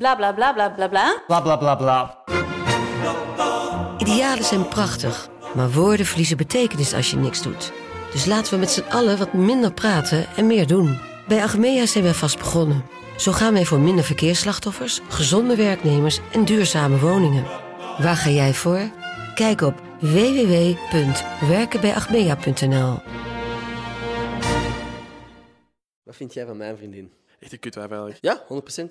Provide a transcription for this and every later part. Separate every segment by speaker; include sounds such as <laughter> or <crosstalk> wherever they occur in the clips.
Speaker 1: Bla bla bla bla bla bla.
Speaker 2: Bla bla bla bla.
Speaker 3: Idealen zijn prachtig, maar woorden verliezen betekenis als je niks doet. Dus laten we met z'n allen wat minder praten en meer doen. Bij Agmea zijn wij vast begonnen. Zo gaan wij voor minder verkeersslachtoffers, gezonde werknemers en duurzame woningen. Waar ga jij voor? Kijk op www.werkenbijagmea.nl.
Speaker 4: Wat vind jij van mijn vriendin?
Speaker 5: Echt een kutwijf eigenlijk.
Speaker 4: Ja, 100%. En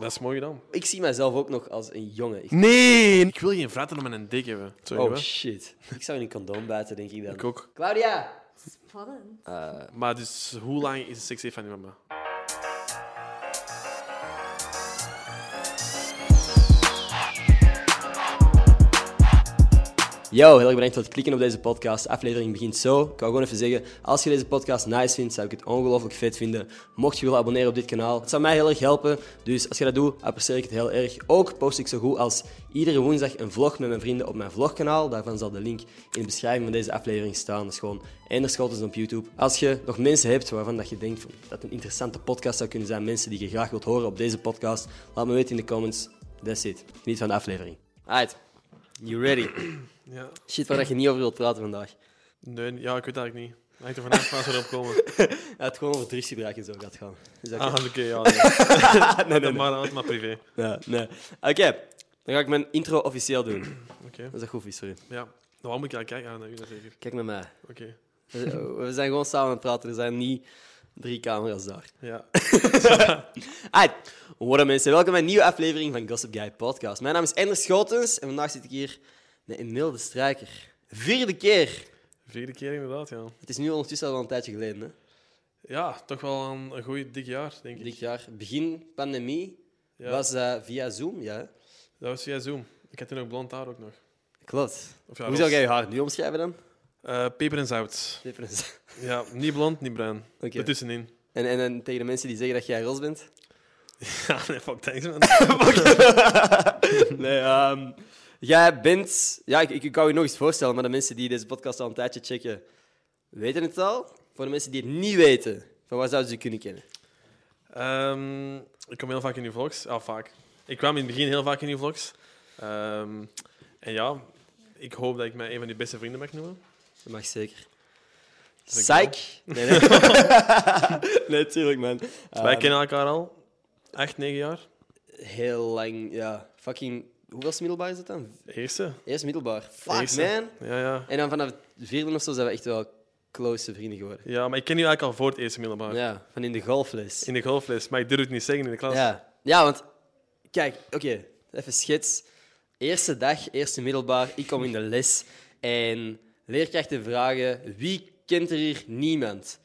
Speaker 5: Dat is mooi gedaan.
Speaker 4: ik zie mijzelf ook nog als een jongen. Ik-
Speaker 5: Nee! Ik wil geen frater om een dik hebben. Sorry,
Speaker 4: Oh
Speaker 5: hè?
Speaker 4: shit. Ik zou in een condoom buiten, denk ik dan.
Speaker 5: Ik ook.
Speaker 4: Claudia!
Speaker 1: Spannend.
Speaker 5: Maar dus, hoe lang is de seks heeft van die mama?
Speaker 4: Yo, heel erg bedankt voor het klikken op deze podcast. De aflevering begint zo. Ik wou gewoon even zeggen, als je deze podcast nice vindt, zou ik het ongelooflijk vet vinden. Mocht je willen abonneren op dit kanaal, het zou mij heel erg helpen. Dus als je dat doet, apprecieer ik het heel erg. Ook post ik zo goed als iedere woensdag een vlog met mijn vrienden op mijn vlogkanaal. Daarvan zal de link in de beschrijving van deze aflevering staan. Dat is gewoon Enderschotens op YouTube. Als je nog mensen hebt waarvan dat je denkt van, dat een interessante podcast zou kunnen zijn, mensen die je graag wilt horen op deze podcast, laat me weten in de comments. That's it. Geniet van de aflevering. Alright, you ready?
Speaker 5: Ja.
Speaker 4: Shit, waar dat je niet over wilt praten vandaag.
Speaker 5: Nee, ja, ik weet dat eigenlijk niet. Hij hangt er vanaf van als we erop komen.
Speaker 4: Ja, het gewoon over drugsgebruik en zo gaat gaan. Is dat oké?
Speaker 5: <laughs> Ah, oké, ja. <laughs> Nee.
Speaker 4: <laughs> nee,
Speaker 5: Dat
Speaker 4: nee, nee.
Speaker 5: maar, dat maar privé.
Speaker 4: Ja, nee. Oké, dan ga ik mijn intro officieel doen.
Speaker 5: <clears throat> Oké.
Speaker 4: Dat is een goed vies voor u.
Speaker 5: Ja. Nou, waarom moet ik dan kijken? Ah, naar u dan zeker.
Speaker 4: Kijk naar mij.
Speaker 5: Oké.
Speaker 4: We we zijn gewoon samen aan het praten, er zijn niet drie camera's daar.
Speaker 5: <laughs> Ja.
Speaker 4: Alright, Hoi mensen, welkom bij een nieuwe aflevering van Gossip Guy Podcast. Mijn naam is Ender Schotens en vandaag zit ik hier met Emil de Strijker. Vierde keer!
Speaker 5: Vierde keer inderdaad, ja.
Speaker 4: Het is nu ondertussen al wel een tijdje geleden, hè?
Speaker 5: Ja, toch wel een, een goed dik jaar, denk ik.
Speaker 4: Dit jaar, begin pandemie,
Speaker 5: Ja.
Speaker 4: was dat via Zoom, ja? hè?
Speaker 5: Dat was via Zoom. Ik had toen ook blond haar ook nog.
Speaker 4: Klopt.
Speaker 5: Of ja,
Speaker 4: Hoe
Speaker 5: roze.
Speaker 4: zou jij je haar nu omschrijven dan?
Speaker 5: Eh, peper en zout.
Speaker 4: Difference.
Speaker 5: Ja, niet blond, niet bruin.
Speaker 4: Oké.
Speaker 5: Ertussenin.
Speaker 4: En, en, en tegen de mensen die zeggen dat jij ros bent?
Speaker 5: <laughs> Ja, nee, fuck thanks, man.
Speaker 4: nee, ehm, jij bent... Ja, ik, ik, ik kan je nog eens voorstellen, maar de mensen die deze podcast al een tijdje checken, weten het al. Voor de mensen die het niet weten, van waar zouden ze je kunnen kennen?
Speaker 5: Ehm, ik kom heel vaak in uw vlogs. Ah, vaak. Ik kwam in het begin heel vaak in uw vlogs. Ehm, en ja, ik hoop dat ik mij een van uw beste vrienden mag noemen.
Speaker 4: Dat mag zeker.
Speaker 5: ik wel.
Speaker 4: Psych? Nee, nee. <laughs> nee, tuurlijk, man.
Speaker 5: Wij
Speaker 4: Ehm,
Speaker 5: kennen elkaar al acht, negen jaar.
Speaker 4: Heel lang, ja. Fucking... Hoeveel middelbaar is dat dan?
Speaker 5: Eerste.
Speaker 4: Eerst middelbaar. Fuck,
Speaker 5: Eerste.
Speaker 4: man.
Speaker 5: Ja, ja.
Speaker 4: En dan vanaf het vierde of zo zijn we echt wel close vrienden geworden.
Speaker 5: Ja, maar ik ken u eigenlijk al voor het eerste middelbaar.
Speaker 4: Ja, van in de golfles.
Speaker 5: In de golfles, maar ik durf het niet zeggen in de klas.
Speaker 4: Ja, ja want kijk, oké, even schets. Eerste dag, eerste middelbaar, ik kom in de les en leerkrachten vragen wie kent er hier niemand?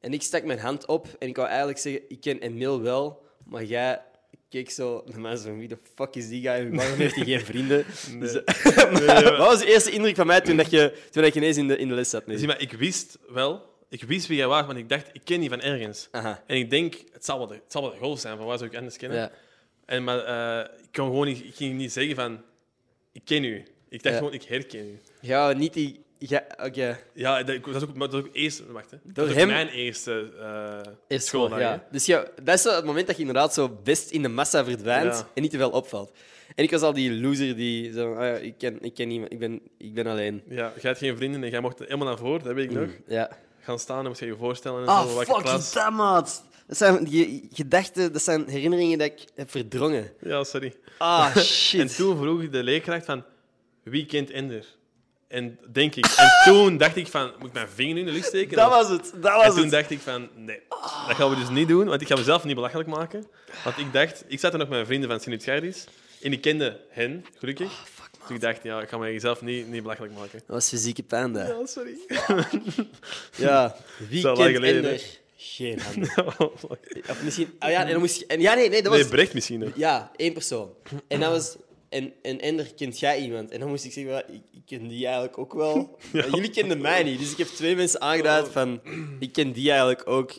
Speaker 4: En ik stak mijn hand op en ik wou eigenlijk zeggen, ik ken Emil wel, maar jij keek zo naar mij zo, wie de fuck is die guy? Waarom heeft hij geen vrienden? Dus, <laughs> maar Wat was de eerste indruk van mij toen, dat je, toen dat je ineens in de, in de les zat? Nee.
Speaker 5: Zie, maar ik wist wel, ik wist wie jij was, want ik dacht, ik ken die van ergens.
Speaker 4: Aha.
Speaker 5: En ik denk, het zal wel de, het zal wel de golf zijn, van waar zou ik anders kennen?
Speaker 4: Ja.
Speaker 5: En, maar eh, ik, kon gewoon niet, ik ging niet zeggen van, ik ken u. Ik dacht
Speaker 4: Ja.
Speaker 5: gewoon, ik herken u.
Speaker 4: Ja, niet die... Ja, oké.
Speaker 5: Ja, dat, dat is ook, maar dat is ook eerst, wacht, hè. Dat, is ook
Speaker 4: hem-
Speaker 5: mijn eerste eh
Speaker 4: Eerst
Speaker 5: schooldag.
Speaker 4: school,
Speaker 5: hè.
Speaker 4: ja. Dus ja, dat is zo het moment dat je inderdaad zo best in de massa verdwijnt
Speaker 5: Ja.
Speaker 4: en niet te veel opvalt. En ik was al die loser die zo, ah ja, ik ken, ik ken niemand, ik ben, ik ben alleen. Hmm,
Speaker 5: Ja, jij had geen vrienden en jij mocht helemaal naar voren, dat weet ik nog.
Speaker 4: Ja.
Speaker 5: Gaan staan en moest je je voorstellen en
Speaker 4: Ah,
Speaker 5: zo, welke
Speaker 4: fuck,
Speaker 5: klas.
Speaker 4: dat, maat. Dat zijn ge- gedachten, dat zijn herinneringen dat ik heb verdrongen.
Speaker 5: Ja, sorry.
Speaker 4: Ah, <laughs>
Speaker 5: En
Speaker 4: shit.
Speaker 5: toen vroeg de leerkracht van, wie kent Ender? En denk ik. En toen dacht ik van, moet ik mijn vinger in de lucht steken?
Speaker 4: dat
Speaker 5: Of-
Speaker 4: was het, dat
Speaker 5: En
Speaker 4: was
Speaker 5: toen
Speaker 4: het.
Speaker 5: dacht ik van, nee, dat gaan we dus niet doen, want ik ga mezelf niet belachelijk maken. Want ik dacht, ik zat er nog met mijn vrienden van Sinut Gardis en ik kende hen, gelukkig.
Speaker 4: Oh,
Speaker 5: dus ik dacht, ja, ik ga mezelf niet, niet belachelijk maken.
Speaker 4: Dat was fysieke pijn, dat.
Speaker 5: Oh, sorry.
Speaker 4: Ja. Wie
Speaker 5: Zo lang
Speaker 4: kent
Speaker 5: geleden,
Speaker 4: Ender? Geen handen. Of misschien... Ah ja, en dan moest je... En ja, nee, nee, dat was...
Speaker 5: <laughs> nee, Brecht misschien nog.
Speaker 4: Ja, één persoon. En dat was... En, en Ender, kent jij iemand? En dan moest ik zeggen, wel, ik, ik ken die eigenlijk ook
Speaker 5: <laughs>
Speaker 4: wel. Maar Jullie kenden mij niet, dus ik heb twee mensen aangeduid van... Ik ken die eigenlijk ook.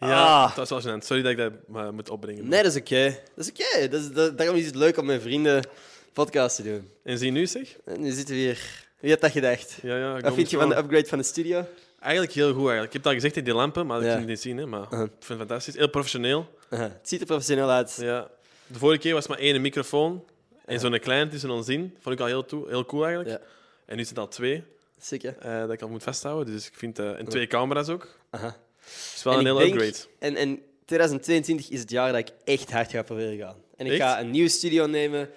Speaker 5: Ja,
Speaker 4: Ah.
Speaker 5: dat was wel gênant. Sorry dat ik dat eh, moet opbrengen.
Speaker 4: Nee, dat is oké. Dat is oké. Dat is- dat- daarom is het leuk om met vrienden podcast te doen.
Speaker 5: En zie je nu zeg?
Speaker 4: En nu zitten we hier. Wie had dat gedacht?
Speaker 5: Ja, ja, ik
Speaker 4: Wat
Speaker 5: kom
Speaker 4: vind je van de
Speaker 5: gewoon.
Speaker 4: upgrade van de studio?
Speaker 5: Eigenlijk heel goed. Eigenlijk. Ik heb het al gezegd in die lampen, maar dat
Speaker 4: Ja.
Speaker 5: kun je niet zien. Hè, maar
Speaker 4: Uh-huh.
Speaker 5: ik vind het fantastisch. Heel professioneel.
Speaker 4: Eh, het ziet er professioneel uit.
Speaker 5: Ja. De vorige keer was maar één microfoon en zo'n klein tussen ons in. Vond ik al heel, toe- heel cool eigenlijk.
Speaker 4: Ja.
Speaker 5: En nu zijn het al twee
Speaker 4: Sick, hè?
Speaker 5: eh, dat ik al moet vasthouden. Dus ik vind, eh, en twee camera's ook.
Speaker 4: Aha.
Speaker 5: is wel
Speaker 4: En
Speaker 5: een
Speaker 4: ik
Speaker 5: hele
Speaker 4: denk-
Speaker 5: upgrade.
Speaker 4: En, en 2022 is het jaar dat ik echt hard ga proberen gaan. En ik
Speaker 5: Echt?
Speaker 4: ga een nieuwe studio nemen,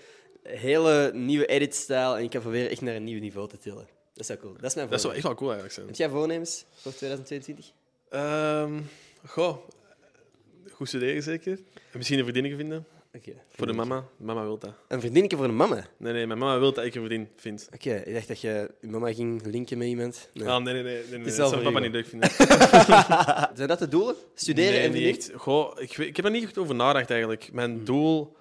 Speaker 4: een hele nieuwe editstijl en ik ga proberen echt naar een nieuw niveau te tillen. Dat is wel cool. Dat is mijn
Speaker 5: Dat zou
Speaker 4: voornemen.
Speaker 5: echt wel cool eigenlijk zijn.
Speaker 4: Heb jij voornemens voor 2022?
Speaker 5: Ehm, goh, goed studeren zeker. En misschien een verdienige vinden
Speaker 4: Oké.
Speaker 5: voor de mama. Mama wil dat.
Speaker 4: Een verdienke voor een mama?
Speaker 5: Nee, nee, mijn mama wil dat ik een verdien vind.
Speaker 4: Oké, ik dacht dat je je mama ging linken met iemand. Nee.
Speaker 5: Ah, nee, nee, nee. nee, nee,
Speaker 4: is
Speaker 5: dat
Speaker 4: wel
Speaker 5: zou
Speaker 4: voor
Speaker 5: papa
Speaker 4: u,
Speaker 5: niet leuk vinden.
Speaker 4: Zijn dat de doelen? Studeren
Speaker 5: nee,
Speaker 4: en Hmm.
Speaker 5: niet
Speaker 4: verdienen?
Speaker 5: echt. Goh, ik, weet- ik heb er niet goed over nagedacht eigenlijk. Mijn doel.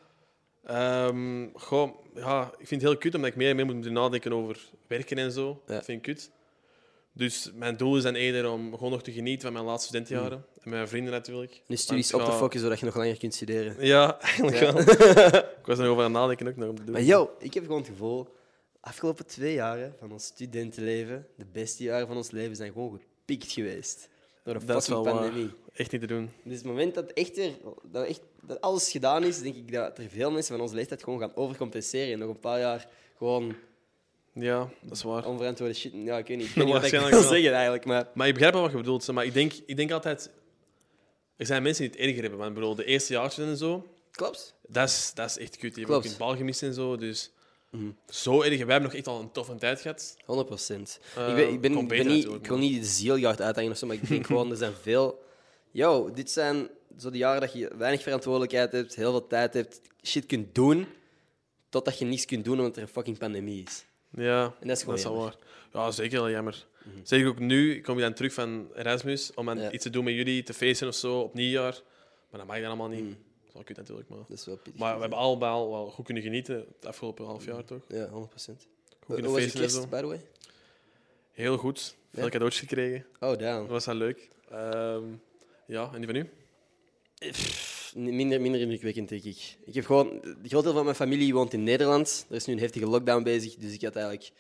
Speaker 5: ehm, goh, ja, ik vind het heel kut omdat ik meer en meer moet nadenken over werken en zo.
Speaker 4: Ja.
Speaker 5: Dat vind ik kut. Dus mijn doel is dan eerder om gewoon nog te genieten van mijn laatste studentenjaren. En met mijn vrienden natuurlijk.
Speaker 4: Nu Hmm. studies
Speaker 5: Want,
Speaker 4: op te
Speaker 5: ja,
Speaker 4: focussen zodat je nog langer kunt studeren.
Speaker 5: Ja, <laughs> eigenlijk
Speaker 4: Ja.
Speaker 5: wel.
Speaker 4: <laughs>
Speaker 5: ik was er nog over aan het nadenken ook nog om te doen.
Speaker 4: Maar yo, ik heb gewoon het gevoel, afgelopen twee jaren van ons studentenleven, de beste jaren van ons leven, zijn gewoon gepikt geweest. Door de
Speaker 5: dat is
Speaker 4: fucking
Speaker 5: wel waar.
Speaker 4: pandemie.
Speaker 5: Echt niet te doen.
Speaker 4: Dus het moment dat, echt weer, dat, echt, dat alles gedaan is, denk ik dat er veel mensen van onze leeftijd gewoon gaan overcompenseren. En nog een paar jaar gewoon
Speaker 5: Ja, dat is waar.
Speaker 4: onverantwoorde shit. Ja, ik weet niet. Ik weet niet wat ik wil
Speaker 5: Waarschijnlijk wel.
Speaker 4: zeggen eigenlijk, maar...
Speaker 5: Maar ik begrijp wel wat je bedoelt. hè. Maar ik denk, ik denk altijd... Er zijn mensen die het erger hebben. Want ik bedoel, de eerste jaartjes en zo...
Speaker 4: Klopt.
Speaker 5: Dat is, dat is echt kut. Je hebt
Speaker 4: Klopt. Mhm.
Speaker 5: ook een bal gemist en zo. Dus zo erg. Wij hebben nog echt al een toffe tijd gehad.
Speaker 4: 100 procent.
Speaker 5: Eh,
Speaker 4: ik ben, ik, ben,
Speaker 5: komt
Speaker 4: ik
Speaker 5: beter
Speaker 4: ben niet,
Speaker 5: natuurlijk,
Speaker 4: ik wil niet de zieljacht uitdagen of zo, maar ik
Speaker 5: <laughs>
Speaker 4: denk gewoon, er zijn veel... Yo, dit zijn zo de jaren dat je weinig verantwoordelijkheid hebt, heel veel tijd hebt, shit kunt doen, totdat je niks kunt doen omdat er een fucking pandemie is.
Speaker 5: Ja,
Speaker 4: En dat is gewoon Mhm.
Speaker 5: wel waar. Ja, zeker wel jammer. Zeker ook nu, ik kom je dan terug van Erasmus om aan
Speaker 4: Ja.
Speaker 5: iets te doen met jullie, te feesten of zo, op nieuwjaar. Maar dat mag je dan allemaal niet. Dat is wel kut natuurlijk. Maar,
Speaker 4: Mhm. Dat is wel pittig.
Speaker 5: maar we hebben allemaal wel goed kunnen genieten het afgelopen half jaar, toch?
Speaker 4: Ja, 100 procent.
Speaker 5: Goed
Speaker 4: Mhm. Hoe
Speaker 5: kunnen
Speaker 4: was je
Speaker 5: feesten en zo.
Speaker 4: kerst, by the way?
Speaker 5: Heel goed. Veel
Speaker 4: Ja?
Speaker 5: cadeautjes gekregen.
Speaker 4: Oh, damn.
Speaker 5: Dat was wel leuk. Ehm, ja, en die van u?
Speaker 4: Minder, minder indrukwekkend, denk ik. Ik heb gewoon... Het groot deel van mijn familie woont in Nederland. Er is nu een heftige lockdown bezig, dus ik had eigenlijk...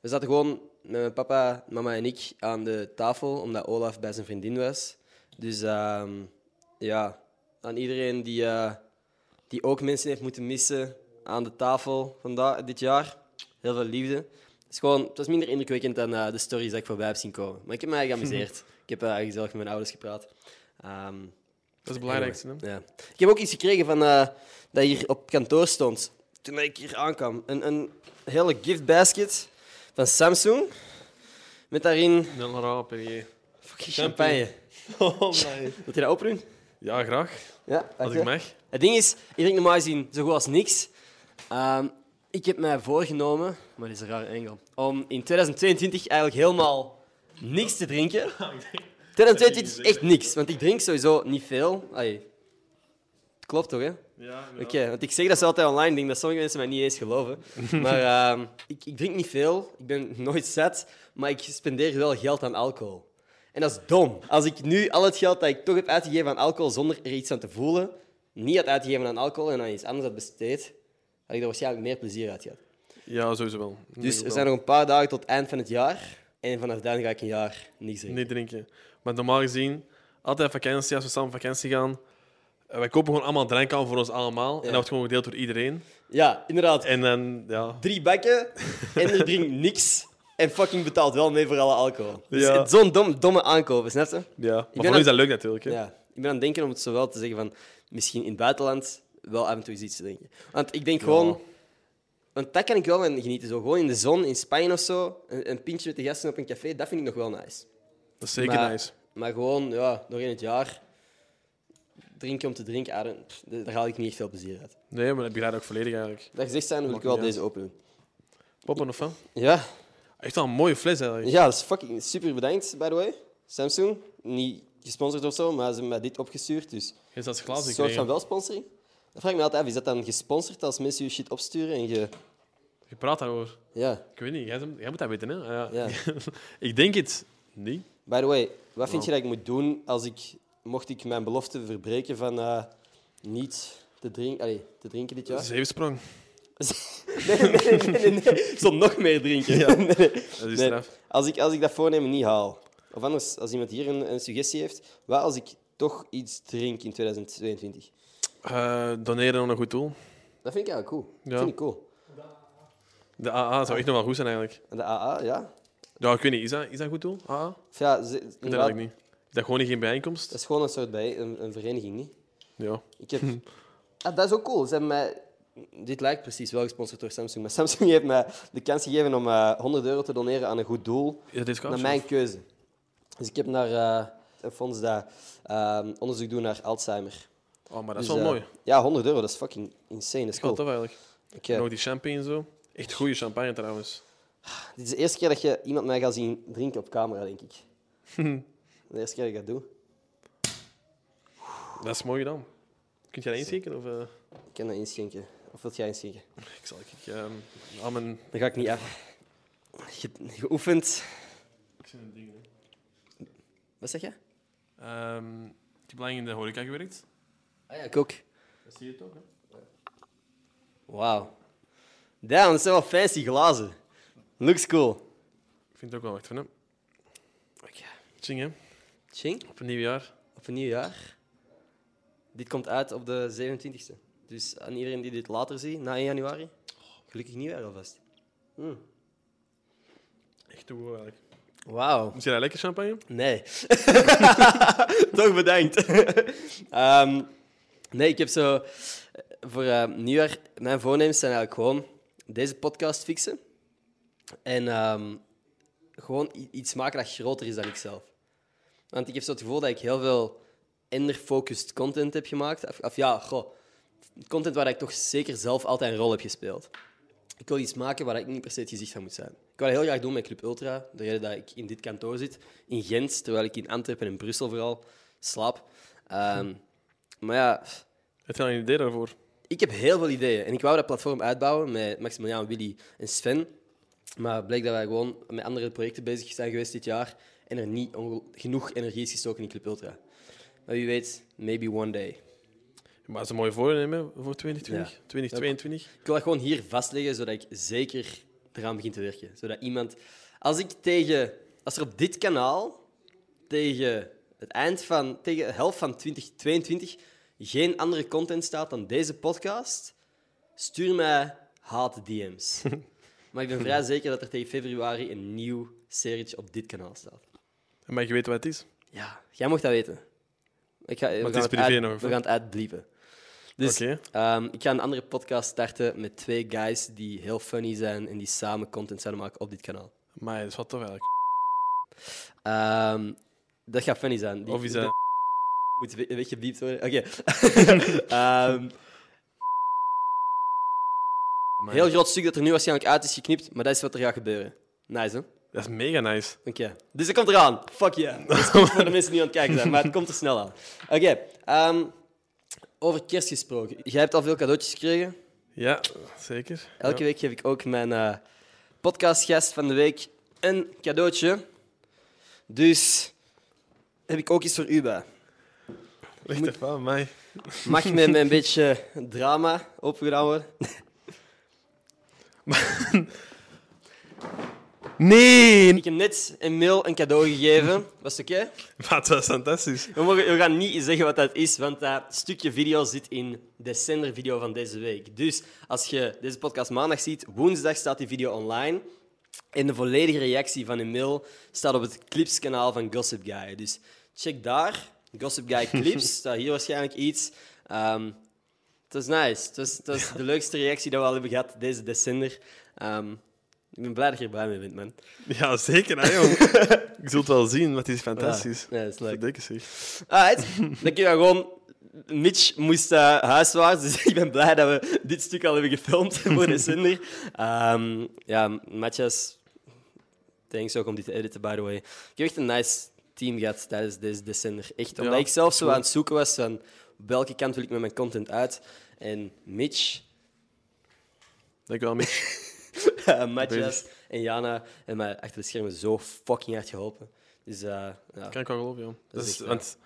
Speaker 4: We zaten gewoon met mijn papa, mama en ik aan de tafel, omdat Olaf bij zijn vriendin was. Dus ehm, ja, aan iedereen die, eh, die ook mensen heeft moeten missen aan de tafel vandaag, dit jaar. Heel veel liefde. Het, is gewoon, het was minder indrukwekkend dan eh, de stories dat ik voorbij heb zien komen. Maar ik heb me eigenlijk geamuseerd. ik heb eh, gezellig met mijn ouders gepraat. Ehm,
Speaker 5: Dat is het belangrijkste. hè?
Speaker 4: ja. Ik heb ook iets gekregen van eh, dat hier op kantoor stond. Toen ik hier aankwam. Een, een hele gift basket van Samsung. Met daarin
Speaker 5: Nul raar per je.
Speaker 4: fucking champagne.
Speaker 5: <laughs> Oh, nee.
Speaker 4: Wilt je dat open
Speaker 5: Ja, graag.
Speaker 4: Ja,
Speaker 5: Als ik mag.
Speaker 4: Het ding is, ik drink normaal gezien zo goed als niks. Ehm, ik heb mij voorgenomen, maar dit is een rare engel, om in 2022 eigenlijk helemaal niks te drinken. 2022 is echt niks, want ik drink sowieso niet veel. Allee, Klopt toch, hè?
Speaker 5: Ja,
Speaker 4: Oké, want ik zeg dat ze altijd online ding, dat sommige mensen mij niet eens geloven. Maar ehm, ik, ik drink niet veel, ik ben <laughs> nooit zat, maar ik spendeer wel geld aan alcohol. En dat is dom. Als ik nu al het geld dat ik toch heb uitgegeven aan alcohol zonder er iets aan te voelen, niet had uitgegeven aan alcohol en aan iets anders had besteed, had ik er waarschijnlijk meer plezier uit gehad.
Speaker 5: Ja, sowieso wel.
Speaker 4: Dus
Speaker 5: Ik denk
Speaker 4: er
Speaker 5: het
Speaker 4: zijn
Speaker 5: wel.
Speaker 4: nog een paar dagen tot eind van het jaar en vanaf dan ga ik een jaar niks drinken.
Speaker 5: Niet drinken. Maar normaal gezien, altijd vakantie, als we samen op vakantie gaan, eh, wij kopen gewoon allemaal drank aan voor ons allemaal. En dat wordt gewoon gedeeld door iedereen.
Speaker 4: Ja, inderdaad.
Speaker 5: En dan, ja...
Speaker 4: drie bakken en er drinkt niks. En fucking betaalt wel mee voor alle
Speaker 5: <laughs>
Speaker 4: alcohol. Dus
Speaker 5: Ja.
Speaker 4: het- zo'n dom, domme aankopen, snap je?
Speaker 5: ja. Maar voor
Speaker 4: ben
Speaker 5: ons is
Speaker 4: aan-
Speaker 5: dat leuk natuurlijk. Hè?
Speaker 4: Ja. Ik ben aan het denken om het zowel te zeggen van misschien in het buitenland wel af en toe eens iets te drinken. Want ik denk gewoon, want dat kan ik wel van genieten. Zo. Gewoon in de zon, in Spanje of zo, een, een pintje met de gasten op een café, dat vind ik nog wel nice.
Speaker 5: Dat is zeker
Speaker 4: maar,
Speaker 5: nice.
Speaker 4: Maar gewoon, ja, nog in het jaar drinken om te drinken, ah, dan- pff, daar haal ik niet echt veel plezier uit.
Speaker 5: Nee, maar dat begrijp ik ook volledig eigenlijk.
Speaker 4: Dat gezegd zijn, wil ik
Speaker 5: Maakt
Speaker 4: wel
Speaker 5: niet uit.
Speaker 4: deze openen.
Speaker 5: Poppen of van?
Speaker 4: Ja,
Speaker 5: Echt wel een mooie fles eigenlijk.
Speaker 4: Ja, dat is fucking super bedankt, by the way. Samsung, niet gesponsord of zo, maar ze hebben mij dit opgestuurd. Dus
Speaker 5: Is dat
Speaker 4: een
Speaker 5: glazen
Speaker 4: soort van
Speaker 5: gekregen?
Speaker 4: wel sponsoring. Dan vraag ik me altijd af, is dat dan gesponsord als mensen je shit opsturen en je...
Speaker 5: Je praat daarover.
Speaker 4: Ja,
Speaker 5: Ik weet niet, jij, jij moet dat weten hè? Ah,
Speaker 4: ja.
Speaker 5: ja. <laughs> ik denk het niet.
Speaker 4: By the way, wat vind je dat ik moet doen als ik... Mocht ik mijn belofte verbreken van eh, niet te, drink, allee, te drinken dit jaar?
Speaker 5: Zeefsprong.
Speaker 4: <laughs> Nee, nee, nee, <laughs> nee, nee, nee. Ik zal nog meer drinken. Nee, nee.
Speaker 5: Dat is
Speaker 4: Nee,
Speaker 5: straf.
Speaker 4: Als, ik, als ik dat voornemen niet haal, Of anders, als iemand hier een, een suggestie heeft, wat als ik toch iets drink in 2022?
Speaker 5: Eh, doneren aan een goed doel.
Speaker 4: Dat vind ik eigenlijk cool.
Speaker 5: Ja.
Speaker 4: Dat vind ik cool.
Speaker 5: De AA zou echt nog wel goed zijn, eigenlijk.
Speaker 4: En de AA, ja.
Speaker 5: Ja, ik weet niet. Is dat, is dat een goed doel? AA? Ik
Speaker 4: Of ja, ze-
Speaker 5: weet
Speaker 4: inderdaad,
Speaker 5: dat eigenlijk niet. Is dat gewoon geen bijeenkomst?
Speaker 4: dat is gewoon een soort bij, een, een vereniging, niet?
Speaker 5: Ja.
Speaker 4: Ik heb... ah, dat is ook cool. Ze hebben mij... Dit lijkt precies wel gesponsord door Samsung, maar <laughs> Samsung heeft mij de kans gegeven om eh 100 euro te doneren aan een goed doel.
Speaker 5: Ja, dit is
Speaker 4: naar
Speaker 5: gaaf,
Speaker 4: mijn keuze. Dus ik heb naar eh, een fonds dat eh, onderzoek doet naar Alzheimer.
Speaker 5: Oh, maar dat is
Speaker 4: Dus,
Speaker 5: wel
Speaker 4: eh,
Speaker 5: mooi.
Speaker 4: Ja, 100 euro, dat is fucking insane. Dat is
Speaker 5: Ik had
Speaker 4: cool.
Speaker 5: dat wel, eigenlijk.
Speaker 4: Ik, eh,
Speaker 5: Nog die champagne en zo. Echt goede champagne, trouwens.
Speaker 4: dit is de eerste keer dat je iemand mij gaat zien drinken op camera, denk ik.
Speaker 5: Hm.
Speaker 4: <laughs> de eerste keer dat ik dat doe.
Speaker 5: Dat is mooi gedaan. Kun jij dat inschenken? Of, eh?
Speaker 4: Ik kan dat inschenken. Of wilt jij inschenken?
Speaker 5: Ik zal ik, ehm, aan mijn...
Speaker 4: Dan ga ik niet af. Je hebt geoefend.
Speaker 5: Ik zie een ding,
Speaker 4: Wat zeg je?
Speaker 5: ik heb lang ehm, in de horeca gewerkt.
Speaker 4: Ah ja, ik ook.
Speaker 5: Dat zie je toch, hè?
Speaker 4: Wauw. Damn, dat zijn wel fancy glazen. Looks cool.
Speaker 5: Ik vind het ook wel echt van, hè?
Speaker 4: Oké.
Speaker 5: Ching, hè?
Speaker 4: Ching,
Speaker 5: Op een nieuw jaar.
Speaker 4: op een nieuw jaar. Dit komt uit op de 27e. Dus aan iedereen die dit later ziet, na 1 januari, gelukkig nieuwjaar alvast.
Speaker 5: Echt goed, eigenlijk.
Speaker 4: Wauw.
Speaker 5: Is jij dat lekker, champagne?
Speaker 4: Nee. Toch bedankt. Ehm, nee, ik heb zo... eh, Voor eh, nieuwjaar... Mijn voornemens zijn eigenlijk gewoon deze podcast fixen. En ehm, gewoon i- iets maken dat groter is dan ikzelf. Want ik heb zo het gevoel dat ik heel veel ender-focused content heb gemaakt. Of, of ja, goh. Content waar ik toch zeker zelf altijd een rol heb gespeeld. Ik wil iets maken waar ik niet per se het gezicht van moet zijn. Ik wil dat heel graag doen met Club Ultra. De reden dat ik in dit kantoor zit, in Gent, terwijl ik in Antwerpen en Brussel vooral slaap. Ehm, Maar ja,
Speaker 5: Heb je al een idee daarvoor?
Speaker 4: ik heb heel veel ideeën. En ik wou dat platform uitbouwen met Maximiliaan, Willy en Sven. Maar bleek dat wij gewoon met andere projecten bezig zijn geweest dit jaar. En er niet onge- genoeg energie is gestoken in Club Ultra. Maar wie weet, maybe one day.
Speaker 5: Maar dat is een mooi voornemen hè, voor 2020.
Speaker 4: Ja.
Speaker 5: 2022.
Speaker 4: Ik wil dat gewoon hier vastleggen, zodat ik zeker eraan begin te werken. Zodat iemand... Als ik tegen... Als er op dit kanaal tegen het eind van... Tegen de helft van 2022 geen andere content staat dan deze podcast, stuur mij
Speaker 5: <laughs>
Speaker 4: haat-DM's. maar ik ben vrij zeker dat er tegen februari een nieuw serietje op dit kanaal staat.
Speaker 5: Maar je weet wat het is.
Speaker 4: Ja, jij mocht dat weten. Ik ga, we
Speaker 5: het
Speaker 4: gaan
Speaker 5: is privé
Speaker 4: uit-
Speaker 5: nog, of
Speaker 4: We
Speaker 5: wat?
Speaker 4: gaan het uitbliepen. Dus
Speaker 5: Oké.
Speaker 4: ehm, ik ga een andere podcast starten met twee guys die heel funny zijn en die samen content zouden maken op dit kanaal.
Speaker 5: Maar dat is wat toch eigenlijk.
Speaker 4: Ehm, dat gaat funny zijn. Die-
Speaker 5: Of is dat...
Speaker 4: Moet we- een beetje beept worden. Oké. <laughs> Ehm,
Speaker 5: Amai.
Speaker 4: heel groot stuk dat er nu waarschijnlijk uit is geknipt, maar dat is wat er gaat gebeuren. Nice, hè?
Speaker 5: Dat is mega nice.
Speaker 4: Oké. Dus dat komt eraan. Fuck yeah. Dat is goed voor de mensen die aan het kijken zijn, maar het komt er snel aan. Oké. ehm, over kerst gesproken. Jij hebt al veel cadeautjes gekregen.
Speaker 5: Ja, zeker.
Speaker 4: Elke
Speaker 5: Ja.
Speaker 4: week geef ik ook mijn eh, podcastgast van de week een cadeautje. Dus heb ik ook iets voor u bij.
Speaker 5: Ligt er van mij.
Speaker 4: Mag met met een <laughs> beetje drama opgedaan worden?
Speaker 5: Nee!
Speaker 4: Ik heb net een mail een cadeau gegeven. Was het oké?
Speaker 5: Wat was fantastisch.
Speaker 4: We, mogen- we gaan niet zeggen wat dat is, want dat stukje video zit in de zendervideo van deze week. Dus als je deze podcast maandag ziet, woensdag staat die video online. En de volledige reactie van Emil staat op het clipskanaal van Gossip Guy. Dus check daar. Gossip Guy Clips, staat hier waarschijnlijk iets. Ehm, het was nice. Het was, het was de leukste reactie dat we al hebben gehad deze december. Ehm, ik ben blij dat je erbij mee bent, man.
Speaker 5: Ja, zeker, hè,
Speaker 4: <laughs>
Speaker 5: jong. Ik zult wel zien, want het is fantastisch.
Speaker 4: Ja, dat is leuk.
Speaker 5: Verdikke zich.
Speaker 4: Alright. Dan kun je gewoon... Mitch moest eh, huiswaarts, dus <laughs> ik ben blij dat we dit stuk al hebben gefilmd <laughs> voor
Speaker 5: <laughs>
Speaker 4: de zender. Ehm, ja, Matthias, thanks ook om dit te editen, by the way. Ik heb echt een nice team gehad tijdens deze december. Echt, omdat
Speaker 5: Ja,
Speaker 4: ik zelf zo
Speaker 5: cool.
Speaker 4: aan het zoeken was van welke kant wil ik met mijn content uit. En Mitch, <laughs>
Speaker 5: Dankjewel, Mitch.
Speaker 4: eh, Matthias en Jana hebben mij achter de schermen zo fucking hard geholpen. Dus eh, ja.
Speaker 5: Kan ik wel geloven, ja. Dat
Speaker 4: is
Speaker 5: is,
Speaker 4: echt waar.
Speaker 5: want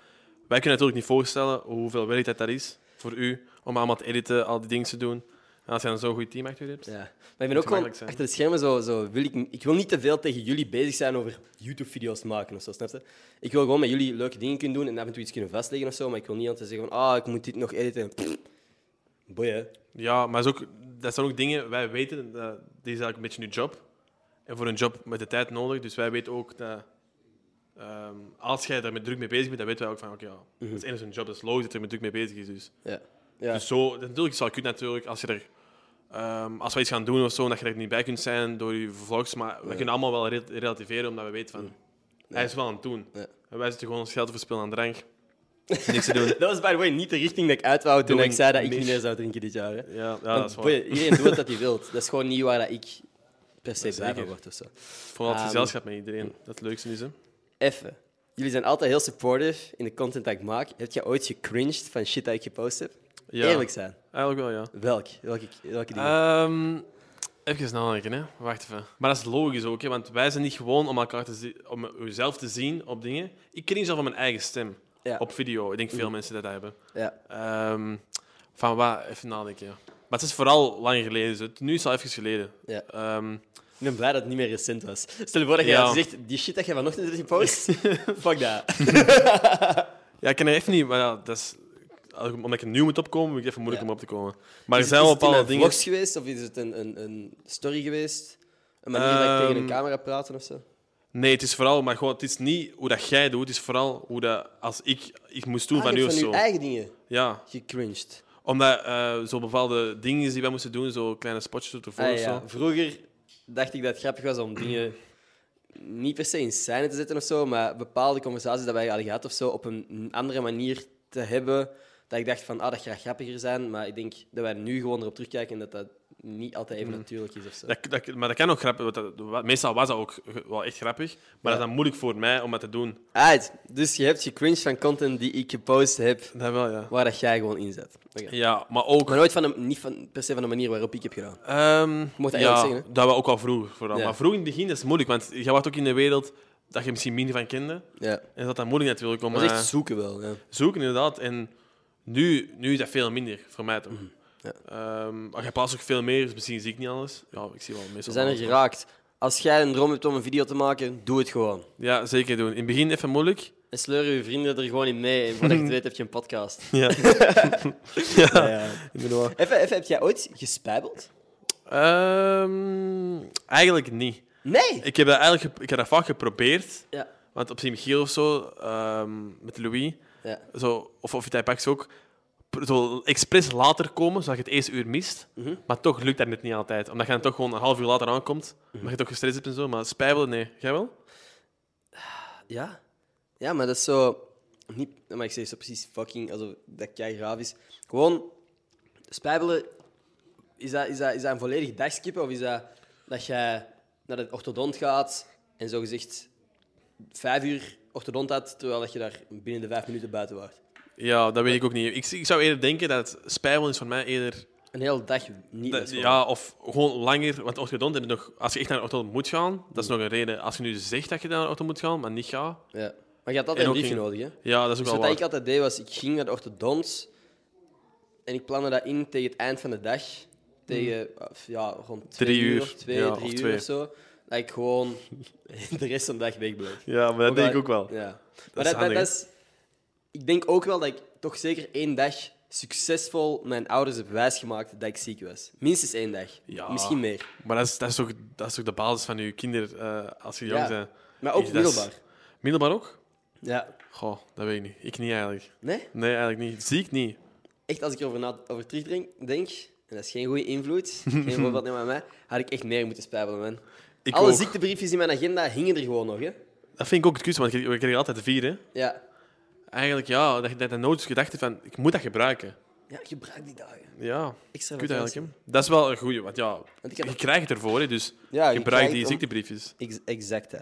Speaker 5: wij kunnen natuurlijk niet voorstellen hoeveel werk dat, dat is voor u om allemaal te editen, al die dingen te doen. En als je dan zo'n goed team achter je hebt.
Speaker 4: Ja. Maar ik ben ook gewoon
Speaker 5: makkelijk zijn.
Speaker 4: achter de schermen zo, zo wil ik, ik wil niet te veel tegen jullie bezig zijn over YouTube-video's maken of zo, snap je? Ik wil gewoon met jullie leuke dingen kunnen doen en af en toe iets kunnen vastleggen of zo, maar ik wil niet altijd zeggen van, ah, ik moet dit nog editen. Pff. Boeien.
Speaker 5: Ja, maar is ook, dat zijn ook dingen, wij weten, dat, dit is eigenlijk een beetje je job. En voor een job met de tijd nodig, dus wij weten ook dat... ehm, als jij daar met druk mee bezig bent, dan weten wij ook van, oké, ja, dat is enigszins een job, dat is logisch dat er met druk mee bezig is. Dus,
Speaker 4: Ja. Ja.
Speaker 5: dus zo, natuurlijk zal ik het natuurlijk, als je er... ehm, als we iets gaan doen of zo, dat je er niet bij kunt zijn door je vlogs, maar we kunnen allemaal wel rel- relativeren, omdat we weten van, hij is wel aan het doen.
Speaker 4: Ja.
Speaker 5: En wij zitten gewoon ons geld te verspillen aan drank. Niks te doen.
Speaker 4: <laughs> Dat was, by the way, niet de richting dat ik uit wou toen
Speaker 5: Doe
Speaker 4: ik zei dat ik
Speaker 5: niks.
Speaker 4: niet meer zou drinken dit jaar. Hè.
Speaker 5: Ja, ja
Speaker 4: Want,
Speaker 5: dat is waar.
Speaker 4: boeien, iedereen doet wat hij wil. Dat is gewoon niet waar dat ik per se blij van
Speaker 5: zeker.
Speaker 4: word of zo.
Speaker 5: Vooral het
Speaker 4: Ehm,
Speaker 5: gezelschap met iedereen, dat het leukste is, hè.
Speaker 4: Even. Jullie zijn altijd heel supportive in de content dat ik maak. Heb jij ooit gecringed van shit dat ik gepost heb?
Speaker 5: Ja.
Speaker 4: Eerlijk zijn.
Speaker 5: Eigenlijk wel, ja.
Speaker 4: Welk? Welke, welke dingen?
Speaker 5: Ehm even nadenken, hè. Wacht even. Maar dat is logisch ook, hè, want wij zijn niet gewoon om elkaar te zi- om uzelf te zien op dingen. Ik ken niet zelf van mijn eigen stem
Speaker 4: Ja. Mhm.
Speaker 5: op video. Ik denk veel mensen dat, dat hebben.
Speaker 4: ja.
Speaker 5: Ehm, van waar? Even nadenken, ja. Maar het is vooral lang geleden. dus het- Nu is het al even geleden.
Speaker 4: Ja.
Speaker 5: Ehm,
Speaker 4: Ik ben blij dat het niet meer recent was. Stel je voor dat je
Speaker 5: Ja.
Speaker 4: had gezegd, die shit dat je vanochtend hebt
Speaker 5: <laughs>
Speaker 4: gepost, fuck dat.
Speaker 5: ja, ik ken er even niet, maar ja, dat is... Omdat ik er nieuw moet opkomen, vind ik het even moeilijk
Speaker 4: Ja.
Speaker 5: om op te komen. Maar er
Speaker 4: Is-
Speaker 5: zijn
Speaker 4: is het
Speaker 5: wel
Speaker 4: in
Speaker 5: bepaalde
Speaker 4: mijn
Speaker 5: dingen...
Speaker 4: vlogs geweest, of is het een, een, een story geweest? Een manier dat ik tegen een
Speaker 5: Ehm,
Speaker 4: camera praat of zo?
Speaker 5: Nee, het is vooral... Maar gewoon, het is niet hoe dat jij doet. Het is vooral hoe dat... Als ik iets moest doen
Speaker 4: Ah,
Speaker 5: van
Speaker 4: je
Speaker 5: nu
Speaker 4: hebt
Speaker 5: of
Speaker 4: van
Speaker 5: zo.
Speaker 4: uw eigen dingen
Speaker 5: Ja.
Speaker 4: gecringed.
Speaker 5: Omdat eh zo bepaalde dingen die wij moesten doen, zo kleine spotjes ervoor
Speaker 4: Ah,
Speaker 5: of zo.
Speaker 4: ja. Vroeger dacht ik dat het grappig was om dingen <clears throat> niet per se in scène te zetten of zo, maar bepaalde conversaties die wij hadden gehad of zo op een andere manier te hebben. Dat ik dacht van, ah, dat gaat grappiger zijn, maar ik denk dat wij nu gewoon erop terugkijken en dat dat niet altijd even natuurlijk is of zo.
Speaker 5: Dat, dat, maar dat kan ook grappig. want dat- wa- meestal was dat ook ge- wel echt grappig. Maar dat is dan moeilijk voor mij om dat te doen.
Speaker 4: Right, dus je hebt gecringed van content die ik gepost heb,
Speaker 5: Dat wel, ja.
Speaker 4: waar dat jij gewoon inzet.
Speaker 5: Ja, maar ook...
Speaker 4: Maar nooit van de, niet van, per se van de manier waarop ik heb gedaan.
Speaker 5: ehm,
Speaker 4: mocht dat
Speaker 5: ja,
Speaker 4: eerlijk zeggen, hè?
Speaker 5: dat we ook al vroeg vooral.
Speaker 4: Ja.
Speaker 5: Maar vroeg in het begin dat is moeilijk, want je wordt ook in de wereld dat je misschien minder van kende.
Speaker 4: Ja.
Speaker 5: En dat dat moeilijk natuurlijk om
Speaker 4: Dat is
Speaker 5: eh,
Speaker 4: echt zoeken wel. Ja.
Speaker 5: zoeken, inderdaad. En nu, nu is dat veel minder, voor mij toch.
Speaker 4: Mhm. ja.
Speaker 5: Ehm, maar je plaatst ook veel meer, dus misschien zie ik niet alles. Ja, ik zie wel meestal
Speaker 4: We zijn er
Speaker 5: alles, maar-
Speaker 4: geraakt. Als jij een droom hebt om een video te maken, doe het gewoon.
Speaker 5: Ja, zeker doen. In het begin even moeilijk.
Speaker 4: En sleur je vrienden er gewoon in mee. En <laughs> voordat je het weet, heb je een podcast.
Speaker 5: Ja.
Speaker 4: Ja.
Speaker 5: Inderdaad.
Speaker 4: Even, even, heb jij ooit gespijbeld?
Speaker 5: <laughs> Ehm, eigenlijk niet.
Speaker 4: Nee!
Speaker 5: Ik heb dat eigenlijk gep- ik heb dat vaak geprobeerd.
Speaker 4: Ja.
Speaker 5: Want op Sint-Michiel of zo, ehm, met Louis,
Speaker 4: Ja.
Speaker 5: zo, of of Pax ook, pr- zo expres later komen, zodat je het eerste uur mist. Maar toch lukt dat net niet altijd. Omdat je dan toch gewoon een half uur later aankomt. Omdat je toch gestrest hebt en zo. Maar spijbelen, nee. Jij wel?
Speaker 4: Ja? Ja, maar dat is zo... Niet, maar ik zeg zo precies fucking, alsof dat kei graaf is. Gewoon, spijbelen, is dat, is dat, is dat een volledig dagskippen? Of is dat dat jij naar de orthodont gaat en zogezegd vijf uur orthodont had, terwijl dat je daar binnen de vijf minuten buiten was?
Speaker 5: Ja, dat weet ik ook niet. Ik, ik zou eerder denken dat het spijbelen is voor mij eerder
Speaker 4: Een hele dag niet
Speaker 5: Dat-
Speaker 4: met school.
Speaker 5: ja, of gewoon langer. Want orthodont heb je nog... Als je echt naar de orthodont moet gaan, dat is nog een reden. Als je nu zegt dat je naar de orthodont moet gaan, maar niet gaat...
Speaker 4: Ja. Maar je had altijd
Speaker 5: En
Speaker 4: een
Speaker 5: ook
Speaker 4: briefje
Speaker 5: ging-
Speaker 4: nodig, hè?
Speaker 5: Ja, dat is ook
Speaker 4: Dus
Speaker 5: wel
Speaker 4: wat
Speaker 5: waar.
Speaker 4: ik altijd deed, was ik ging naar de orthodont en ik plande dat in tegen het eind van de dag. Tegen of ja, rond twee
Speaker 5: Hmm. Drie uur.
Speaker 4: of twee,
Speaker 5: Ja,
Speaker 4: drie
Speaker 5: of
Speaker 4: uur
Speaker 5: twee.
Speaker 4: of zo. Dat ik gewoon <laughs> de rest van de dag wegbleef.
Speaker 5: Ja, maar dat denk ik ook wel.
Speaker 4: Ja. maar
Speaker 5: is
Speaker 4: dat, dat,
Speaker 5: handig,
Speaker 4: dat is... Ik denk ook wel dat ik toch zeker één dag succesvol mijn ouders heb wijsgemaakt dat ik ziek was. Minstens één dag.
Speaker 5: Ja.
Speaker 4: Misschien meer.
Speaker 5: Maar dat is, dat, is toch, dat is toch de basis van je kinderen eh, als je jong
Speaker 4: Ja.
Speaker 5: bent.
Speaker 4: Maar ook
Speaker 5: Is- dat is-
Speaker 4: middelbaar.
Speaker 5: Middelbaar ook?
Speaker 4: Ja.
Speaker 5: Goh, dat weet ik niet. Ik niet eigenlijk.
Speaker 4: Nee?
Speaker 5: Nee, eigenlijk niet. Ziek niet.
Speaker 4: echt als ik erover na, over terugdenk, denk, en dat is geen goede
Speaker 5: <laughs>
Speaker 4: invloed, geen voorbeeld neem aan mij, had ik echt meer moeten spijbelen, man.
Speaker 5: Ik
Speaker 4: Alle
Speaker 5: ook.
Speaker 4: ziektebriefjes in mijn agenda hingen er gewoon nog, hè.
Speaker 5: Dat vind ik ook het kus, want je- we kregen altijd vier. Hè.
Speaker 4: Ja.
Speaker 5: Eigenlijk ja, dat je dat je nooit eens gedacht hebt van ik moet dat gebruiken.
Speaker 4: Ja, gebruik die dagen.
Speaker 5: Ja,
Speaker 4: Extra
Speaker 5: kut
Speaker 4: vakantie.
Speaker 5: eigenlijk. Hè. Dat is wel een goeie, want ja,
Speaker 4: ik heb
Speaker 5: je
Speaker 4: dat-
Speaker 5: krijgt het ervoor, hè, dus
Speaker 4: Ja, je
Speaker 5: gebruik
Speaker 4: krijgt
Speaker 5: die
Speaker 4: om-
Speaker 5: ziektebriefjes.
Speaker 4: Ex- exact, hè.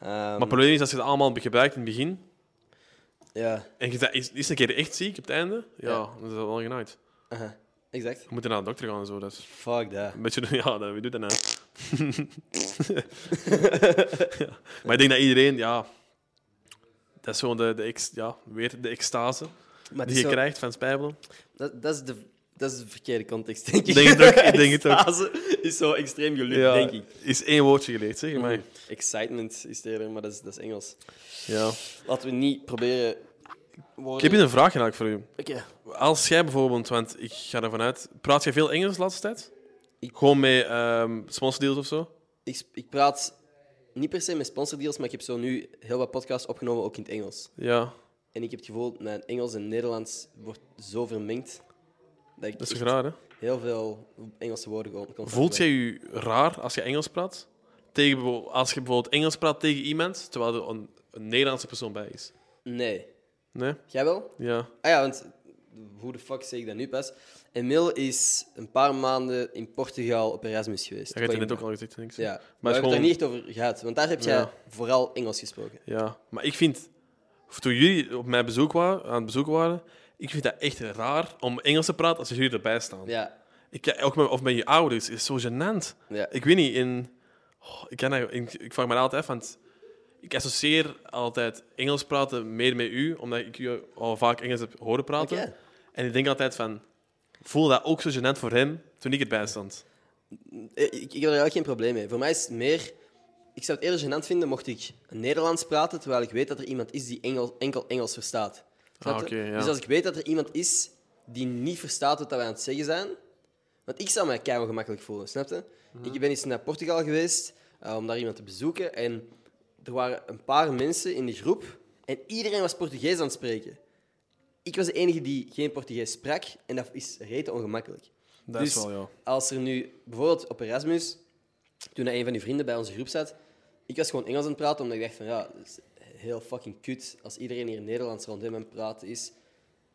Speaker 4: Ehm,
Speaker 5: Maar het probleem is als je het allemaal gebruikt in het begin,
Speaker 4: ja,
Speaker 5: En je zei, is, is een keer echt ziek op het einde? Ja,
Speaker 4: Ja.
Speaker 5: dat is wel genaaid.
Speaker 4: aha, exact.
Speaker 5: We moeten naar de dokter gaan en zo. Dat is
Speaker 4: Fuck dat.
Speaker 5: een beetje... <laughs> Ja, dat, wie doet dat nou? <laughs> Ja. Maar ik denk dat iedereen... Ja, dat is gewoon de, de, ex, ja, weer de extase
Speaker 4: Maar het
Speaker 5: die
Speaker 4: is
Speaker 5: je
Speaker 4: zo-
Speaker 5: krijgt van spijbelen.
Speaker 4: dat, dat is de Dat is de verkeerde context, denk ik.
Speaker 5: Denk het ook, ik denk het ook.
Speaker 4: Extase is zo extreem gelukt, denk ik.
Speaker 5: Is één woordje geleerd, zeg maar.
Speaker 4: Mhm. Excitement is het eerder, maar dat is, dat is Engels.
Speaker 5: Ja.
Speaker 4: Laten we niet proberen...
Speaker 5: Ik heb hier een vraag eigenlijk voor u.
Speaker 4: Oké.
Speaker 5: Als jij bijvoorbeeld, want ik ga ervan uit, praat jij veel Engels de laatste tijd?
Speaker 4: Ik-
Speaker 5: Gewoon met ehm sponsordeals of zo?
Speaker 4: Ik, sp- ik praat niet per se met sponsordeals, maar ik heb zo nu heel wat podcasts opgenomen, ook in het Engels.
Speaker 5: Ja,
Speaker 4: En ik heb het gevoel, mijn Engels en Nederlands wordt zo vermengd, dat ik
Speaker 5: dat is
Speaker 4: echt
Speaker 5: toch raar, hè?
Speaker 4: heel veel Engelse woorden gewoon constant
Speaker 5: Voelt jij
Speaker 4: gebruik.
Speaker 5: je raar als je Engels praat? Tegen, bijvo- als je bijvoorbeeld Engels praat tegen iemand, terwijl er een, een Nederlandse persoon bij is?
Speaker 4: Nee.
Speaker 5: Nee?
Speaker 4: Jij wel?
Speaker 5: Ja.
Speaker 4: Ah ja, want hoe de fuck zeg ik dat nu pas? Emil is een paar maanden in Portugal op Erasmus geweest.
Speaker 5: Dat heb je
Speaker 4: Kon
Speaker 5: net
Speaker 4: je-
Speaker 5: ook al gezegd, denk ik.
Speaker 4: Ja, maar we
Speaker 5: Maar het
Speaker 4: hebben
Speaker 5: is
Speaker 4: het er
Speaker 5: gewoon...
Speaker 4: niet echt over gehad, want daar heb jij
Speaker 5: Ja.
Speaker 4: vooral Engels gesproken.
Speaker 5: Ja, maar ik vind, of toen jullie op mijn bezoek waren, aan het bezoek waren, ik vind dat echt raar om Engels te praten als jullie erbij staan.
Speaker 4: Ja,
Speaker 5: Ik, kan- ook met, of met je ouders, is zo gênant.
Speaker 4: ja.
Speaker 5: Ik weet niet, in, oh, ik, kan, dat- ik, ik vraag me dat altijd af, want ik associeer altijd Engels praten meer met u, omdat ik u al vaak Engels heb horen praten.
Speaker 4: Oké.
Speaker 5: En ik denk altijd van, voel dat ook zo gênant voor hem toen ik erbij stond.
Speaker 4: Eh, Ik, ik heb er eigenlijk geen probleem mee. Voor mij is het meer... Ik zou het eerder gênant vinden mocht ik Nederlands praten, terwijl ik weet dat er iemand is die Engels, enkel Engels verstaat. Snap je?
Speaker 5: Ah, oké, ja.
Speaker 4: Dus als ik weet dat er iemand is die niet verstaat wat wij aan het zeggen zijn... Want ik zou mij keihard gemakkelijk voelen, snap je?
Speaker 5: Mhm.
Speaker 4: Ik ben eens naar Portugal geweest eh, om daar iemand te bezoeken. En er waren een paar mensen in de groep en iedereen was Portugees aan het spreken. Ik was de enige die geen Portugees sprak en dat is rete ongemakkelijk.
Speaker 5: Dat
Speaker 4: Dus
Speaker 5: is wel, ja.
Speaker 4: Als er nu bijvoorbeeld op Erasmus, toen een van uw vrienden bij onze groep zat, ik was gewoon Engels aan het praten, omdat ik dacht van ja, dat is heel fucking kut als iedereen hier Nederlands rond hem aan het praten is.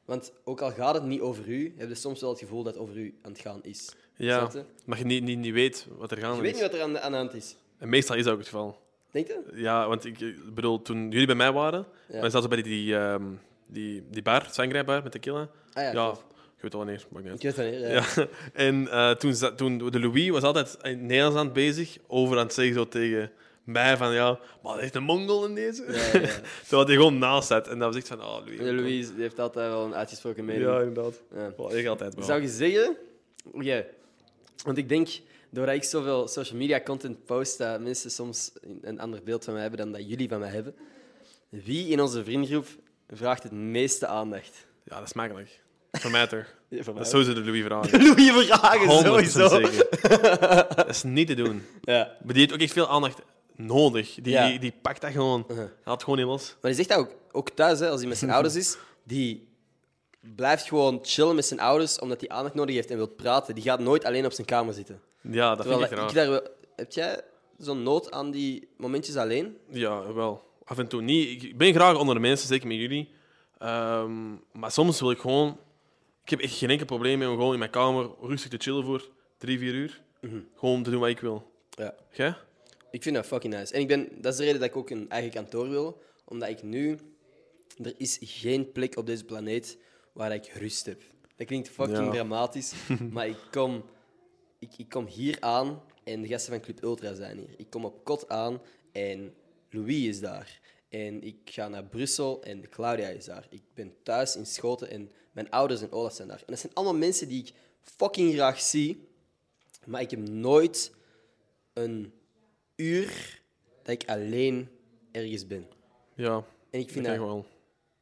Speaker 4: Want ook al gaat het niet over u, heb je soms wel het gevoel dat het over u aan het gaan is.
Speaker 5: Ja,
Speaker 4: Snap je?
Speaker 5: maar je niet, niet, niet weet wat er
Speaker 4: Je
Speaker 5: gaande
Speaker 4: weet
Speaker 5: is.
Speaker 4: niet wat er aan de, aan de hand is.
Speaker 5: En meestal is dat ook het geval.
Speaker 4: Denk je?
Speaker 5: Ja, want ik eh, bedoel, toen jullie bij mij waren, dan zaten ze bij die, die, ehm, die, die bar, zangrijbar met tequila.
Speaker 4: Ah ja,
Speaker 5: ja,
Speaker 4: klopt.
Speaker 5: je weet al wanneer, maakt niet uit.
Speaker 4: Ik weet dat niet. Ja.
Speaker 5: Ja. En eh, toen, za- toen de Louis was altijd in het Nederlands aan het bezig, over aan het zeggen zo tegen mij van ja, maar dat is een mongol in deze. <laughs> Terwijl hij gewoon naast zat en dat was echt van, oh Louis.
Speaker 4: De Louise die heeft altijd wel een uitgesproken mening.
Speaker 5: Ja, inderdaad.
Speaker 4: Ja.
Speaker 5: Wel, ik altijd wel.
Speaker 4: Zou je zeggen... Ja. Want ik denk, doordat ik zoveel social media content post, dat mensen soms een- een ander beeld van mij hebben dan dat jullie van mij hebben. Wie in onze vriendengroep vraagt het meeste aandacht?
Speaker 5: Ja, dat is makkelijk. Voor mij toch.
Speaker 4: <laughs> Ja, voor mij
Speaker 5: Dat is sowieso de Louis vragen.
Speaker 4: <laughs> Louis vragen,
Speaker 5: 100%
Speaker 4: sowieso. <laughs>
Speaker 5: zeker. dat is niet te doen.
Speaker 4: Ja.
Speaker 5: Maar die heeft ook echt veel aandacht nodig. Die,
Speaker 4: Ja. Uh-huh.
Speaker 5: die, die pakt dat gewoon. Hij Had gewoon niet los.
Speaker 4: Maar die zegt dat ook, ook thuis, hè, als hij met zijn ouders is, die blijft gewoon chillen met zijn ouders omdat hij aandacht nodig heeft en wil praten. Die gaat nooit alleen op zijn kamer zitten.
Speaker 5: Ja, dat
Speaker 4: Terwijl
Speaker 5: vind ik
Speaker 4: ik
Speaker 5: raar.
Speaker 4: daar wel- Heb jij zo'n nood aan die momentjes alleen?
Speaker 5: Ja, wel. Af en toe niet. Ik ben graag onder de mensen, zeker met jullie. Ehm, maar soms wil ik gewoon... Ik heb echt geen enkel probleem mee om gewoon in mijn kamer rustig te chillen voor drie, vier uur.
Speaker 4: Mhm.
Speaker 5: Gewoon te doen wat ik wil.
Speaker 4: Ja.
Speaker 5: Jij?
Speaker 4: Ik vind dat fucking nice. En ik ben, dat is de reden dat ik ook een eigen kantoor wil. Omdat ik nu... Er is geen plek op deze planeet waar ik rust heb. Dat klinkt fucking
Speaker 5: Ja.
Speaker 4: dramatisch. maar ik kom, ik, ik kom hier aan en de gasten van Club Ultra zijn hier. Ik kom op kot aan en Louis is daar. En ik ga naar Brussel en Claudia is daar. Ik ben thuis in Schoten en mijn ouders en Olaf zijn daar. En dat zijn allemaal mensen die ik fucking graag zie. Maar ik heb nooit een uur dat ik alleen ergens ben.
Speaker 5: Ja.
Speaker 4: En ik
Speaker 5: dat
Speaker 4: vind
Speaker 5: kan
Speaker 4: dat,
Speaker 5: ik wel.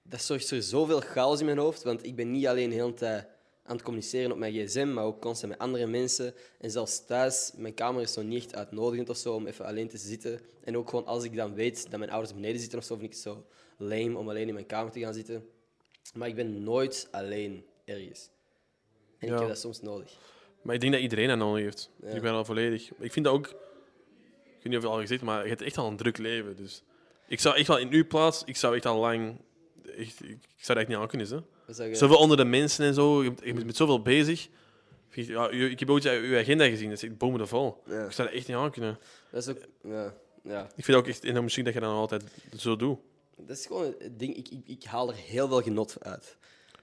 Speaker 4: dat zorgt voor zoveel chaos in mijn hoofd, want ik ben niet alleen de hele tijd aan het communiceren op mijn gsm, maar ook constant met andere mensen. En zelfs thuis, mijn kamer is zo niet echt uitnodigend of zo, om even alleen te zitten. En ook gewoon als ik dan weet dat mijn ouders beneden zitten of zo, vind ik het zo lame om alleen in mijn kamer te gaan zitten. Maar ik ben nooit alleen ergens. En
Speaker 5: Ja.
Speaker 4: ik heb dat soms nodig.
Speaker 5: Maar ik denk dat iedereen dat nodig heeft. Ik ben al volledig. Ik vind dat ook. Ik weet niet of je het al gezegd maar je hebt echt al een druk leven. Dus ik zou echt wel in uw plaats, ik zou echt al lang. Echt, ik ik zou dat echt niet aan kunnen. Hè?
Speaker 4: Wat zou je-
Speaker 5: Zoveel onder de mensen en zo. Je bent- je bent met zoveel bezig. Vind je- Ja, u- ik heb ooit eh, uw agenda gezien. Dat is echt bomen de vol.
Speaker 4: Ja.
Speaker 5: Ik zou dat echt niet aan kunnen.
Speaker 4: Dat is ook... Ja, ja.
Speaker 5: Ik vind dat ook echt en dan misschien dat je dat nog altijd zo doet.
Speaker 4: Dat is gewoon het ding. Ik, ik, ik haal er heel veel genot uit.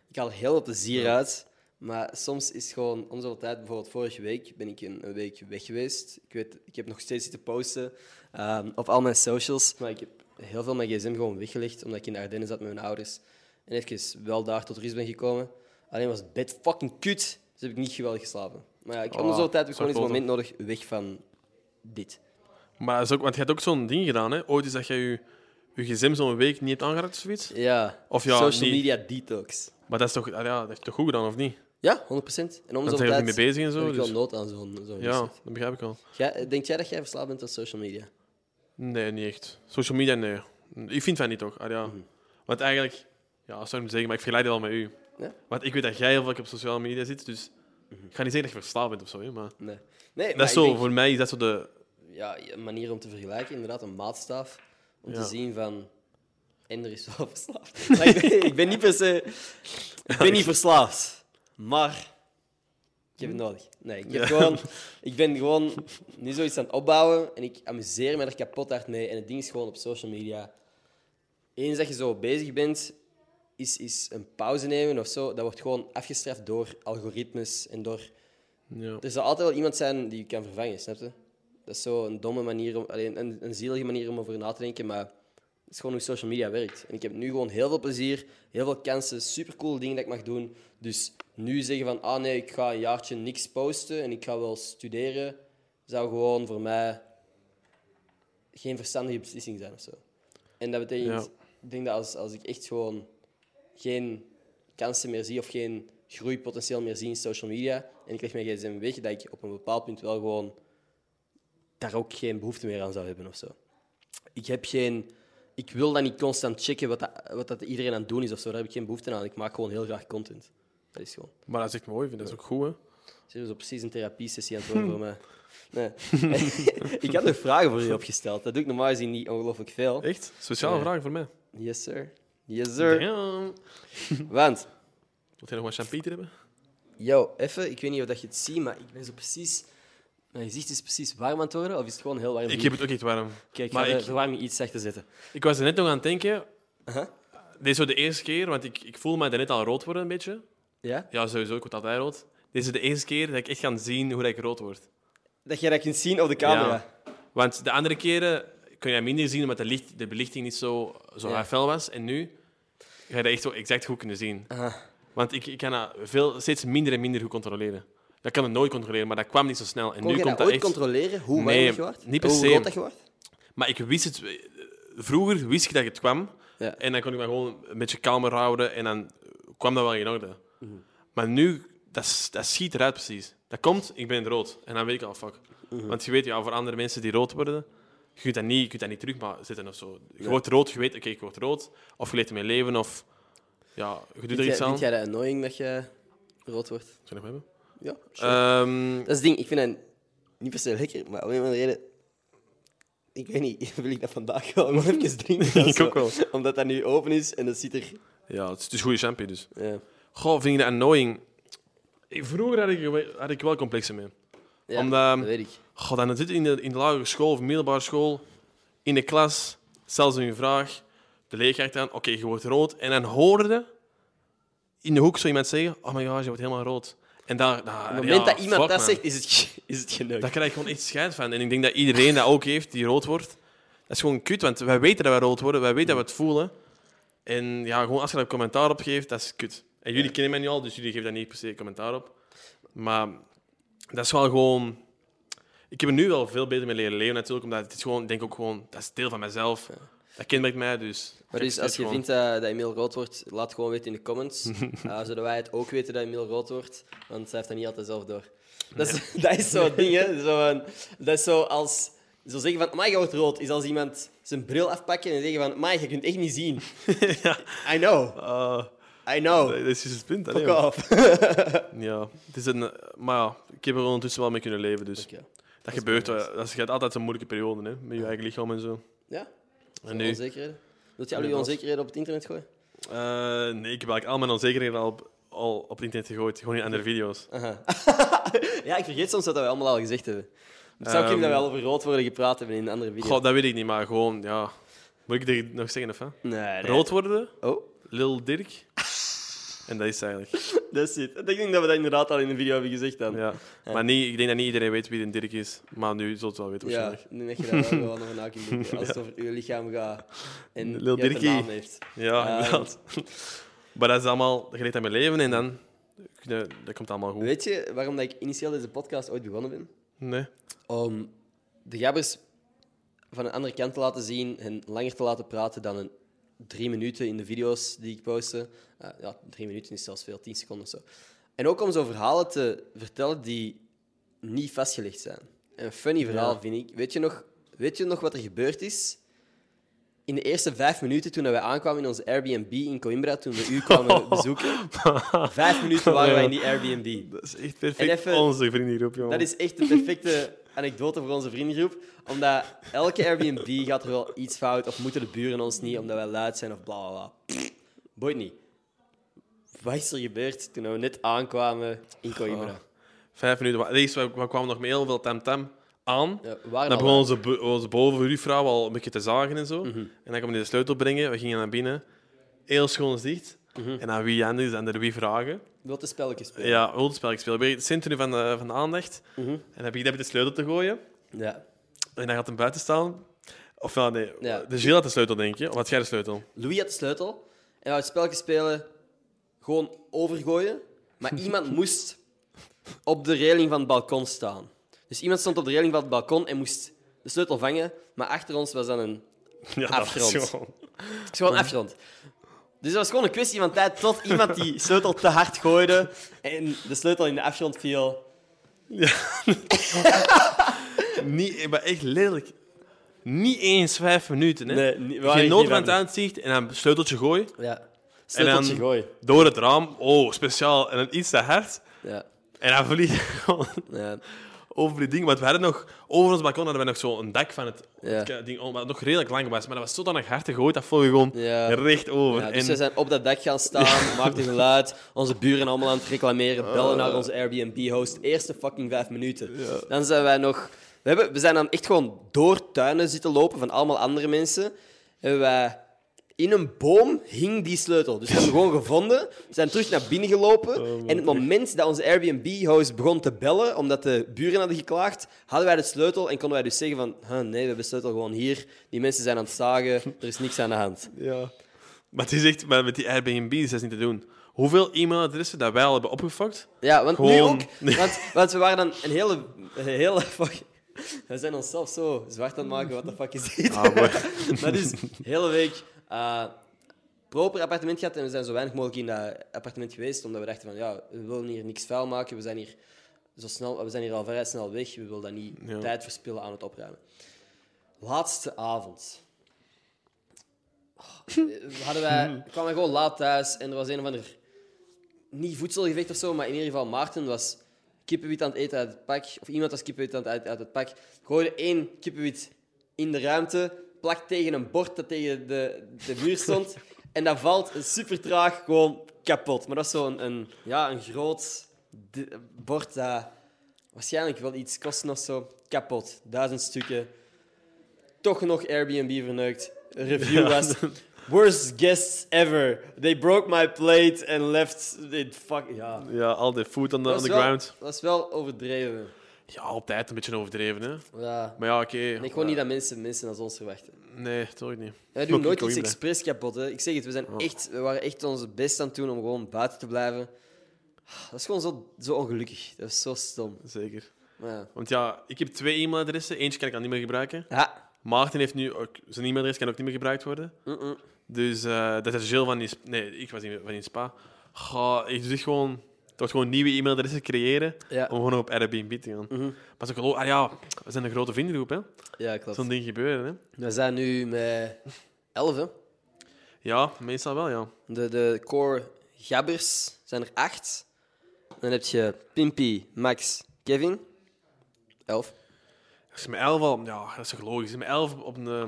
Speaker 4: Ik haal er heel veel plezier uit. Maar soms is gewoon, om zoveel tijd, bijvoorbeeld vorige week ben ik een, een week weg geweest. Ik, weet, ik heb nog steeds zitten posten ehm, op al mijn socials. Maar ik heb heel veel mijn gsm gewoon weggelegd, omdat ik in de Ardennen zat met mijn ouders. En even wel daar tot rust ben gekomen. Alleen was het bed fucking kut. Dus heb ik niet geweldig geslapen. Maar ja, ik heb
Speaker 5: Oh,
Speaker 4: oh, zo'n tijd heb ik gewoon eens een
Speaker 5: zakloten.
Speaker 4: moment nodig weg van dit.
Speaker 5: Maar dat is ook, want je hebt ook zo'n ding gedaan, hè? Ooit is dat jij je, je gsm zo'n week niet hebt aangeraakt of zoiets.
Speaker 4: Ja,
Speaker 5: Of ja,
Speaker 4: social
Speaker 5: niet.
Speaker 4: media detox.
Speaker 5: Maar dat is toch, ah ja, dat is toch goed gedaan, of niet?
Speaker 4: Ja, 100%. En om de
Speaker 5: Dan
Speaker 4: zoveel
Speaker 5: zijn je er
Speaker 4: tijd
Speaker 5: niet mee bezig en zo.
Speaker 4: heb ik wel
Speaker 5: Dus.
Speaker 4: nood aan zo'n zo'n
Speaker 5: Ja,
Speaker 4: reset.
Speaker 5: dat begrijp ik al.
Speaker 4: Jij- Denk jij dat jij verslaafd bent aan social media?
Speaker 5: Nee, niet echt. Social media, nee. Ik vind van niet toch? Ah,
Speaker 4: Mhm.
Speaker 5: ja. Want eigenlijk, ja, zou ik niet zeggen, maar ik vergelijk het wel met u.
Speaker 4: Ja? Mhm.
Speaker 5: Want ik weet dat jij heel vaak op sociale media zit, dus ik ga niet zeggen dat je verslaafd bent of zo, hè, maar.
Speaker 4: Nee. nee maar
Speaker 5: Dat is
Speaker 4: ik
Speaker 5: zo,
Speaker 4: denk-
Speaker 5: voor mij is dat zo de.
Speaker 4: ja, een manier om te vergelijken, inderdaad, een maatstaf. Om
Speaker 5: Ja.
Speaker 4: te zien van. Ender is wel
Speaker 5: <laughs>
Speaker 4: verslaafd. Maar ik, ben, ik ben niet per se. Ik ben niet verslaafd. Maar. Ik heb het nodig. Nee, ik, heb gewoon, ik ben gewoon nu zoiets aan het opbouwen en ik amuseer me er kapot hard mee. En het ding is gewoon op social media. Eens dat je zo bezig bent, is, is een pauze nemen of zo. Dat wordt gewoon afgestraft door algoritmes en door
Speaker 5: Ja.
Speaker 4: er zal altijd wel iemand zijn die je kan vervangen, snap je? Dat is zo een domme manier, om, alleen een, een zielige manier om over na te denken, maar het is gewoon hoe social media werkt. En ik heb nu gewoon heel veel plezier, heel veel kansen, supercoole dingen dat ik mag doen. Dus nu zeggen van, ah nee, ik ga een jaartje niks posten en ik ga wel studeren, zou gewoon voor mij geen verstandige beslissing zijn of zo. En dat betekent,
Speaker 5: Ja.
Speaker 4: ik denk dat als, als ik echt gewoon geen kansen meer zie of geen groeipotentieel meer zie in social media en ik leg mijn gsm weg, dat ik op een bepaald punt wel gewoon daar ook geen behoefte meer aan zou hebben of zo. Ik heb geen... Ik wil dan niet constant checken wat, dat, wat dat iedereen aan het doen is of zo. Daar heb ik geen behoefte aan. Ik maak gewoon heel graag content. Dat is gewoon...
Speaker 5: Maar dat is echt mooi, ik vind dat is ook goed, hè?
Speaker 4: Ze is op precies een therapie-sessie aan het
Speaker 5: <laughs>
Speaker 4: worden voor mij. Nee. <laughs> ik had nog vragen voor je opgesteld. Dat doe ik normaal gezien niet ongelooflijk veel.
Speaker 5: Echt? Speciale
Speaker 4: Ja.
Speaker 5: vraag voor mij.
Speaker 4: Yes, sir. Yes,
Speaker 5: Damn.
Speaker 4: sir. Want,
Speaker 5: Wilt jij nog wat champieter hebben?
Speaker 4: yo, even, ik weet niet of dat je het ziet, maar ik ben zo precies... Mijn gezicht is precies warm aan het worden, of is het gewoon heel warm?
Speaker 5: Ik heb het ook echt warm.
Speaker 4: Kijk, ik ga
Speaker 5: maar
Speaker 4: de
Speaker 5: ik,
Speaker 4: verwarming iets zachter zetten.
Speaker 5: ik was er net nog aan het denken.
Speaker 4: Aha.
Speaker 5: Dit is zo de eerste keer, want ik, ik voel mij daarnet al rood worden een beetje.
Speaker 4: Ja?
Speaker 5: Ja, sowieso, ik word altijd rood. Dit is de eerste keer dat ik echt ga zien hoe dat ik rood word.
Speaker 4: Dat jij dat kunt zien op de camera.
Speaker 5: Want de andere keren kun je dat minder zien, omdat de, licht, de belichting niet zo, zo
Speaker 4: Ja.
Speaker 5: fel was. En nu ga je dat echt zo exact goed kunnen zien. Want ik, ik kan dat veel, steeds minder en minder goed controleren. Dat kan ik nooit controleren, maar dat kwam niet zo snel. En
Speaker 4: Kon
Speaker 5: nu
Speaker 4: je dat
Speaker 5: komt dat
Speaker 4: ooit
Speaker 5: echt.
Speaker 4: controleren, hoe warm
Speaker 5: Nee,
Speaker 4: dat je wordt?
Speaker 5: niet per
Speaker 4: Hoe
Speaker 5: se.
Speaker 4: rood dat je wordt?
Speaker 5: Maar ik wist het... Vroeger wist ik dat het kwam.
Speaker 4: Ja.
Speaker 5: En dan kon ik me gewoon een beetje kalmer houden. En dan kwam dat wel in orde. Maar nu, dat, s- dat schiet eruit precies. Dat komt, ik ben rood. En dan weet ik al, fuck.
Speaker 4: Mhm.
Speaker 5: Want je weet, ja, voor andere mensen die rood worden... Je kunt dat niet, je kunt dat niet terug maar zitten of zo. Je wordt rood, je weet, oké, ik word rood. Of je leeft mijn leven, of... Ja, je doet
Speaker 4: Vind
Speaker 5: er
Speaker 4: jij,
Speaker 5: iets aan.
Speaker 4: vind jij dat annoying dat je rood wordt?
Speaker 5: Zal ik nog hebben?
Speaker 4: Ja,
Speaker 5: Ehm,
Speaker 4: Dat is het ding, ik vind dat niet per se lekker, maar om een of andere reden... Ik weet niet, <laughs> wil ik dat vandaag wel nog
Speaker 5: <laughs>
Speaker 4: even drinken? of
Speaker 5: Ik
Speaker 4: zo?
Speaker 5: ook wel.
Speaker 4: Omdat dat nu open is en dat ziet er...
Speaker 5: ja, het is, het is goede champagne, dus.
Speaker 4: Ja.
Speaker 5: Goh, vind je dat annoying? Ik- Vroeger had ik, wel- had ik wel complexen mee.
Speaker 4: Ja,
Speaker 5: Omdat-
Speaker 4: dat weet ik.
Speaker 5: Goh, dan zit je in de, in de lagere school of middelbare school, in de klas, zelfs een vraag, de leerkracht aan, oké, je wordt rood. En dan hoorde in de hoek zo iemand zeggen, oh my god, je wordt helemaal rood. En daar, daar,
Speaker 4: Op het moment
Speaker 5: Ah, ja,
Speaker 4: dat iemand
Speaker 5: fuck,
Speaker 4: dat
Speaker 5: man.
Speaker 4: zegt, is het, ge- is het geneukt.
Speaker 5: daar krijg ik gewoon echt scheid van. En ik denk dat iedereen dat ook heeft, die rood wordt. Dat is gewoon kut, want wij weten dat wij rood worden, wij weten dat we het voelen. En ja, gewoon als je daar commentaar op geeft, dat is kut. En jullie kennen mij nu al, dus jullie geven daar niet per se commentaar op. Maar dat is wel gewoon... Ik heb er nu wel veel beter mee leren leven natuurlijk, omdat het is gewoon, ik denk ook gewoon, dat is deel van mezelf. Dat kenmerkt mij, dus...
Speaker 4: Maar dus als je vindt dat, dat Emil rood wordt, laat gewoon weten in de
Speaker 5: <laughs>
Speaker 4: comments. Eh, zodat wij het ook weten dat Emil rood wordt. Want hij heeft dat niet altijd zelf door. Dat is, <laughs> dat is
Speaker 5: <laughs>
Speaker 4: zo'n ding, hè. Zo een- dat is zo als... Zo zeggen van, amai, je wordt rood, is als iemand zijn bril afpakken en zeggen van, amai, je kunt echt niet zien.
Speaker 5: <laughs>
Speaker 4: I know, I know.
Speaker 5: dat is dus het punt.
Speaker 4: Oh. Fuck
Speaker 5: hè, joh.
Speaker 4: off. <laughs>
Speaker 5: Ja, het is een... eh, Maar ja, ik heb er ondertussen wel mee kunnen leven, dus...
Speaker 4: Oké.
Speaker 5: Dat, gebeurt. wel. Dat is je hebt altijd zo'n moeilijke periode, hè? Met je eigen lichaam en zo.
Speaker 4: Ja,
Speaker 5: En
Speaker 4: nu.
Speaker 5: nu?
Speaker 4: onzekerheden. Wilt jij al je
Speaker 5: Inderdaad.
Speaker 4: onzekerheden op het internet gooien?
Speaker 5: Eh, nee, ik heb eigenlijk al mijn onzekerheden al op, al op het internet gegooid. Gewoon in andere video's.
Speaker 4: Ja, ik vergeet soms dat wij allemaal al gezegd hebben. Het zou kunnen
Speaker 5: Ehm.
Speaker 4: dat we al over rood worden gepraat hebben in een andere video.
Speaker 5: God, dat weet ik niet, maar gewoon, ja... Moet ik dit nog zeggen, of hè?
Speaker 4: Nee, nee.
Speaker 5: Rood worden,
Speaker 4: Oh.
Speaker 5: Lil Dirk. En dat is het eigenlijk.
Speaker 4: Dat is het. Ik denk dat we dat inderdaad al in de video hebben gezegd dan.
Speaker 5: Ja. Maar niet, ik denk dat niet iedereen weet wie een Dirk is. Maar nu zult het wel weten,
Speaker 4: Ja,
Speaker 5: waarschijnlijk.
Speaker 4: nu dat je daar wel gewoon over
Speaker 5: <laughs>
Speaker 4: na kunt denken. Als het over uw lichaam gaat en
Speaker 5: Lil
Speaker 4: je een
Speaker 5: Dirkie.
Speaker 4: naam heeft.
Speaker 5: Ja,
Speaker 4: Ehm.
Speaker 5: <laughs> inderdaad. maar dat is allemaal... Je leeft aan mijn leven en dan... Dat, dat komt allemaal goed.
Speaker 4: Weet je waarom dat ik initieel deze podcast ooit begonnen ben?
Speaker 5: Nee.
Speaker 4: Om de gabbers van een andere kant te laten zien, hen langer te laten praten dan een drie minuten in de video's die ik poste. Eh, ja, drie minuten is zelfs veel, tien seconden of zo. En ook om zo verhalen te vertellen die niet vastgelegd zijn. Een funny verhaal, vind ik. Weet je, nog, weet je nog wat er gebeurd is? In de eerste vijf minuten toen wij aankwamen in onze Airbnb in Coimbra, toen we u kwamen bezoeken. Vijf minuten waren wij in die Airbnb.
Speaker 5: Dat is echt perfect.
Speaker 4: En even-
Speaker 5: Onze vriendengroep, jongen.
Speaker 4: Dat is echt de perfecte anekdote voor onze vriendengroep. Omdat elke Airbnb gaat er wel iets fout. Of moeten de buren ons niet, omdat wij luid zijn of bla bla bla. Pff, Boeit niet. Wat is er gebeurd toen we net aankwamen in Coimbra?
Speaker 5: Vijf minuten. wa- Nee, we, we kwamen nog met heel veel tamtam aan.
Speaker 4: Ja, we waren al Mhm.
Speaker 5: dan begon onze, bo- onze bovenbuurvrouw al een beetje te zagen en zo. En dan kwam hij de sleutel brengen. We gingen naar binnen. Heel schoon dicht.
Speaker 4: Mhm.
Speaker 5: En aan wie anders dan er wie vragen.
Speaker 4: Wilt een spelletje spelen?
Speaker 5: Ja, Huldenspel. Ik speel bij het centrum van de, van de aandacht.
Speaker 4: Mhm.
Speaker 5: En dan heb ik dat met de sleutel te gooien.
Speaker 4: Ja.
Speaker 5: En dan gaat hem buiten staan. Of ja, nee.
Speaker 4: Ja.
Speaker 5: De Gilles had de sleutel, denk je. Of had jij de sleutel? <laughs>
Speaker 4: Louis had de sleutel. En we het spelletje spelen gewoon overgooien. <laughs> Maar iemand moest op de reling van het balkon staan. Dus iemand stond op de reling van het balkon en moest de sleutel vangen. Maar achter ons was dan een
Speaker 5: Ja,
Speaker 4: Afgerond.
Speaker 5: was gewoon-
Speaker 4: Het is gewoon afgerond. Dus dat was gewoon een kwestie van tijd tot iemand <laughs> die sleutel te hard gooide en de sleutel in de afgrond viel.
Speaker 5: Niet, maar echt letterlijk. Niet eens vijf minuten. Hè.
Speaker 4: Nee, niet- we waren
Speaker 5: Geen
Speaker 4: echt
Speaker 5: nood
Speaker 4: niet
Speaker 5: van het
Speaker 4: vijf
Speaker 5: uitzicht en dan sleuteltje gooien.
Speaker 4: Ja.
Speaker 5: En dan
Speaker 4: Sleuteltje gooien.
Speaker 5: door het raam. Oh, speciaal. En dan iets te hard.
Speaker 4: Ja.
Speaker 5: En dan vliegt hij gewoon <laughs>
Speaker 4: Ja.
Speaker 5: over die ding. Want we hadden nog... Over ons balkon hadden we nog zo'n dak van het,
Speaker 4: Ja.
Speaker 5: het ding. om- Wat nog redelijk lang was. Maar dat was zodanig hard gegooid. Dat vloog gewoon
Speaker 4: Ja.
Speaker 5: recht over.
Speaker 4: Ja, dus
Speaker 5: En-
Speaker 4: we zijn op dat dak gaan staan, maakten geluid, onze buren allemaal aan het reclameren, bellen naar onze Airbnb-host. Eerste fucking vijf minuten. Dan zijn wij nog... We, hebben, we zijn dan echt gewoon door tuinen zitten lopen van allemaal andere mensen. Hebben wij... In een boom hing die sleutel. Dus we hebben hem gewoon gevonden. We zijn terug naar binnen gelopen. en het moment dat onze Airbnb-host begon te bellen, omdat de buren hadden geklaagd, hadden wij de sleutel en konden wij dus zeggen van "Huh, nee, we hebben de sleutel gewoon hier. Die mensen zijn aan het zagen. Er is niks aan de hand.
Speaker 5: Ja. Maar het is echt, maar met die Airbnb's dat is niet te doen. Hoeveel e-mailadressen dat wij al hebben
Speaker 4: <laughs>
Speaker 5: opgefokt.
Speaker 4: Ja, want nu
Speaker 5: Gewoon-
Speaker 4: ook. Want, want we waren dan een hele... Een hele fuck, we zijn onszelf zo zwart aan het maken. Wat de fuck is dit?
Speaker 5: Ah,
Speaker 4: maar
Speaker 5: <laughs>
Speaker 4: dus, de hele week eh, proper appartement gehad. En we zijn zo weinig mogelijk in dat appartement geweest. Omdat we dachten van, ja, we willen hier niks vuil maken. We zijn hier, zo snel, we zijn hier al vrij snel weg. We willen dat niet
Speaker 5: Ja.
Speaker 4: tijd verspillen aan het opruimen. Laatste avond. Eh, Hadden wij, kwamen we gewoon laat thuis en er was een of ander niet voedselgevecht of zo, maar in ieder geval Maarten was kippenwit aan het eten uit het pak. Of iemand was kippenwit aan het eten uit het pak. Gooide één kippenwit in de ruimte, plakt tegen een bord dat tegen de, de muur
Speaker 5: <laughs>
Speaker 4: stond. en dat valt super traag gewoon kapot. Maar dat is zo'n een, ja, een groot d- bord dat waarschijnlijk wel iets kosten of zo. Kapot. Duizend stukken. Toch nog Airbnb verneukt. Review was... Worst guests ever. They broke my plate and left it fuck... Ja.
Speaker 5: Ja, al die food on the, on
Speaker 4: Dat
Speaker 5: the
Speaker 4: is wel-
Speaker 5: ground.
Speaker 4: Dat is wel overdreven.
Speaker 5: Ja, altijd een beetje overdreven, hè.
Speaker 4: Ja.
Speaker 5: Maar ja, oké. Eh,
Speaker 4: En ik gewoon niet dat mensen mensen als ons verwachten.
Speaker 5: Nee, toch niet.
Speaker 4: Wij
Speaker 5: Ook
Speaker 4: doen
Speaker 5: in
Speaker 4: nooit iets
Speaker 5: Coimbra.
Speaker 4: expres kapot. Hè. Ik zeg het, we, zijn
Speaker 5: Oh.
Speaker 4: echt, we waren echt onze best aan het doen om gewoon buiten te blijven. Ah, Dat is gewoon zo, zo ongelukkig. Dat is zo stom.
Speaker 5: Zeker.
Speaker 4: Maar ja.
Speaker 5: Want ja, ik heb twee e-mailadressen. Eentje kan ik al niet meer gebruiken.
Speaker 4: Ja,
Speaker 5: Maarten heeft nu ook... Zijn e-mailadres kan ook niet meer gebruikt worden.
Speaker 4: mm-mm.
Speaker 5: Dus eh, dat is Jill van die... sp- Nee, ik was in, van in Spa. Goh, ik dus gewoon... Toch gewoon nieuwe e-mailadressen creëren
Speaker 4: Ja. Mhm.
Speaker 5: om gewoon op Airbnb te gaan. Maar ze geloof, ah ja, we zijn een grote vriendengroep, hè.
Speaker 4: ja klopt.
Speaker 5: Zo'n ding gebeuren, hè.
Speaker 4: We zijn nu met elf, hè.
Speaker 5: Ja, meestal wel, ja.
Speaker 4: De, de core gabbers zijn er acht. Dan heb je Pimpy, Max, Kevin. Elf.
Speaker 5: Als je met elf al... Ja, dat is toch logisch. Met elf op, een, eh,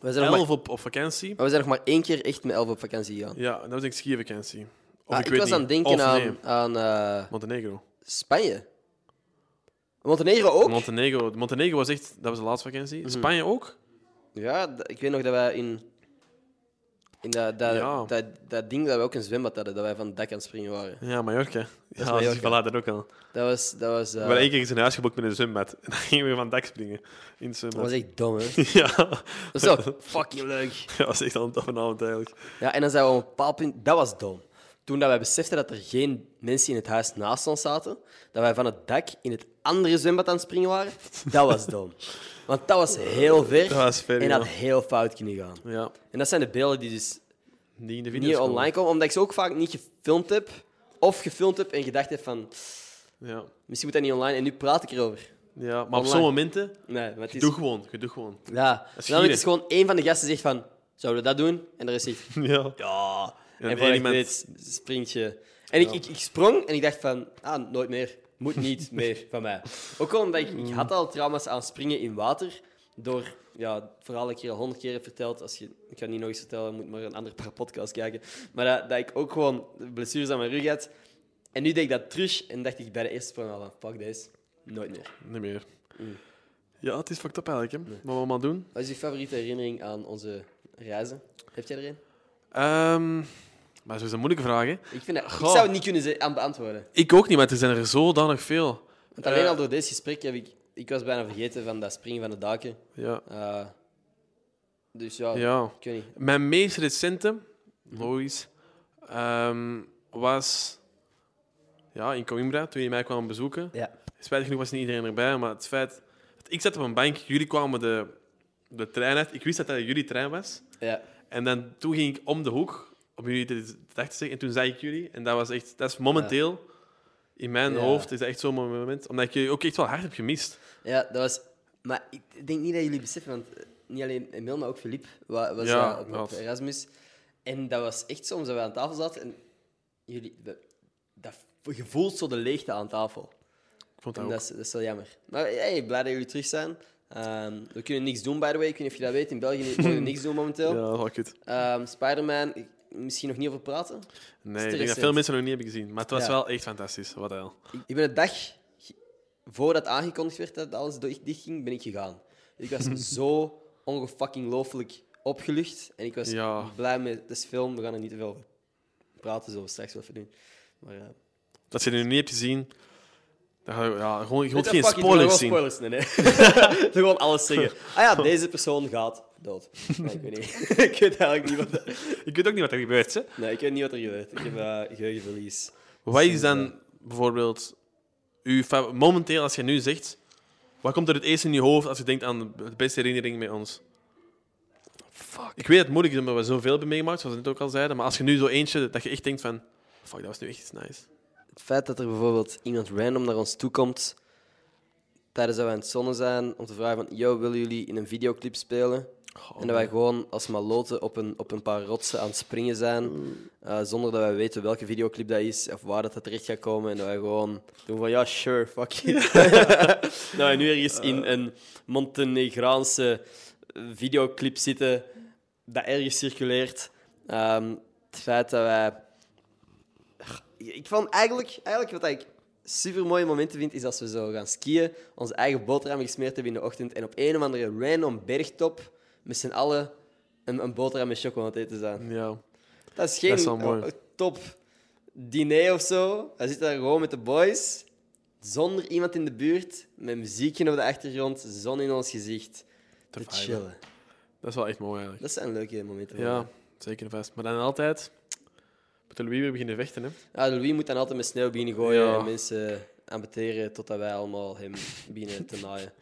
Speaker 4: We zijn, nog maar,
Speaker 5: elf op, op vakantie.
Speaker 4: maar we zijn nog maar één keer echt met elf op vakantie gegaan.
Speaker 5: Ja, dat was denk ik skivakantie. Of
Speaker 4: Ah, ik,
Speaker 5: weet
Speaker 4: was
Speaker 5: niet.
Speaker 4: aan het denken
Speaker 5: Of
Speaker 4: aan,
Speaker 5: nee,
Speaker 4: aan eh,
Speaker 5: Montenegro.
Speaker 4: Spanje. Montenegro ook? Mhm.
Speaker 5: Montenegro. Montenegro was echt... Dat was de laatste vakantie. Spanje ook?
Speaker 4: Ja, d- ik weet nog dat wij in, in dat, dat,
Speaker 5: Ja.
Speaker 4: dat, dat ding dat we ook een zwembad hadden, dat wij van het dak aan het springen waren.
Speaker 5: Ja, Mallorca. Ja, dat is
Speaker 4: Mallorca.
Speaker 5: voilà, dat ook al.
Speaker 4: Dat was, dat was, eh,
Speaker 5: We hadden één keer zijn huis geboekt met een zwembad. <laughs> En dan gingen we van het dak springen. In het
Speaker 4: dat
Speaker 5: zwembad.
Speaker 4: was echt
Speaker 5: <laughs>
Speaker 4: dom, hè?
Speaker 5: Ja.
Speaker 4: Dat is ook fucking leuk.
Speaker 5: dat was echt al een toffe avond eigenlijk.
Speaker 4: Ja, en dan zijn we op een bepaald punt... Dat was dom. toen dat wij beseften dat er geen mensen in het huis naast ons zaten, dat wij van het dak in het andere zwembad aan het springen waren, dat was
Speaker 5: <laughs>
Speaker 4: dom. Want dat was heel ver,
Speaker 5: Dat was ver,
Speaker 4: en
Speaker 5: ja.
Speaker 4: had heel fout kunnen gaan.
Speaker 5: Ja,
Speaker 4: En dat zijn de beelden die dus
Speaker 5: niet in de
Speaker 4: niet
Speaker 5: video's komen.
Speaker 4: online komen, omdat ik ze ook vaak niet gefilmd heb. Of gefilmd heb en gedacht heb van,
Speaker 5: Ja,
Speaker 4: misschien moet dat niet online. En nu praat ik erover.
Speaker 5: ja maar op
Speaker 4: Online.
Speaker 5: zo'n momenten,
Speaker 4: Nee, maar het is...
Speaker 5: doe gewoon, je doet gewoon.
Speaker 4: Ja,
Speaker 5: is
Speaker 4: dan
Speaker 5: gieren.
Speaker 4: is gewoon één van de gasten zegt van, zouden we dat doen? En de rest
Speaker 5: <laughs>
Speaker 4: zegt, <laughs>
Speaker 5: Ja.
Speaker 4: ja. En
Speaker 5: één
Speaker 4: voor iemand
Speaker 5: iemand-
Speaker 4: weet, springt je. En ik, ik, ik sprong en ik dacht van, ah, nooit meer. Moet
Speaker 5: <laughs>
Speaker 4: niet meer van mij. Ook al omdat ik, ik had al trauma's aan springen in water. Door, ja, het verhaal dat ik hier al honderd keer heb verteld. Als je, ik ga het niet nog eens vertellen, je moet maar een andere paar podcast kijken. Maar dat, dat ik ook gewoon blessures aan mijn rug had. En nu deed ik dat terug en dacht ik bij de eerste sprong al van, fuck deze, nooit meer.
Speaker 5: Niet meer.
Speaker 4: Mm.
Speaker 5: Ja, het is fucked up eigenlijk, hè. Wat we allemaal doen.
Speaker 4: Wat is je favoriete herinnering aan onze reizen? Heb jij er een?
Speaker 5: Ehm, maar dat is een moeilijke vraag, hè.
Speaker 4: Ik, vind dat, ik
Speaker 5: Goh.
Speaker 4: zou het niet kunnen ze- aan beantwoorden.
Speaker 5: Ik ook niet, maar er zijn er zodanig veel.
Speaker 4: Want alleen
Speaker 5: Eh.
Speaker 4: al door dit gesprek heb ik... Ik was bijna vergeten van dat springen van de daken.
Speaker 5: Ja.
Speaker 4: Eh, dus ja,
Speaker 5: ja.
Speaker 4: ik weet niet.
Speaker 5: Mijn meest recente, logisch, ehm, was ja, in Coimbra, toen je mij kwam bezoeken.
Speaker 4: Ja.
Speaker 5: Spijtig genoeg was niet iedereen erbij, maar het feit... dat Ik zat op een bankje, jullie kwamen de, de trein uit. Ik wist dat dat jullie trein was.
Speaker 4: Ja.
Speaker 5: En dan, toen ging ik om de hoek om jullie te te dag te zeggen. En toen zei ik jullie. En dat was echt... Dat is momenteel... In mijn
Speaker 4: Ja.
Speaker 5: hoofd is dat echt zo'n moment. Omdat ik jullie ook echt wel hard heb gemist.
Speaker 4: ja, dat was... Maar ik denk niet dat jullie beseffen, want eh, niet alleen Emil, maar ook Filip wa- was
Speaker 5: Ja,
Speaker 4: eh, op, op
Speaker 5: dat.
Speaker 4: Erasmus. En dat was echt soms dat we aan tafel zaten en jullie... Dat, dat gevoelt zo de leegte aan tafel.
Speaker 5: Ik vond dat
Speaker 4: En
Speaker 5: ook.
Speaker 4: dat, is, dat is wel jammer. Maar hey, blij dat jullie terug zijn. Ehm, we kunnen niks doen, by the way. Ik weet niet of je dat weet. In België mogen
Speaker 5: <laughs>
Speaker 4: we niks doen momenteel.
Speaker 5: Ja, dat was kut.
Speaker 4: Ehm, Spider-Man, ik- misschien nog niet over praten.
Speaker 5: Nee, ik denk dat
Speaker 4: recent.
Speaker 5: veel mensen nog niet hebben gezien. Maar het was
Speaker 4: Ja.
Speaker 5: wel echt fantastisch. Wat hel.
Speaker 4: Ik, ik ben de dag ge- voordat aangekondigd werd dat alles door- dichtging, ben ik gegaan. Ik
Speaker 5: <laughs>
Speaker 4: was zo ongefucking looflijk opgelucht. En ik was
Speaker 5: Ja.
Speaker 4: blij met deze film. We gaan er niet te veel over praten, zullen we straks wel even doen. Maar, eh,
Speaker 5: Dat je het nu niet hebt gezien... Dan ga je, ja, gewoon, je wilt
Speaker 4: weet
Speaker 5: geen
Speaker 4: je wat, fuck it, we gaan
Speaker 5: spoilers
Speaker 4: gewoon
Speaker 5: zien.
Speaker 4: spoilers nee,
Speaker 5: <laughs>
Speaker 4: nee. gewoon alles zeggen. Ah ja, deze persoon gaat dood. Nee, ik weet niet. <laughs> ik weet eigenlijk niet wat... er-
Speaker 5: Ik weet ook niet wat er gebeurt. Hè.
Speaker 4: Nee, ik weet niet wat er gebeurt. Ik heb eh, geheugenverlies.
Speaker 5: Wat is dan bijvoorbeeld uw fa- momenteel, als je nu zegt, wat komt er het eerst in je hoofd als je denkt aan de beste herinnering met ons? Fuck. Ik weet dat het moeilijk is omdat we zoveel hebben meegemaakt, zoals we net ook al zeiden, maar als je nu zo eentje dat je echt denkt van, fuck, dat was nu echt iets nice.
Speaker 4: het feit dat er bijvoorbeeld iemand random naar ons toe komt tijdens dat wij aan het zonnen zijn om te vragen van yo, willen jullie in een videoclip spelen? en dat wij gewoon als maloten op een, op een paar rotsen aan het springen zijn, eh, zonder dat wij weten welke videoclip dat is of waar dat dat terecht gaat komen. En dat wij gewoon doen van ja, sure, fuck <laughs> it. dat wij nu ergens in een Montenegraanse videoclip zitten dat ergens circuleert. Ehm, het feit dat wij ik ik vond eigenlijk, eigenlijk wat ik super mooie momenten vind, is als we zo gaan skiën, onze eigen boterham gesmeerd hebben in de ochtend en op een of andere random bergtop met z'n allen een, een boterham met choco aan het eten zijn.
Speaker 5: Ja.
Speaker 4: Dat is geen
Speaker 5: Dat is wel mooi.
Speaker 4: eh, top diner of zo. Hij zit daar gewoon met de boys, zonder iemand in de buurt, met muziekje op de achtergrond, zon in ons gezicht. Te
Speaker 5: viben.
Speaker 4: chillen.
Speaker 5: Dat is wel echt mooi eigenlijk.
Speaker 4: Dat zijn leuke momenten. voor
Speaker 5: Ja,
Speaker 4: mij.
Speaker 5: zeker en vast. Maar dan altijd met de Louis weer beginnen vechten, hè.
Speaker 4: Ja, Louis moet dan altijd met sneeuw beginnen gooien
Speaker 5: Ja.
Speaker 4: en mensen ambeteren totdat wij allemaal hem beginnen te naaien.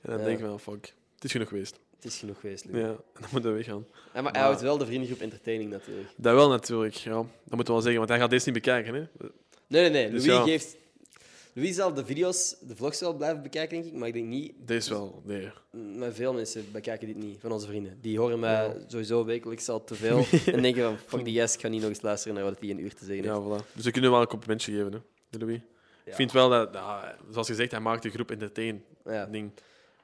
Speaker 5: En dan
Speaker 4: Ja.
Speaker 5: denk je van, fuck, het is genoeg geweest.
Speaker 4: Het is genoeg geweest, Louis.
Speaker 5: Ja, en dan moeten we weggaan.
Speaker 4: Ja, maar hij houdt wel de vriendengroep entertaining natuurlijk.
Speaker 5: Dat wel natuurlijk, ja. Dat moeten we wel zeggen, want hij gaat deze niet bekijken, hè.
Speaker 4: Nee, nee, nee.
Speaker 5: Dus
Speaker 4: Louis
Speaker 5: ja.
Speaker 4: geeft... Louis zal de video's, de vlogs wel blijven bekijken, denk ik. Maar ik denk niet...
Speaker 5: Deze wel, nee.
Speaker 4: Maar veel mensen bekijken dit niet, van onze vrienden. Die horen mij sowieso wekelijks al te
Speaker 5: <laughs>
Speaker 4: veel. en denken van, fuck die yes, ik ga niet nog eens luisteren naar wat hij een uur te zeggen heeft.
Speaker 5: Ja, voilà. Dus we kunnen wel een complimentje geven, hè, de Louis. Ik vind wel dat, ja, zoals gezegd, hij maakt de groep entertain.
Speaker 4: Ja.
Speaker 5: Ding.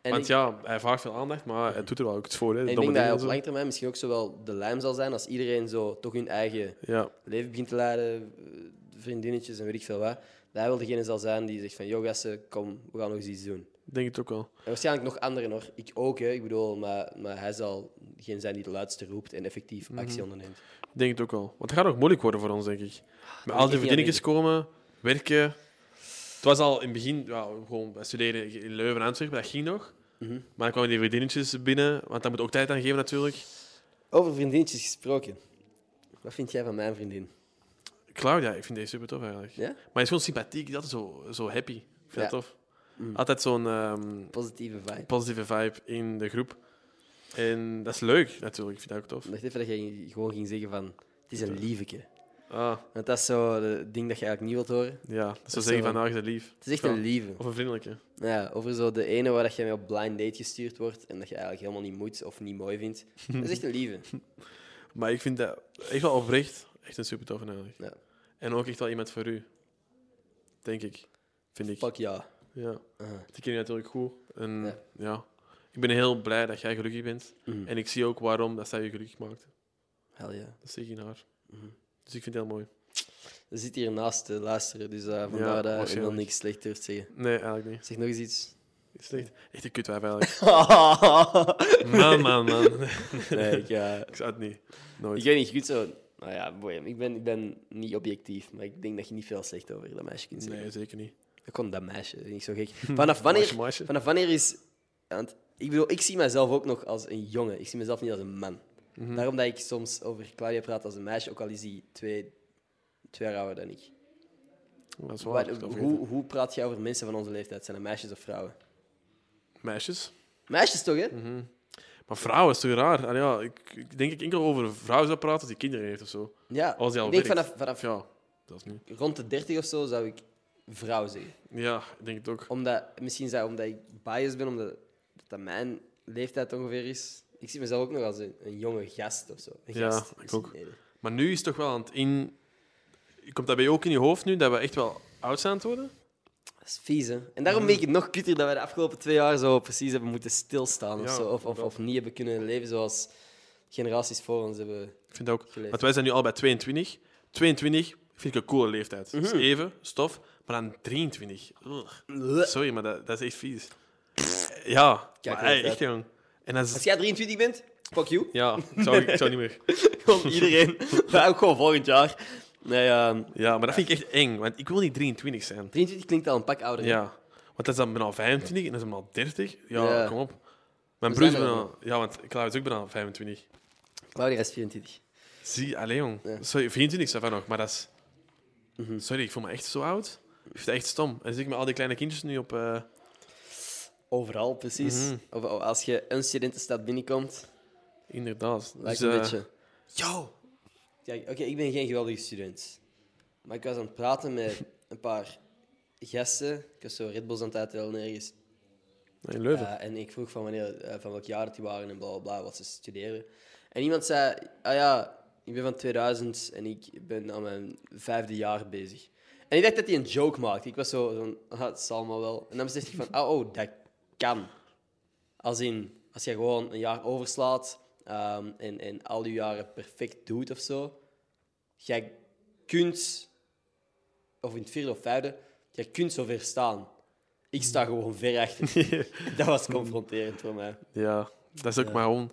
Speaker 4: En
Speaker 5: Want
Speaker 4: ik,
Speaker 5: ja, hij vraagt veel aandacht, maar hij doet er wel ook iets voor. Hè,
Speaker 4: en ik
Speaker 5: domme
Speaker 4: denk dat hij
Speaker 5: dingen
Speaker 4: op
Speaker 5: en zo.
Speaker 4: lange termijn misschien ook zowel de lijm zal zijn als iedereen zo toch hun eigen
Speaker 5: Ja,
Speaker 4: leven begint te leiden, eh, vriendinnetjes en weet ik veel wat. Dat hij wel degene zal zijn die zegt van, yo gasten, kom, we gaan nog eens iets doen.
Speaker 5: ik denk het ook wel.
Speaker 4: En waarschijnlijk nog anderen hoor. Ik ook, hè. ik bedoel, maar, maar hij zal geen zijn die de laatste roept en effectief actie onderneemt.
Speaker 5: Ik denk het ook wel. Want het gaat nog moeilijk worden voor ons, denk ik. Met al
Speaker 4: ik
Speaker 5: die
Speaker 4: Ah, niet aan
Speaker 5: vriendinnetjes komen, werken. Het was al in het begin, ja, gewoon wij studeren in Leuven en Antwerpen, dat ging nog.
Speaker 4: Mhm.
Speaker 5: Maar dan kwamen die vriendinnetjes binnen, want daar moet ook tijd aan geven natuurlijk.
Speaker 4: Over vriendinnetjes gesproken. Wat vind jij van mijn vriendin?
Speaker 5: Ik Claudia, ik vind deze super tof eigenlijk.
Speaker 4: Ja?
Speaker 5: Maar hij is gewoon sympathiek, dat is zo, zo happy. Ik vind
Speaker 4: Ja. Mhm.
Speaker 5: dat tof. Altijd zo'n ehm,
Speaker 4: Positieve vibe.
Speaker 5: positieve vibe in de groep. En dat is leuk, natuurlijk. Ik vind dat ook tof.
Speaker 4: Ik dacht even dat je gewoon ging zeggen van... Het is een lieveke.
Speaker 5: Ah,
Speaker 4: Want dat is zo het ding dat je eigenlijk niet wilt horen.
Speaker 5: ja, dat zou
Speaker 4: is eh,
Speaker 5: zeggen
Speaker 4: zo-
Speaker 5: van, nou, je bent lief.
Speaker 4: Het is echt
Speaker 5: Ja.
Speaker 4: een lieve.
Speaker 5: Of een vriendelijke.
Speaker 4: Ja, over zo de ene waar dat je mee op blind date gestuurd wordt en dat je eigenlijk helemaal niet moet of niet mooi vindt. Dat is echt een lieve.
Speaker 5: Maar ik vind dat echt wel oprecht echt een super tof eigenlijk.
Speaker 4: Ja.
Speaker 5: En ook echt wel iemand voor u. Denk ik. Vind ik.
Speaker 4: Fuck ja.
Speaker 5: Ja.
Speaker 4: Aha.
Speaker 5: Ik ken je natuurlijk goed. En
Speaker 4: Ja.
Speaker 5: ja. Ik ben heel blij dat jij gelukkig bent.
Speaker 4: Mhm.
Speaker 5: En ik zie ook waarom dat zij je gelukkig maakte.
Speaker 4: Hell ja.
Speaker 5: Dat zie ik in haar.
Speaker 4: Mhm.
Speaker 5: Dus ik vind het heel mooi.
Speaker 4: Ze zit hier naast te luisteren, dus eh vandaar
Speaker 5: Ja,
Speaker 4: dat je dan
Speaker 5: waarschijnlijk.
Speaker 4: niks slecht durft zeggen.
Speaker 5: Nee, eigenlijk niet.
Speaker 4: Zeg nog eens <laughs> iets.
Speaker 5: Het is echt, echt een kutwijf eigenlijk. <laughs>
Speaker 4: nee,
Speaker 5: man, man, man. <laughs> Nee,
Speaker 4: ik, ja.
Speaker 5: ik zou het niet.
Speaker 4: ik
Speaker 5: Nooit.
Speaker 4: weet niet goed zo. Nou ja, boy, ik, ben, ik ben niet objectief, maar ik denk dat je niet veel slecht over dat meisje kunt zeggen.
Speaker 5: Nee, zeker niet.
Speaker 4: Ik kon dat meisje, dat vind ik zo
Speaker 5: <laughs>
Speaker 4: gek. Vanaf wanneer,
Speaker 5: Meisje, meisje.
Speaker 4: vanaf wanneer is. Want ik bedoel, ik zie mezelf ook nog als een jongen. Ik zie mezelf niet als een man.
Speaker 5: Mhm.
Speaker 4: Daarom dat ik soms over Claudia praat als een meisje, ook al is die twee, twee jaar ouder dan ik.
Speaker 5: Dat is
Speaker 4: Wat-
Speaker 5: waar. ik had het vergeten.
Speaker 4: hoe, hoe praat jij over mensen van onze leeftijd? Zijn dat meisjes of vrouwen?
Speaker 5: Meisjes.
Speaker 4: Meisjes toch, hè?
Speaker 5: Mhm. Maar vrouwen is toch raar? En ja, ik, ik denk ik enkel over vrouwen zou praten als die kinderen heeft of zo.
Speaker 4: Ja,
Speaker 5: Als die al
Speaker 4: ik denk
Speaker 5: werkt.
Speaker 4: vanaf, vanaf
Speaker 5: Ja, dat is niet.
Speaker 4: rond de 30 of zo zou ik vrouw zeggen.
Speaker 5: Ja, ik denk het ook.
Speaker 4: Omdat, misschien is dat omdat ik biased ben, omdat dat mijn leeftijd ongeveer is. Ik zie mezelf ook nog als een, een jonge gast of zo. Een
Speaker 5: Ja,
Speaker 4: gast.
Speaker 5: ik ook.
Speaker 4: Nee, nee.
Speaker 5: Maar nu is het toch wel aan het in. Komt dat bij jou ook in je hoofd nu dat we echt wel oud zijn aan het worden?
Speaker 4: Dat is vies, hè? En daarom
Speaker 5: Mhm.
Speaker 4: vind ik het nog kutter dat wij de afgelopen twee jaar zo precies hebben moeten stilstaan of,
Speaker 5: Ja,
Speaker 4: zo, of, of,
Speaker 5: inderdaad.
Speaker 4: of niet hebben kunnen leven zoals generaties voor ons hebben.
Speaker 5: Ik vind dat ook.
Speaker 4: Geleefd.
Speaker 5: Want wij zijn nu al bij 22. 22 vind ik een coole leeftijd.
Speaker 4: Mhm.
Speaker 5: Dat is even, stof, maar dan 23. Ugh. Sorry, maar dat, dat is echt vies. Ja,
Speaker 4: Kijk,
Speaker 5: maar, hey,
Speaker 4: leeftijd.
Speaker 5: echt jong. En dat
Speaker 4: Als
Speaker 5: is.
Speaker 4: jij 23 bent, fuck you.
Speaker 5: Ja, ik zou, ik zou niet meer.
Speaker 4: Gewoon <laughs> iedereen. Wij ook gewoon volgend jaar. Nee, ehm,
Speaker 5: Ja, maar dat vind ik echt eng, want ik wil niet 23 zijn.
Speaker 4: 23 klinkt al een pak ouder. hè?
Speaker 5: Ja, want dat is dan bijna 25 en dat is dan al 30. Ja,
Speaker 4: Ja.
Speaker 5: kom op. Mijn
Speaker 4: We
Speaker 5: broer is
Speaker 4: zijn er
Speaker 5: bijna... Ja, want Klaus is ook bijna 25.
Speaker 4: Claudia is 24.
Speaker 5: Zie, alleen jong. Sorry, 24 is daarvan nog, maar dat is...
Speaker 4: Mhm.
Speaker 5: Sorry, ik voel me echt zo oud. Ik vind dat echt stom. En dan zie ik met al die kleine kindjes nu op... eh,
Speaker 4: Overal, precies.
Speaker 5: Mhm.
Speaker 4: of, of als je een studentenstad binnenkomt,
Speaker 5: Inderdaad.
Speaker 4: lijkt
Speaker 5: Dus,
Speaker 4: een
Speaker 5: eh,
Speaker 4: beetje... Yo! Kijk, oké, ik ben geen geweldige student. Maar ik was aan het praten met een paar gasten. Ik was zo Red Bulls aan het uitdelen ergens.
Speaker 5: In Leuven.
Speaker 4: Ja, en ik vroeg van, wanneer, eh, van welk jaar dat die waren en bla bla bla, wat ze studeren. En iemand zei: Ah ja, ik ben van 2000 en ik ben aan mijn vijfde jaar bezig. En ik dacht dat hij een joke maakte. Ik was zo van: ah, het zal maar wel. En dan besefte ik van: ah, Oh, dat kan. Als in, als je gewoon een jaar overslaat ehm, en, en al je jaren perfect doet of zo, jij kunt, of in het vierde of vijfde, jij kunt zo ver staan. Ik sta gewoon ver
Speaker 5: <laughs>
Speaker 4: achter. dat was confronterend voor mij.
Speaker 5: Ja, dat is ook maar gewoon...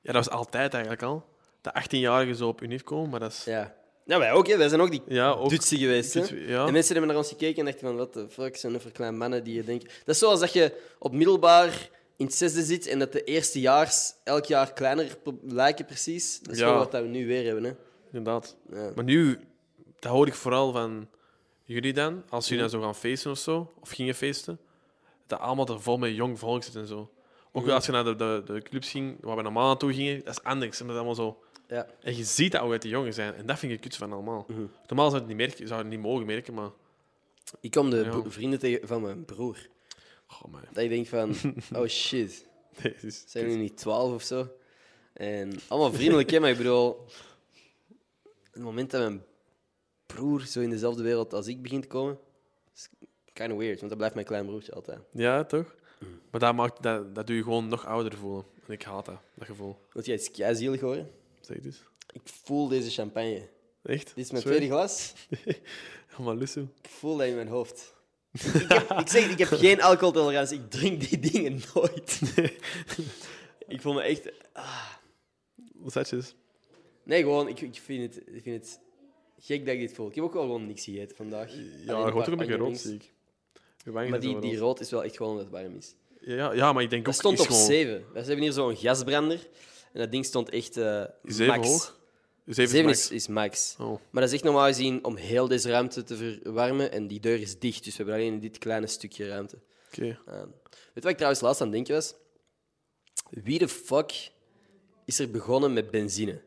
Speaker 5: Ja, dat was altijd eigenlijk al. De 18-jarigen zo op unief komen, maar dat is...
Speaker 4: Ja. Nou, wij ook, hè. wij zijn ook die
Speaker 5: Ja, ook...
Speaker 4: dutsie geweest. Hè?
Speaker 5: Dut- ja.
Speaker 4: En mensen hebben naar ons gekeken en dachten van, wat de fuck, zijn er voor kleine mannen die je denkt... Dat is zoals dat je op middelbaar in het zesde zit en dat de eerstejaars elk jaar kleiner pro- lijken precies. Dat is
Speaker 5: Ja.
Speaker 4: gewoon wat dat we nu weer hebben. Hè.
Speaker 5: Inderdaad.
Speaker 4: Ja.
Speaker 5: Maar nu, dat hoor ik vooral van jullie dan, als jullie dan zo gaan feesten of zo, of gingen feesten, dat allemaal er vol met jong volk zit en zo. Ook als je naar de, de, de clubs ging, waar we normaal naartoe gingen, dat is anders. Omdat dat allemaal zo...
Speaker 4: Ja.
Speaker 5: En je ziet dat ook uit die jongen zijn. En dat vind ik kut van allemaal.
Speaker 4: Mhm.
Speaker 5: Normaal zou je het niet, merken, zou je het niet mogen merken, maar...
Speaker 4: Ik kom de
Speaker 5: Ja.
Speaker 4: bro- vrienden tegen van mijn broer.
Speaker 5: Oh, man. <laughs>
Speaker 4: Dat ik denk van, oh shit,
Speaker 5: Nee, het is-
Speaker 4: zijn jullie niet twaalf of zo? En allemaal vriendelijk, hè, maar ik bedoel... Het moment dat mijn broer zo in dezelfde wereld als ik begint te komen, is kind of weird, want dat blijft mijn klein broertje altijd.
Speaker 5: Ja, toch?
Speaker 4: Mhm.
Speaker 5: Maar dat, maakt, dat, dat doe je gewoon nog ouder voelen. En ik haat dat, dat gevoel.
Speaker 4: Moet jij iets kei zielig horen?
Speaker 5: Zeg het eens.
Speaker 4: Ik voel deze champagne.
Speaker 5: Echt?
Speaker 4: Dit is mijn
Speaker 5: Sorry. Oh,
Speaker 4: tweede glas.
Speaker 5: Allemaal lussen.
Speaker 4: Ik voel dat in mijn hoofd. ik, heb, ik zeg, het, ik heb geen alcoholtolerantie. Ik drink die dingen nooit. ik voel me echt...
Speaker 5: Zetjes.
Speaker 4: Nee, gewoon, ik, ik, vind het, ik vind het gek dat ik dit voel. Ik heb ook wel gewoon niks gegeten vandaag.
Speaker 5: Ja, je wordt ook een beetje rood, zie ik. Je wangen
Speaker 4: Maar
Speaker 5: zijn
Speaker 4: die,
Speaker 5: wel
Speaker 4: die
Speaker 5: rood.
Speaker 4: rood is wel echt gewoon omdat het warm is.
Speaker 5: Ja, ja, maar ik denk
Speaker 4: Dat
Speaker 5: ook...
Speaker 4: stond
Speaker 5: is
Speaker 4: op
Speaker 5: gewoon-
Speaker 4: 7. We hebben hier zo'n gasbrander. En dat ding stond echt eh
Speaker 5: Zeven
Speaker 4: max.
Speaker 5: hoog? Zeven,
Speaker 4: Zeven
Speaker 5: is
Speaker 4: is, is max.
Speaker 5: max. Oh.
Speaker 4: Maar dat is echt normaal gezien om heel deze ruimte te verwarmen. En die deur is dicht, dus we hebben alleen dit kleine stukje ruimte.
Speaker 5: Oké.
Speaker 4: Ehm, weet je wat ik trouwens laatst aan het denken was? Wie de fuck is er begonnen met benzine?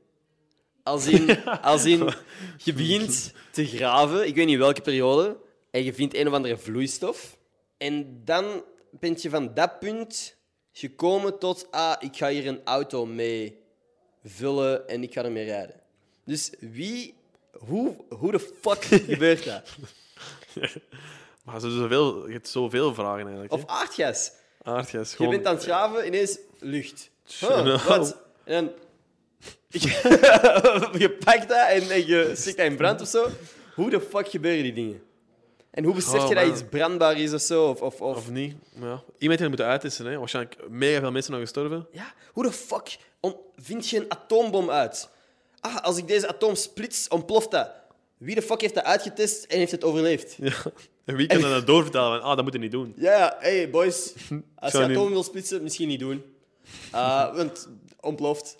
Speaker 4: Als in, als in, je begint te graven, ik weet niet welke periode, en je vindt een of andere vloeistof. En dan ben je van dat punt gekomen tot, ah, ik ga hier een auto mee vullen en ik ga ermee rijden. Dus wie, hoe, hoe de fuck gebeurt dat?
Speaker 5: Maar ze doen zoveel, je hebt zoveel vragen eigenlijk.
Speaker 4: Of
Speaker 5: Of,
Speaker 4: aardgas?
Speaker 5: aardgas,
Speaker 4: Je
Speaker 5: gewoon...
Speaker 4: bent aan het graven, ineens lucht.
Speaker 5: Tjonge.
Speaker 4: Huh, wat? En dan... <laughs> je pakt dat en, en je stikt dat in brand of zo. Hoe de fuck gebeuren die dingen? En hoe besef
Speaker 5: Oh,
Speaker 4: je dat
Speaker 5: man.
Speaker 4: iets brandbaar is of zo? Of, of, of...
Speaker 5: <laughs> Of niet. Maar Ja. Iemand heeft het moeten uittesten. Hè. Waarschijnlijk mega veel mensen nog gestorven. <laughs>
Speaker 4: Ja, hoe de fuck on- vind je een atoombom uit? Ah, als ik deze atoom splits, ontploft dat. Wie de fuck heeft dat uitgetest en heeft het overleefd?
Speaker 5: Ja. En wie kan dat dan doorvertalen? Van, ah, dat moet je niet doen.
Speaker 4: Ja, ja, hey
Speaker 5: <laughs>
Speaker 4: boys. Als je
Speaker 5: zou niet-
Speaker 4: atomen wil splitsen, misschien niet doen.
Speaker 5: <laughs>
Speaker 4: Eh, want ontploft.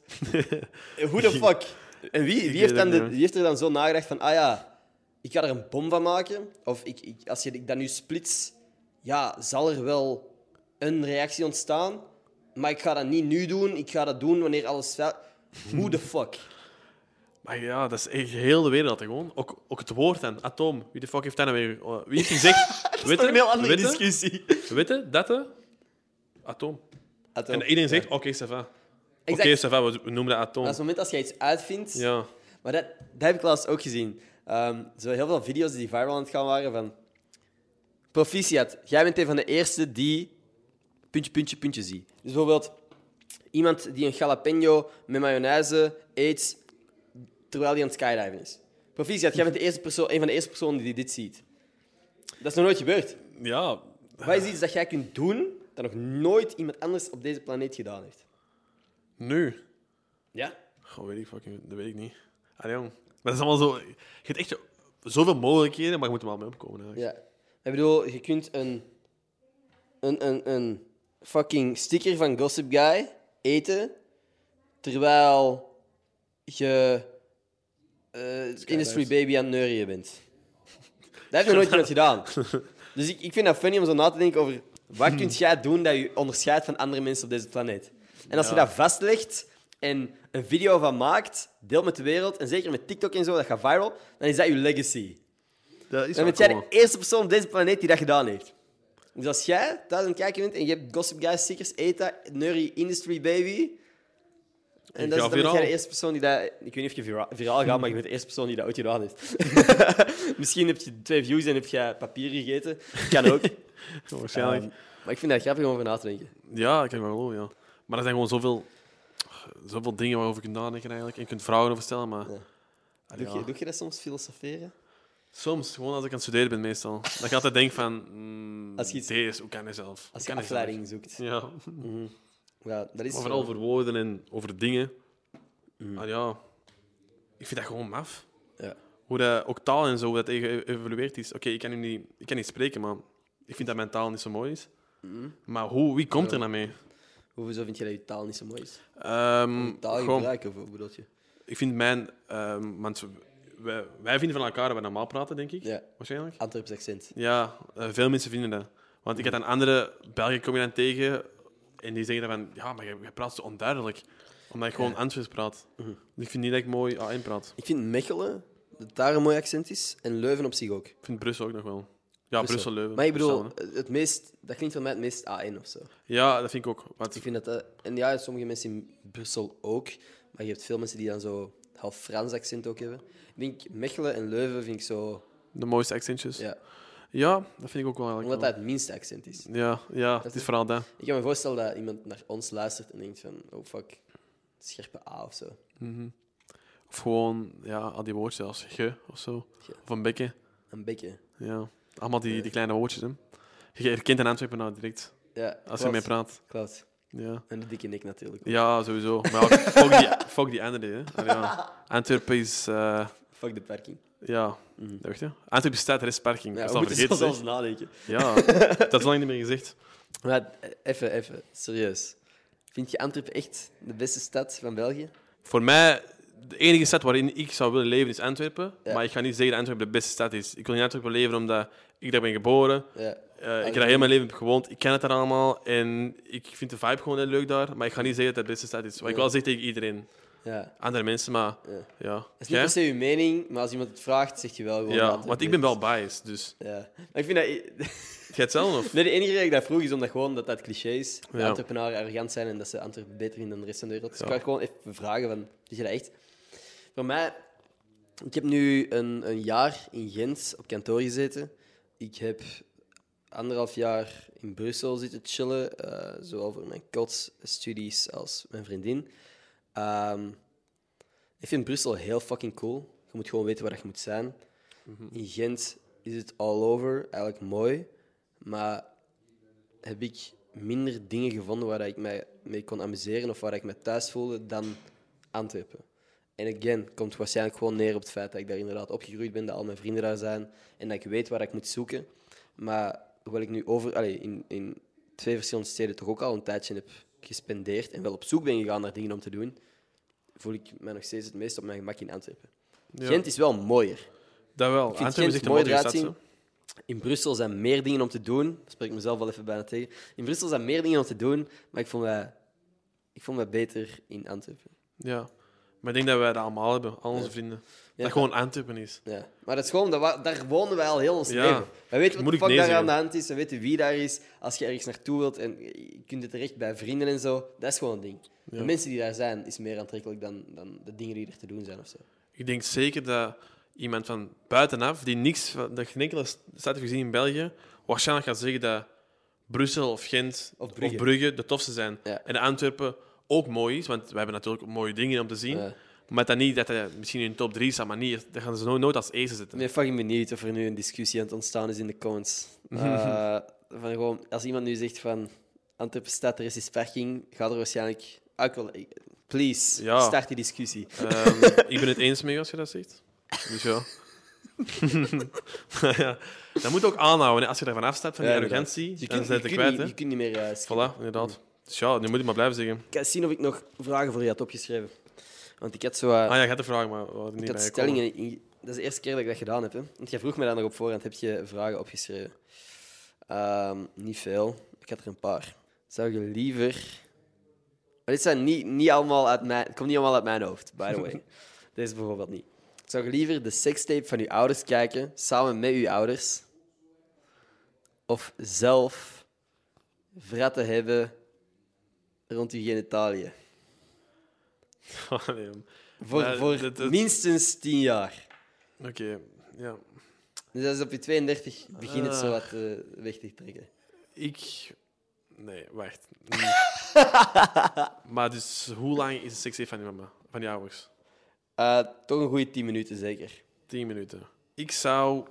Speaker 4: Hoe de fuck? En wie, wie,
Speaker 5: weet
Speaker 4: heeft
Speaker 5: het
Speaker 4: dan
Speaker 5: niet,
Speaker 4: de,
Speaker 5: hoor.
Speaker 4: wie heeft er dan zo nagedacht van, ah ja, ik ga er een bom van maken? Of ik, ik, als je dat nu splits, ja, zal er wel een reactie ontstaan. Maar ik ga dat niet nu doen, ik ga dat doen wanneer alles... fel- Hoe de fuck?
Speaker 5: Maar ja, dat is echt heel de wereld hè, gewoon. Ook, ook het woord dan, atoom. Wie de fuck heeft dat nou weer? eh, Wie heeft gezegd? dat
Speaker 4: <laughs> Dat is een heel andere discussie.
Speaker 5: Witte, dat, hè? atoom.
Speaker 4: Atoom.
Speaker 5: En iedereen zegt, oké, ça va. Oké,
Speaker 4: Exact.
Speaker 5: ça va, we we noemen dat atoom.
Speaker 4: Op het moment als jij iets uitvindt,
Speaker 5: Ja.
Speaker 4: Maar dat, dat heb ik laatst ook gezien. Ehm zo heel veel video's die viral aan het gaan waren van... Proficiat, jij bent een van de eerste die... Puntje, puntje, puntje zie. Dus bijvoorbeeld iemand die een jalapeno met mayonaise eet terwijl hij aan het skydiven is. Proficiat, jij bent de eerste persoon, een van de eerste personen die dit ziet. Dat is nog nooit gebeurd.
Speaker 5: Ja.
Speaker 4: Wat is iets dat jij kunt doen dat nog nooit iemand anders op deze planeet gedaan heeft?
Speaker 5: Nu.
Speaker 4: Ja?
Speaker 5: Goh, weet ik fucking, dat weet ik niet. Allee, jong. Maar dat is allemaal zo... Je hebt echt zoveel mogelijkheden, maar je moet er wel mee opkomen. Eigenlijk.
Speaker 4: Ja. Ik bedoel, je kunt een, een, een, een fucking sticker van Gossip Guy eten, terwijl je eh, Industry Baby aan het neurien bent. Dat heeft nog nooit iemand gedaan. Dus ik, ik vind dat funny om zo na te denken over wat kun jij doen dat je onderscheidt van andere mensen op deze planeet. En als je
Speaker 5: Ja.
Speaker 4: dat vastlegt en een video van maakt, deel met de wereld, en zeker met TikTok en zo, dat gaat viral, dan is dat je legacy.
Speaker 5: Dat is
Speaker 4: Dan
Speaker 5: wel
Speaker 4: bent jij
Speaker 5: cool.
Speaker 4: de eerste persoon op deze planeet die dat gedaan heeft. Dus als jij thuis aan het kijken bent en je hebt Gossip Guy stickers, ETA, Nurry, Industry Baby... En
Speaker 5: Ik
Speaker 4: dat
Speaker 5: ga
Speaker 4: is, dan ben jij de
Speaker 5: viraal.
Speaker 4: eerste persoon die dat... Ik weet niet of je vira- viraal gaat, maar je bent de eerste persoon die dat ooit gedaan heeft. <laughs> Misschien heb je twee views en heb jij papier gegeten. Kan
Speaker 5: <laughs>
Speaker 4: ook.
Speaker 5: Waarschijnlijk.
Speaker 4: Ehm, maar ik vind dat grappig om over na te denken.
Speaker 5: Ja, ik kan wel geloven, ja. Maar er zijn gewoon zoveel, zoveel dingen waarover je kunt nadenken eigenlijk. En je kunt vragen over stellen, maar...
Speaker 4: Ja.
Speaker 5: Allee,
Speaker 4: Doe,
Speaker 5: ja.
Speaker 4: je, doe je dat soms filosoferen?
Speaker 5: Soms, gewoon als ik aan het studeren ben meestal. Dat je altijd denkt van... mm,
Speaker 4: Als je iets-
Speaker 5: Deze, hoe kan hij zelf?
Speaker 4: Als
Speaker 5: Hoe
Speaker 4: je
Speaker 5: kan hij
Speaker 4: afleiding zoekt.
Speaker 5: zelf? Ja.
Speaker 4: Ja, dat is
Speaker 5: Maar
Speaker 4: zo.
Speaker 5: vooral over woorden en over dingen. Mm. Maar ja, ik vind dat gewoon maf.
Speaker 4: Ja.
Speaker 5: Hoe dat, ook taal en zo, hoe dat tegen- geëvolueerd is. Oké, ik kan nu niet, ik kan niet spreken, maar ik vind dat mijn taal niet zo mooi is.
Speaker 4: Mm.
Speaker 5: Maar hoe, wie komt er nou mee?
Speaker 4: Hoezo vind je dat je taal niet zo mooi is?
Speaker 5: Ehm
Speaker 4: Taal
Speaker 5: gewoon,
Speaker 4: gebruiken, of wat bedoel je?
Speaker 5: ik vind mijn... ehm, want wij, wij vinden van elkaar dat we normaal praten, denk ik.
Speaker 4: Ja.
Speaker 5: Waarschijnlijk.
Speaker 4: Antwerps accent.
Speaker 5: Ja, eh, veel mensen vinden dat. Want ik had een andere Belgen kom je dan tegen en die zeggen dan van ja, maar je, je praat zo onduidelijk. Omdat ik gewoon Antwerps praat.
Speaker 4: Mhm.
Speaker 5: Dus ik vind niet dat ik mooi A1 praat.
Speaker 4: Ik vind Mechelen, dat daar een mooi accent is, en Leuven op zich ook. Dus
Speaker 5: Ik vind Brussel ook nog wel. Ja, Brussel-Leuven.
Speaker 4: Maar ik bedoel,
Speaker 5: Hetzelfde.
Speaker 4: het meest, dat klinkt voor mij het meest A1 of zo.
Speaker 5: Ja, dat vind ik ook. Want
Speaker 4: Ik vind dat, dat- en ja, sommige mensen in Brussel ook, maar je hebt veel mensen die dan zo half Frans accent ook hebben. Ik denk Mechelen en Leuven vind ik zo,
Speaker 5: de mooiste accentjes. Ja.
Speaker 4: ja,
Speaker 5: dat vind ik ook wel
Speaker 4: omdat
Speaker 5: eigenlijk.
Speaker 4: dat
Speaker 5: wel.
Speaker 4: het minste accent is.
Speaker 5: Ja, ja, het is vooral dat.
Speaker 4: Ik kan me voorstellen dat iemand naar ons luistert en denkt van, oh fuck, scherpe A of zo.
Speaker 5: Of gewoon, ja, al die woordjes als ge of zo.
Speaker 4: Ge.
Speaker 5: Of een bekken.
Speaker 4: Een beetje.
Speaker 5: Ja, allemaal die, die kleine woordjes. Hè. Je herkent een Antwerpen nou direct
Speaker 4: Ja,
Speaker 5: als je mee praat.
Speaker 4: Klopt.
Speaker 5: Ja.
Speaker 4: En de dikke nek natuurlijk.
Speaker 5: Ja, sowieso. Maar ja, <laughs> fuck, die, fuck die andere, hè. Allee, ja. <laughs> Antwerpen is... eh,
Speaker 4: Fuck de parking.
Speaker 5: ja, dat weet je. Antwerpen staat restparking.
Speaker 4: Ja,
Speaker 5: dat
Speaker 4: we
Speaker 5: is al
Speaker 4: moeten
Speaker 5: vergeten,
Speaker 4: zelfs
Speaker 5: zeg.
Speaker 4: nadenken.
Speaker 5: <laughs> Ja, dat is lang niet meer gezegd.
Speaker 4: Maar eh, even, even, serieus. Vind je Antwerpen echt de beste stad van België?
Speaker 5: Voor mij, de enige stad waarin ik zou willen leven is Antwerpen. Maar ik ga niet zeggen dat Antwerpen de beste stad is. Ik wil in Antwerpen leven omdat ik daar ben geboren.
Speaker 4: Ja.
Speaker 5: Eh, ik heb daar heel mijn leven gewoond. Ik ken het daar allemaal. En ik vind de vibe gewoon heel leuk daar. Maar ik ga niet zeggen dat het de beste stad is. Wat ik wel zeg tegen iedereen.
Speaker 4: ja.
Speaker 5: Andere mensen, maar
Speaker 4: Ja.
Speaker 5: ja.
Speaker 4: Dat is niet
Speaker 5: Jij?
Speaker 4: per se je mening, maar als iemand het vraagt, zeg je wel gewoon
Speaker 5: Ja,
Speaker 4: dat het
Speaker 5: want ik
Speaker 4: is.
Speaker 5: ben wel biased, dus...
Speaker 4: Ja. Maar ik vind dat... <laughs>
Speaker 5: Jij hetzelfde, of?
Speaker 4: Nee, de enige reden dat ik dat vroeg is omdat gewoon dat dat cliché is. Dat
Speaker 5: Ja.
Speaker 4: Antwerpenaren arrogant zijn en dat ze Antwerpen beter vinden dan de rest van de wereld. Dus
Speaker 5: Ja.
Speaker 4: ik wou gewoon even vragen, van, is je dat echt? Voor mij, ik heb nu een, een jaar in Gent op kantoor gezeten. Ik heb anderhalf jaar in Brussel zitten chillen, eh, zowel voor mijn kotsstudies als mijn vriendin. Ehm, ik vind Brussel heel fucking cool. Je moet gewoon weten waar je moet zijn.
Speaker 5: Mhm.
Speaker 4: In Gent is het all over, eigenlijk mooi. Maar heb ik minder dingen gevonden waar ik mij mee kon amuseren of waar ik me thuis voelde dan Antwerpen. En again, komt waarschijnlijk gewoon neer op het feit dat ik daar inderdaad opgegroeid ben, dat al mijn vrienden daar zijn en dat ik weet waar ik moet zoeken. Maar hoewel ik nu over, allee, in, in twee verschillende steden toch ook al een tijdje heb gespendeerd en wel op zoek ben gegaan naar dingen om te doen, voel ik mij nog steeds het meest op mijn gemak in Antwerpen.
Speaker 5: Ja.
Speaker 4: Gent is wel mooier.
Speaker 5: Dat wel.
Speaker 4: vind
Speaker 5: Antwerpen is
Speaker 4: Gent
Speaker 5: echt een
Speaker 4: mooi
Speaker 5: mooie
Speaker 4: eruit
Speaker 5: stad, hè.
Speaker 4: zien. In Brussel zijn meer dingen om te doen. Dat spreek ik mezelf wel even bijna tegen. In Brussel zijn meer dingen om te doen, maar ik voel me, ik voel me beter in Antwerpen.
Speaker 5: Ja. Maar ik denk dat wij dat allemaal hebben, al onze vrienden.
Speaker 4: Ja,
Speaker 5: dat gewoon Antwerpen is.
Speaker 4: Ja. Maar dat is gewoon, dat wa- daar wonen wij al heel ons
Speaker 5: Ja.
Speaker 4: leven. Wij weten
Speaker 5: Moet
Speaker 4: wat de
Speaker 5: ik
Speaker 4: fuck
Speaker 5: nee
Speaker 4: daar
Speaker 5: zeggen?
Speaker 4: aan de hand is, we weten wie daar is. Als je ergens naartoe wilt en je kunt het terecht bij vrienden en zo, dat is gewoon een ding. De mensen die daar zijn, is meer aantrekkelijk dan, dan de dingen die er te doen zijn of zo.
Speaker 5: Ik denk zeker dat iemand van buitenaf, die niks van de geen enkele st- stad heeft gezien in België, waarschijnlijk gaat zeggen dat Brussel of Gent
Speaker 4: Of Brugge.
Speaker 5: de tofste zijn.
Speaker 4: Ja.
Speaker 5: En dat Antwerpen ook mooi is, want we hebben natuurlijk ook mooie dingen om te zien.
Speaker 4: Ja.
Speaker 5: Maar dat niet dat hij misschien in de top 3 staat, maar niet, dat gaan ze no- nooit als eerste
Speaker 4: Ik
Speaker 5: zitten.
Speaker 4: ben fucking benieuwd of er nu een discussie aan het ontstaan is in de
Speaker 5: <laughs>
Speaker 4: comments. Eh, van gewoon, als iemand nu zegt van Antwerpen staat, er is eens parking, gaat er waarschijnlijk... Ah, ik wil- ik- please,
Speaker 5: Ja.
Speaker 4: start die discussie.
Speaker 5: Ehm, ik ben het eens mee als je dat zegt.
Speaker 4: <laughs>
Speaker 5: Dus ja. <laughs> Maar ja. Dat moet ook aanhouden. hè. Als je daarvan afstapt, van die
Speaker 4: Ja, inderdaad.
Speaker 5: arrogantie,
Speaker 4: Je
Speaker 5: dan
Speaker 4: kunt,
Speaker 5: zijn
Speaker 4: je,
Speaker 5: het
Speaker 4: kunt
Speaker 5: er kwijt.
Speaker 4: niet,
Speaker 5: hè.
Speaker 4: je kunt niet meer... eh, skippen.
Speaker 5: Voilà, inderdaad. Dus ja, nu moet je maar blijven zeggen.
Speaker 4: Ik ga eens zien of ik nog vragen voor je had opgeschreven. Want ik had zo... eh,
Speaker 5: Ah ja, je gaat de vraag, maar we hadden niet
Speaker 4: ik had
Speaker 5: bij
Speaker 4: stellingen... in- dat is de eerste keer dat ik dat gedaan heb. Hè? Want jij vroeg me dan nog op voorhand, heb je vragen opgeschreven? Ehm, niet veel. Ik had er een paar. Zou je liever... Maar dit zijn niet, niet allemaal uit mijn... Het komt niet allemaal uit mijn hoofd, by the way. Deze bijvoorbeeld niet. Zou je liever de sekstape van je ouders kijken, samen met je ouders? Of zelf vratten hebben rond je genitaliën?
Speaker 5: komen. <laughs> Ah, nee, man.
Speaker 4: Voor,
Speaker 5: Maar
Speaker 4: voor
Speaker 5: dat- dat-
Speaker 4: minstens 10 jaar.
Speaker 5: Oké, ja.
Speaker 4: Dus dat is op je 32 begint het zo
Speaker 5: Ah.
Speaker 4: wat eh, weg te trekken.
Speaker 5: Ik... Nee, wacht. maar dus, hoe lang is de seksleven van je mama? Van je ouders?
Speaker 4: Eh, toch een goede 10 minuten zeker.
Speaker 5: 10 minuten. Ik zou...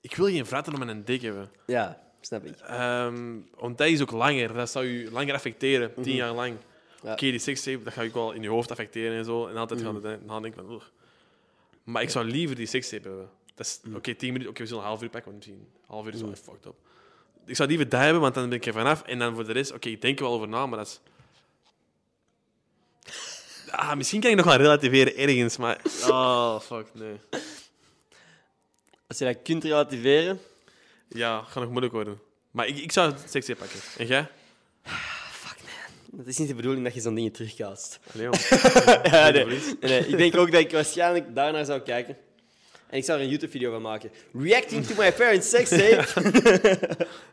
Speaker 5: Ik wil geen vraten om mijn dik hebben.
Speaker 4: Ja, snap ik.
Speaker 5: Ehm, want dat is ook langer. Dat zou je langer affecteren, tien jaar lang.
Speaker 4: Ja.
Speaker 5: Oké, die sekstape, dat ga je ook wel in je hoofd affecteren en zo. En altijd gaan we dan denken van... oeh. Maar ik zou liever die sekstape hebben. Dat is, Oké, tien minuten. Oké, we zullen een half uur pakken, want misschien een half uur is wel echt fucked up. Ik zou liever dat hebben, want dan ben ik er vanaf. En dan voor de rest, oké, ik denk er wel over na, maar dat is... Ah, misschien kan ik nog wel relativeren ergens, maar... <laughs> Oh, fuck, nee.
Speaker 4: Als je dat kunt relativeren.
Speaker 5: Ja, gaat nog moeilijk worden. Maar ik, ik zou het sekstape pakken. En jij?
Speaker 4: Dat is niet de bedoeling dat je zo'n dingen terugkaast.
Speaker 5: Leon. <laughs>
Speaker 4: Ja, Ah, nee.
Speaker 5: dat is-
Speaker 4: Nee, ik denk ook dat ik waarschijnlijk daarnaar zou kijken. En ik zou er een YouTube-video van maken. Reacting to my parents' sex <laughs> tape.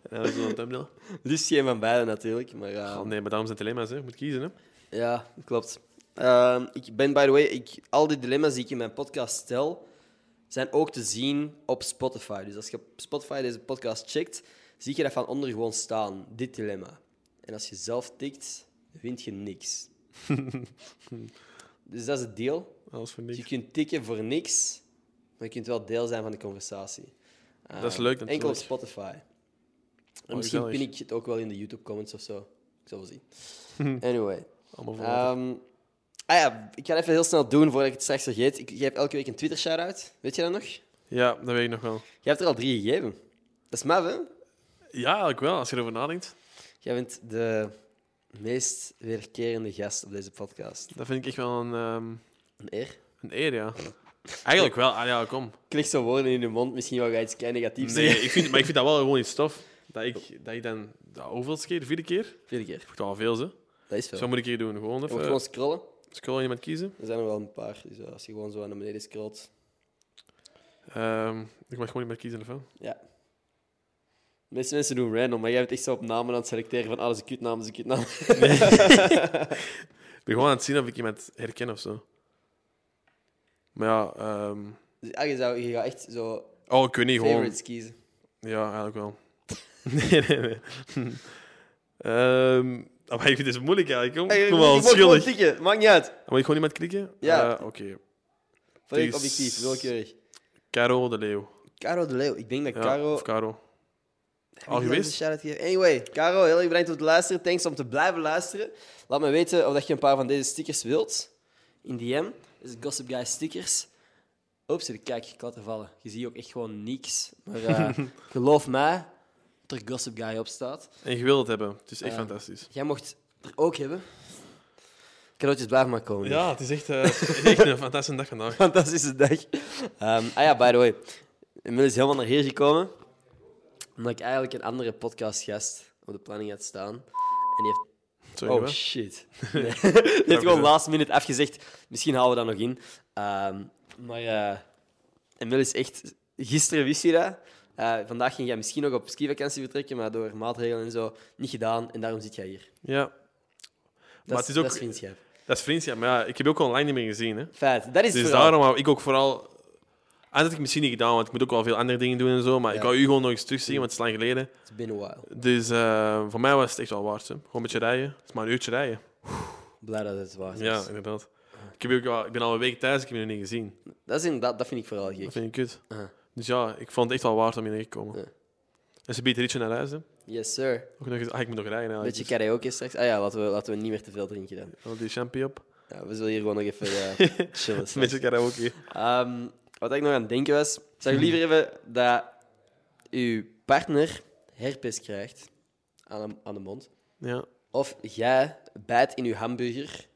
Speaker 5: Dat is wel een thumbnail.
Speaker 4: dus geen van beiden natuurlijk. Maar, eh,
Speaker 5: Oh, nee, maar daarom zijn het dilemma's, hè. Je moet kiezen, hè.
Speaker 4: Ja, klopt. Ehm, ik ben, by the way, ik, al die dilemma's die ik in mijn podcast stel, zijn ook te zien op Spotify. Dus als je op Spotify deze podcast checkt, zie je dat van onder gewoon staan, dit dilemma. En als je zelf tikt, vind je
Speaker 5: <laughs>
Speaker 4: niks. dus dat is het deal.
Speaker 5: Alles voor
Speaker 4: Dus je
Speaker 5: niks.
Speaker 4: kunt tikken voor niks, maar je kunt wel deel zijn van de conversatie.
Speaker 5: Dat is leuk,
Speaker 4: Ehm,
Speaker 5: natuurlijk. Oh,
Speaker 4: Enkel op Spotify. En misschien
Speaker 5: gezellig.
Speaker 4: pin ik het ook wel in de YouTube-comments of zo. Ik zal wel
Speaker 5: <laughs>
Speaker 4: zien. Anyway.
Speaker 5: Allemaal voor later.
Speaker 4: Ehm, ah ja, ik ga het even heel snel doen voordat ik het straks vergeet. Ik geef elke week een Twitter shout-out. Weet je dat nog? Jij
Speaker 5: Ja, dat weet ik nog wel.
Speaker 4: hebt er al drie gegeven. Dat is maf, hè?
Speaker 5: Ja, eigenlijk wel, als je erover nadenkt.
Speaker 4: Jij bent de meest weerkerende gast op deze podcast.
Speaker 5: Dat vind ik echt wel een... ehm,
Speaker 4: Een eer.
Speaker 5: Een eer, ja. Eigenlijk wel. Ah ja, kom.
Speaker 4: Ik leg zo woorden in je mond, misschien wel ga je iets klein negatiefs
Speaker 5: Nee,
Speaker 4: zeggen.
Speaker 5: ik vind, maar ik vind dat wel gewoon iets tof. Dat ik, dat ik dan... Dat, hoeveelste keer? Vierde keer? Ik
Speaker 4: <laughs> Vierde keer.
Speaker 5: vind het al veel, hè.
Speaker 4: Dat is veel.
Speaker 5: Zo
Speaker 4: Je
Speaker 5: moet ik hier doen. Gewoon
Speaker 4: moet
Speaker 5: even
Speaker 4: gewoon
Speaker 5: uh,
Speaker 4: scrollen.
Speaker 5: scrollen iemand kiezen.
Speaker 4: Er zijn er wel een paar. Dus eh, als je gewoon zo naar beneden scrolt.
Speaker 5: Ehm, ik mag gewoon iemand kiezen, of wel?
Speaker 4: Ja. De meeste mensen doen random, maar jij bent echt zo op namen aan het selecteren van alles een kutnaam, dat is een kutnaam. <laughs>
Speaker 5: Ik ben gewoon aan het zien of ik iemand herken of zo. Maar ja, ehm,
Speaker 4: Dus ja, je, zou, je gaat echt zo
Speaker 5: oh, ik weet niet, gewoon.
Speaker 4: favorites kiezen.
Speaker 5: Ja, eigenlijk
Speaker 4: <laughs>
Speaker 5: wel. nee, nee, nee. <laughs> Ehm, ah, maar <laughs> ik vind het moeilijk eigenlijk. Kom, kom wel, schuldig.
Speaker 4: schuldig. Maakt niet uit.
Speaker 5: Moet ik gewoon iemand klikken?
Speaker 4: Ja.
Speaker 5: Eh, Oké,
Speaker 4: Volledig
Speaker 5: Het is-
Speaker 4: objectief, willekeurig.
Speaker 5: Caro de Leeuw.
Speaker 4: Caro de Leeuw. Ik denk dat
Speaker 5: Ja,
Speaker 4: Caro...
Speaker 5: Of Caro. Al
Speaker 4: Ik wil
Speaker 5: geweest?
Speaker 4: een shout-out geven. Anyway, Caro, heel erg bedankt om te luisteren. Thanks om te blijven luisteren. Laat me weten of dat je een paar van deze stickers wilt. In DM. Dat is Gossip Guy stickers. Oeps, de kijk, ik laat er vallen. Je ziet ook echt gewoon niks. Maar
Speaker 5: <laughs>
Speaker 4: eh, geloof mij, dat er Gossip Guy op staat.
Speaker 5: En je wil het hebben. Het is echt
Speaker 4: Ja.
Speaker 5: fantastisch.
Speaker 4: Jij mocht er ook hebben. Cadeautjes blijven maar komen.
Speaker 5: Ja, het is echt, <laughs> eh, echt een fantastische dag vandaag.
Speaker 4: Fantastische dag. Ehm, ah ja, by the way. Emil is helemaal naar hier gekomen. Omdat ik eigenlijk een andere podcastgast op de planning had staan. En die heeft
Speaker 5: <laughs> Sorry,
Speaker 4: oh
Speaker 5: hoor. <laughs>
Speaker 4: shit. <laughs> Nee. Die heeft gewoon last minute afgezegd. Misschien halen we dat nog in. Ehm, maar eh Emil is echt. Gisteren wist je dat. Eh, vandaag ging jij misschien nog op skivakantie vertrekken, maar door maatregelen en zo niet gedaan. En daarom zit jij hier.
Speaker 5: Ja.
Speaker 4: Dat,
Speaker 5: het
Speaker 4: is,
Speaker 5: is ook-
Speaker 4: dat is vriendschap.
Speaker 5: Dat is vriendschap, maar ja, ik heb je ook al online niet meer gezien. Hè?
Speaker 4: Feit. Dat is
Speaker 5: Dus
Speaker 4: het verhaal.
Speaker 5: daarom hou ik ook vooral. Ah, dat heb ik misschien niet gedaan, want ik moet ook wel veel andere dingen doen en zo. Maar ik
Speaker 4: Ja.
Speaker 5: wou u gewoon nog eens terugzien, want het is lang geleden.
Speaker 4: Het is binnen een while.
Speaker 5: Dus eh, voor mij was het echt wel waard. Hè. Gewoon een beetje rijden. Het is maar een uurtje rijden.
Speaker 4: Blij dat het waar is.
Speaker 5: Ja, inderdaad. Ik, heb je ook, wel- ik ben al een week thuis, ik heb je nog niet gezien.
Speaker 4: Dat, is inderdaad, dat vind ik vooral gek.
Speaker 5: Dat vind ik kut.
Speaker 4: Aha.
Speaker 5: Dus ja, ik vond het echt wel waard om hier te komen.
Speaker 4: Ja.
Speaker 5: En ze biedt Rietje naar huis. Hè.
Speaker 4: Yes, sir.
Speaker 5: Ook nog eens, ah, ik moet nog rijden. eigenlijk.
Speaker 4: Beetje karaoke straks. Ah ja, laten we, laten we niet meer te veel drinken dan.
Speaker 5: Dus al die
Speaker 4: <laughs>
Speaker 5: champy op.
Speaker 4: Ja, we zullen hier gewoon nog even
Speaker 5: <laughs>
Speaker 4: eh, chillen.
Speaker 5: Een beetje karaoke.
Speaker 4: Ehm, wat ik nog aan het denken was, zou je liever hebben dat uw partner herpes krijgt aan de, aan de mond,
Speaker 5: Ja.
Speaker 4: of jij bijt in uw hamburger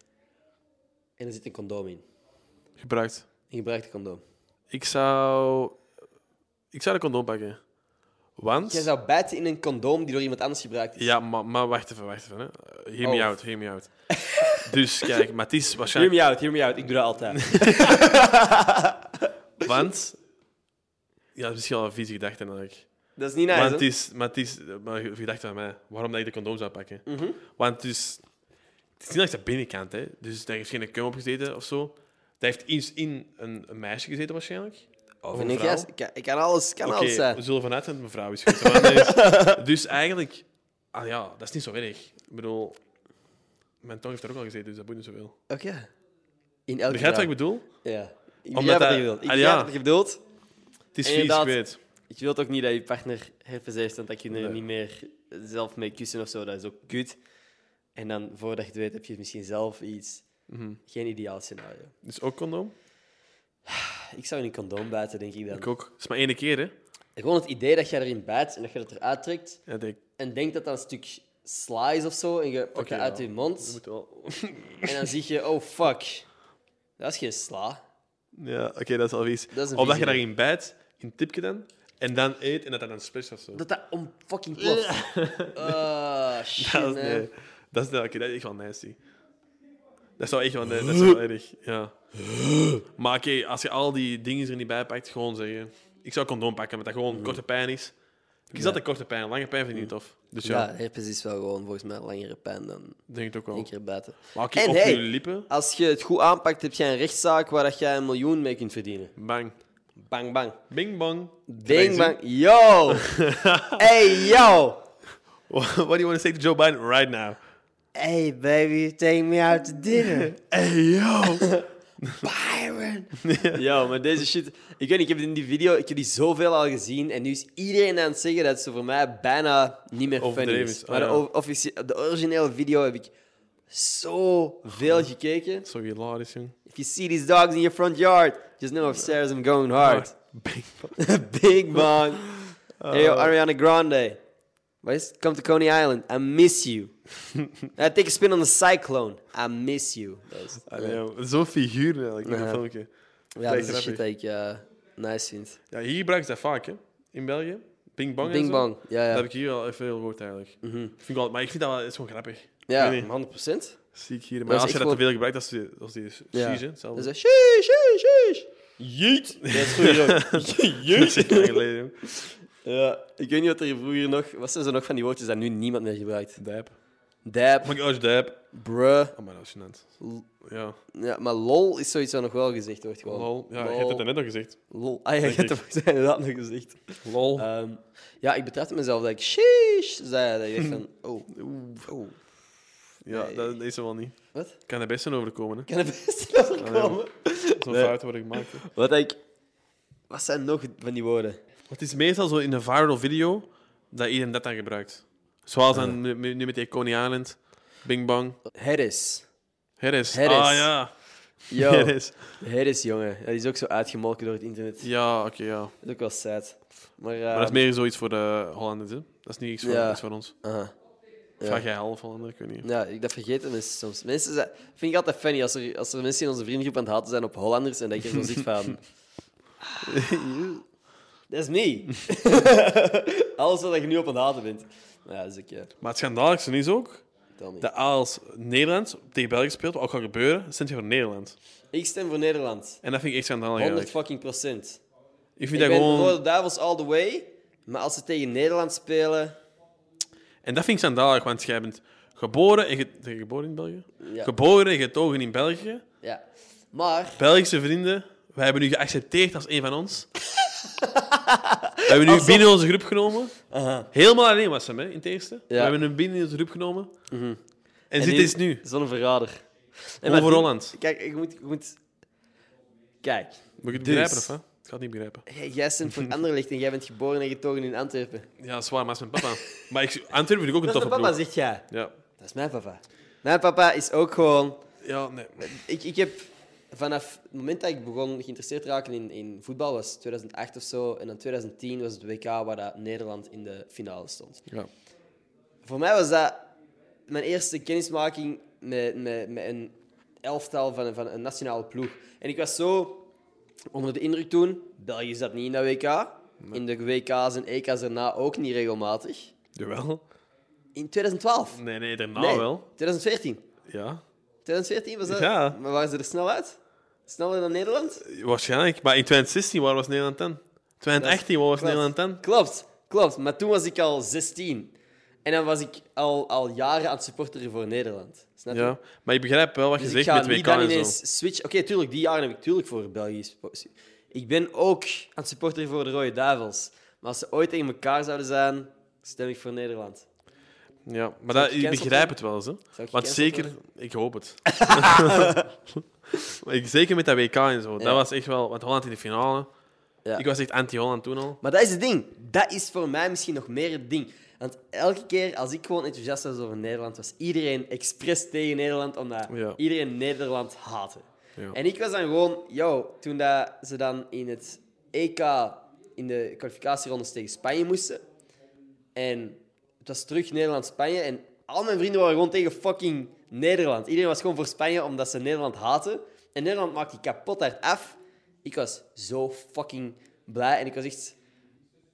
Speaker 4: en er zit een condoom in.
Speaker 5: Gebruikt.
Speaker 4: Je gebruikt een condoom.
Speaker 5: Ik zou. Ik zou de condoom pakken. Want.
Speaker 4: Jij zou bijten in een condoom die door iemand anders gebruikt is.
Speaker 5: Ja, maar, maar wacht even, wacht even. Hè. Eh, Hear me
Speaker 4: Oh.
Speaker 5: out, hear me out. dus kijk, maar het
Speaker 4: <laughs>
Speaker 5: is
Speaker 4: Hear
Speaker 5: waarschijnlijk...
Speaker 4: me out, hear me out. Ik doe dat altijd.
Speaker 5: Want... Ja, dat is misschien al een vieze gedachte eigenlijk.
Speaker 4: <laughs> dat is niet
Speaker 5: maar,
Speaker 4: nice,
Speaker 5: het
Speaker 4: hè?
Speaker 5: is, maar het is... eh, Maar een gedachte van mij. Waarom dat ik de condoom zou pakken? Want het is... Het is niet langs de binnenkant, hè. Dus daar heeft geen cum op gezeten of zo. Daar heeft iets in een, een meisje gezeten waarschijnlijk. Of
Speaker 4: Vind ik, juist. ik, kan- ik kan alles, kan
Speaker 5: Oké,
Speaker 4: alles zijn.
Speaker 5: we zullen vanuit zijn dat het mevrouw is goed. Maar
Speaker 4: <laughs>
Speaker 5: nee, dus eigenlijk... Ah ja, dat is niet zo erg. Ik bedoel... Mijn tong heeft er ook al gezeten, dus dat boeit niet zoveel.
Speaker 4: Oké. In elk
Speaker 5: Begrijp je
Speaker 4: geval.
Speaker 5: wat ik bedoel?
Speaker 4: Ja. Ik
Speaker 5: Omdat
Speaker 4: begrijp wat
Speaker 5: hij-
Speaker 4: je wilt. Ik
Speaker 5: Ah,
Speaker 4: begrijp
Speaker 5: ja.
Speaker 4: wat je bedoelt.
Speaker 5: Het is
Speaker 4: En
Speaker 5: vies, ik
Speaker 4: inderdaad-
Speaker 5: weet.
Speaker 4: Je wilt ook niet dat je partner herpes heeft en dat je er
Speaker 5: Nee.
Speaker 4: niet meer zelf mee kussen of zo. Dat is ook kut. En dan, voordat je het weet, heb je misschien zelf iets.
Speaker 5: Mhm.
Speaker 4: Geen ideaal scenario.
Speaker 5: Dus ook condoom?
Speaker 4: Ik zou in een condoom buiten, denk ik dan.
Speaker 5: Ik ook. Het is maar één keer, hè?
Speaker 4: Gewoon het idee dat jij erin bijt en dat je het eruit trekt
Speaker 5: Ja, denk,
Speaker 4: en denkt dat dat een stuk sla is of zo en je pakt
Speaker 5: Oké,
Speaker 4: het uit
Speaker 5: ja.
Speaker 4: je
Speaker 5: dat
Speaker 4: mond
Speaker 5: moet wel. <laughs>
Speaker 4: en dan zie je, oh fuck, dat is geen sla.
Speaker 5: Ja, oké, dat is al vies.
Speaker 4: Dat is een
Speaker 5: Omdat
Speaker 4: vies
Speaker 5: je
Speaker 4: idee.
Speaker 5: daarin bijt, in tipje dan, en dan eet en dat dan een splash of zo. <laughs>
Speaker 4: Dat dat om fucking ploft. Ah, shit,
Speaker 5: Dat
Speaker 4: man.
Speaker 5: is, nee. dat is, oké, dat is echt wel nasty. Dat is wel echt wel, nee,
Speaker 4: <laughs>
Speaker 5: dat is wel erg. Ja. Maar oké, als je al die dingen er niet bij pakt, gewoon zeggen. Ik zou condoom pakken, omdat dat
Speaker 4: Mm.
Speaker 5: gewoon korte pijn is. Ik zat een korte pijn, lange pijn vind ik niet tof. Dus ja,
Speaker 4: Ja, herpes is wel gewoon volgens mij langere pijn dan
Speaker 5: denk ik ook
Speaker 4: één
Speaker 5: wel.
Speaker 4: keer buiten.
Speaker 5: Maar oké,
Speaker 4: En
Speaker 5: op
Speaker 4: hey.
Speaker 5: je lippen,
Speaker 4: Als je het goed aanpakt, heb jij een rechtszaak waar dat jij een miljoen mee kunt verdienen.
Speaker 5: bang.
Speaker 4: Bang, bang.
Speaker 5: Bing bang.
Speaker 4: Ding, bang. Yo! hey, yo!
Speaker 5: <laughs> What do you want to say to Joe Biden right now?
Speaker 4: Hey, baby, take me out to dinner.
Speaker 5: Hey, yo.
Speaker 4: <laughs> Byron! <laughs> Yo, maar deze shit... Ik weet niet, ik heb in die video ik heb die zoveel al gezien. En nu is iedereen aan het zeggen dat ze voor mij bijna niet meer funny
Speaker 5: Overdreven
Speaker 4: is.
Speaker 5: is, oh
Speaker 4: Maar de,
Speaker 5: ja.
Speaker 4: o- officie- de originele video heb ik
Speaker 5: Oh.
Speaker 4: zoveel gekeken.
Speaker 5: <laughs> Zo hilarisch, jong.
Speaker 4: If you see these dogs in your front yard, just know upstairs I'm
Speaker 5: <laughs>
Speaker 4: going hard. <laughs>
Speaker 5: Bang.
Speaker 4: Big man. Hey, yo, Ariana Grande. Wat is het? Come to Coney Island. I miss you. I take a spin on the cyclone. I miss you. Dat is,
Speaker 5: Allee, joh, Zo'n figuur eigenlijk in
Speaker 4: Ja.
Speaker 5: dat filmpje.
Speaker 4: ja, dat is de
Speaker 5: grappig.
Speaker 4: shit dat ik eh, nice vind.
Speaker 5: Ja, hier gebruiken ze dat vaak, hè? In België. Ping bang. en
Speaker 4: Bing
Speaker 5: zo.
Speaker 4: bang. Ja, Mhm.
Speaker 5: Dat
Speaker 4: ja.
Speaker 5: heb ik hier al even veel gehoord eigenlijk. Vind ik wel, maar ik vind dat wel, het is gewoon grappig.
Speaker 4: Ja,
Speaker 5: Ik weet niet.
Speaker 4: 100 procent.
Speaker 5: Zie ik hier.
Speaker 4: Dat
Speaker 5: Maar
Speaker 4: is
Speaker 5: als je
Speaker 4: echt
Speaker 5: dat te
Speaker 4: gewoon-
Speaker 5: veel gebruikt, dat is die, dat is die
Speaker 4: Ja.
Speaker 5: cheese, hè? Hetzelfde.
Speaker 4: Dat is sheesh, sheesh, sheesh. Jeet. Dat is goed,
Speaker 5: <laughs> Dat is echt lang geleden, joh.
Speaker 4: Ja, ik weet niet wat er vroeger nog... Wat zijn er nog van die woordjes dat nu niemand meer gebruikt?
Speaker 5: Dab. Oh
Speaker 4: Dab,
Speaker 5: my gosh, dab.
Speaker 4: bruh.
Speaker 5: Oh, maar dat is gênant.
Speaker 4: L-
Speaker 5: Ja.
Speaker 4: Ja, maar lol is sowieets wat nog wel gezegd wordt gewoon.
Speaker 5: Lol. Ja, je hebt het net nog gezegd.
Speaker 4: Lol. Ah ja, je
Speaker 5: Denk
Speaker 4: hebt
Speaker 5: ik.
Speaker 4: het <laughs> inderdaad nog gezegd.
Speaker 5: Lol.
Speaker 4: Ehm, ja, ik betrapte mezelf dat ik sheesh zei. Dat ik dacht van,
Speaker 5: <laughs>
Speaker 4: oh, oh.
Speaker 5: ja,
Speaker 4: nee.
Speaker 5: dat is er wel niet.
Speaker 4: Wat?
Speaker 5: Kan er best een overkomen, hè?
Speaker 4: Ik kan er best niet overkomen.
Speaker 5: Zo'n
Speaker 4: Nee.
Speaker 5: fouten worden gemaakt. hè. <laughs>
Speaker 4: Wat ik... Wat zijn nog van die woorden?
Speaker 5: Het is meestal zo in een viral video dat iedereen dat dan gebruikt. Zoals dan nu- nu met die Coney Island, Bing Bang,
Speaker 4: Harris.
Speaker 5: Harris.
Speaker 4: Harris.
Speaker 5: Ah ja,
Speaker 4: Yo, Harris.
Speaker 5: Harris.
Speaker 4: jongen. Ja, die is ook zo uitgemolken door het internet.
Speaker 5: Ja, oké, ja. Maar
Speaker 4: Dat is ook wel sad. Maar, eh,
Speaker 5: dat is meer zoiets voor de Hollanders, hè? Dat is niet iets voor,
Speaker 4: Ja.
Speaker 5: iets voor ons.
Speaker 4: aha. Ja.
Speaker 5: Vraag jij half Hollander, ik weet niet.
Speaker 4: Ja, ik, dat vergeten mensen soms. Mensen zijn, vind ik altijd funny als er, als er mensen in onze vriendengroep aan het haten zijn op Hollanders en dat ik
Speaker 5: <laughs>
Speaker 4: er zo zit van... Dat is me. <laughs> Alles wat je nu op aan het haten bent. Maar ja, dat is ik, ja.
Speaker 5: Maar het schandaligste is ook
Speaker 4: Vertel me.
Speaker 5: dat als Nederland tegen België speelt, wat ook gaat gebeuren, stemt je voor Nederland.
Speaker 4: Ik stem voor Nederland.
Speaker 5: En dat vind ik echt schandalig
Speaker 4: 100
Speaker 5: eigenlijk.
Speaker 4: fucking procent.
Speaker 5: Ik
Speaker 4: Ik
Speaker 5: vind
Speaker 4: ben
Speaker 5: dat
Speaker 4: voor
Speaker 5: gewoon...
Speaker 4: de Duivels all the way. Maar als ze tegen Nederland spelen...
Speaker 5: En dat vind ik schandalig, want jij bent geboren en je... Zijn je geboren in België?
Speaker 4: Ja.
Speaker 5: Geboren en getogen in België.
Speaker 4: Ja. Maar...
Speaker 5: Belgische vrienden, wij hebben u geaccepteerd als een van
Speaker 4: <laughs>
Speaker 5: ons. we hebben u binnen onze groep genomen. Helemaal alleen was hem, hè, in het eerste. We hebben hem binnen onze groep genomen. En, dit
Speaker 4: Mhm. nu-
Speaker 5: is nu.
Speaker 4: Zo'n verrader. En
Speaker 5: Over Holland.
Speaker 4: Kijk, ik moet... Ik moet... Kijk.
Speaker 5: Moet je het
Speaker 4: Dus.
Speaker 5: begrijpen, of hè? Ik ga het niet begrijpen.
Speaker 4: Hey, Jij stemt voor Anderlecht en jij bent geboren en getogen in Antwerpen.
Speaker 5: Ja, zwaar, maar dat is mijn papa. <laughs> maar ik, Antwerpen vind ik ook een
Speaker 4: Dat is
Speaker 5: toffe
Speaker 4: mijn papa,
Speaker 5: ploeg.
Speaker 4: zegt jij.
Speaker 5: Ja.
Speaker 4: Dat is mijn papa. Mijn papa is ook gewoon...
Speaker 5: ja, nee.
Speaker 4: Ik, ik heb vanaf het moment dat ik begon geïnteresseerd te raken in, in voetbal, was 2008 of zo. En dan 2010 was het WK waar dat Nederland in de finale stond.
Speaker 5: Ja.
Speaker 4: Voor mij was dat mijn eerste kennismaking met, met, met een elftal van, een- van een nationale ploeg. En ik was zo onder de indruk toen. België zat niet in dat WK. In de WK's en EK's daarna ook niet regelmatig.
Speaker 5: Jawel.
Speaker 4: In 2012.
Speaker 5: Nee, nee, daarna
Speaker 4: Nee,
Speaker 5: Nou wel.
Speaker 4: 2014.
Speaker 5: Ja.
Speaker 4: 2014 was dat?
Speaker 5: Ja.
Speaker 4: Maar waren ze er snel uit? Sneller dan Nederland?
Speaker 5: Waarschijnlijk. Maar in 2016, waar was Nederland dan? 2018, waar was
Speaker 4: Klopt.
Speaker 5: Nederland dan?
Speaker 4: Klopt, klopt. Maar toen was ik al 16. En dan was ik al, al jaren aan het supporteren voor Nederland. Snap je?
Speaker 5: Ja. Maar ik begrijp wel wat je
Speaker 4: Dus ik
Speaker 5: zegt
Speaker 4: ga
Speaker 5: met
Speaker 4: niet
Speaker 5: WK
Speaker 4: dan
Speaker 5: en zo.
Speaker 4: ineens switchen. Oké, tuurlijk, die jaren heb ik tuurlijk voor België gespo- Ik ben ook aan het supporteren voor de Rode Duivels. Maar als ze ooit tegen elkaar zouden zijn, stem ik voor Nederland.
Speaker 5: Ja, maar dat, ik
Speaker 4: gecanceld
Speaker 5: begrijp het wel eens. Hè? Want
Speaker 4: gecanceld
Speaker 5: zeker, ik hoop het. <laughs> Maar ik, zeker met dat WK en zo.
Speaker 4: Ja.
Speaker 5: Dat was echt wel, want Holland in de finale.
Speaker 4: Ja.
Speaker 5: Ik was echt anti-Holland toen al.
Speaker 4: Maar dat is het ding. Dat is voor mij misschien nog meer het ding. Want elke keer als ik gewoon enthousiast was over Nederland, was iedereen expres tegen Nederland, omdat
Speaker 5: Ja.
Speaker 4: iedereen Nederland haatte.
Speaker 5: Ja.
Speaker 4: En ik was dan gewoon, yo, toen dat ze dan in het EK in de kwalificatierondes tegen Spanje moesten. En het was terug Nederland-Spanje. En al mijn vrienden waren gewoon tegen fucking Nederland. Iedereen was gewoon voor Spanje omdat ze Nederland haten. En Nederland maakte die kapot hard af. Ik was zo fucking blij. En ik was echt...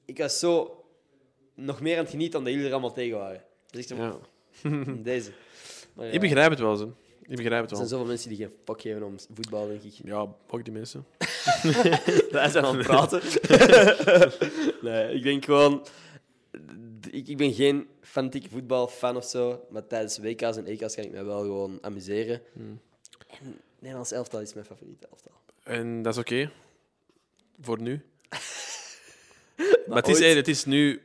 Speaker 4: Ik was zo nog meer aan het genieten dan dat jullie er allemaal tegen waren. Dus ik <laughs>
Speaker 5: Ja.
Speaker 4: hm, deze. Maar, ja,
Speaker 5: Ik begrijp het wel. Zo. Ik begrijp
Speaker 4: Er
Speaker 5: het
Speaker 4: zijn
Speaker 5: wel.
Speaker 4: zoveel mensen die geen fuck geven om voetbal, denk ik.
Speaker 5: Ja, ook die mensen.
Speaker 4: <laughs> Wij zijn <laughs> aan het praten. nee, ik denk gewoon... Ik, ik ben geen fanatieke voetbalfan of zo, maar tijdens WK's en EK's kan ik mij wel gewoon amuseren. Hm. En Nederlands elftal is mijn favoriete elftal.
Speaker 5: En dat is oké.
Speaker 4: <laughs>
Speaker 5: Voor nu. maar
Speaker 4: ooit-
Speaker 5: het, is, eh, het is nu...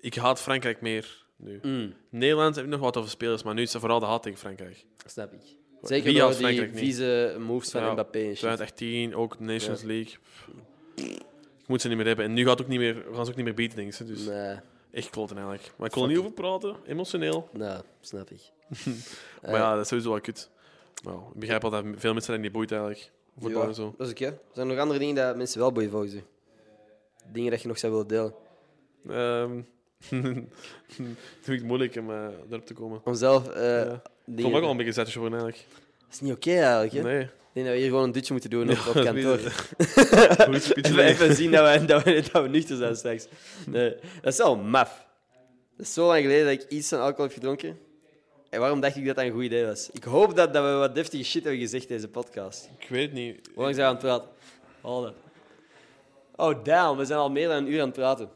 Speaker 5: Ik haat Frankrijk meer nu.
Speaker 4: Mm.
Speaker 5: Nederland heb ik nog wat over spelers, maar nu is het vooral de haat tegen Frankrijk.
Speaker 4: Snap ik. Zeker
Speaker 5: Wie
Speaker 4: door
Speaker 5: als
Speaker 4: die
Speaker 5: Frankrijk niet?
Speaker 4: vieze moves van
Speaker 5: Ja,
Speaker 4: Mbappé en shit.
Speaker 5: 2018, ook Nations League. Ik moet ze niet meer hebben. En nu gaat het ook niet meer, gaan ze ook niet meer beaten, denk ik. Dus
Speaker 4: Nee,
Speaker 5: echt kloten eigenlijk. Maar ik kon er niet over praten, emotioneel.
Speaker 4: nou, snap ik. Eh.
Speaker 5: Maar ja, dat is sowieso wel kut. Nou, ik begrijp al dat veel mensen dat niet boeit eigenlijk. Voetbal
Speaker 4: Ja,
Speaker 5: en zo.
Speaker 4: Dat is oké. Zijn er nog andere dingen dat mensen wel boeien volgens u? Dingen dat je nog zou willen delen?
Speaker 5: Ehm, <laughs> vind ik het moeilijk om eh, daarop te komen.
Speaker 4: Om zelf... eh
Speaker 5: Ja. Ik
Speaker 4: dingen-
Speaker 5: vond ook al een beetje zetjes voor eigenlijk.
Speaker 4: Dat is niet oké eigenlijk, hè?
Speaker 5: Nee.
Speaker 4: Ik denk dat we hier gewoon een dutje moeten doen op, op
Speaker 5: Ja,
Speaker 4: kantoor. <laughs>
Speaker 5: Goed speech.
Speaker 4: even, even zien dat we, dat, we, dat we nuchter zijn straks. Nee, dat is wel maf. Dat is zo lang geleden dat ik iets van alcohol heb gedronken. En waarom dacht ik dat dat een goed idee was? Ik hoop dat, dat we wat deftige shit hebben gezegd deze podcast.
Speaker 5: Ik weet het niet.
Speaker 4: Hoe lang zijn we aan het praten? Hallo. Oh, damn. We zijn al meer dan een uur aan het praten.
Speaker 5: Ik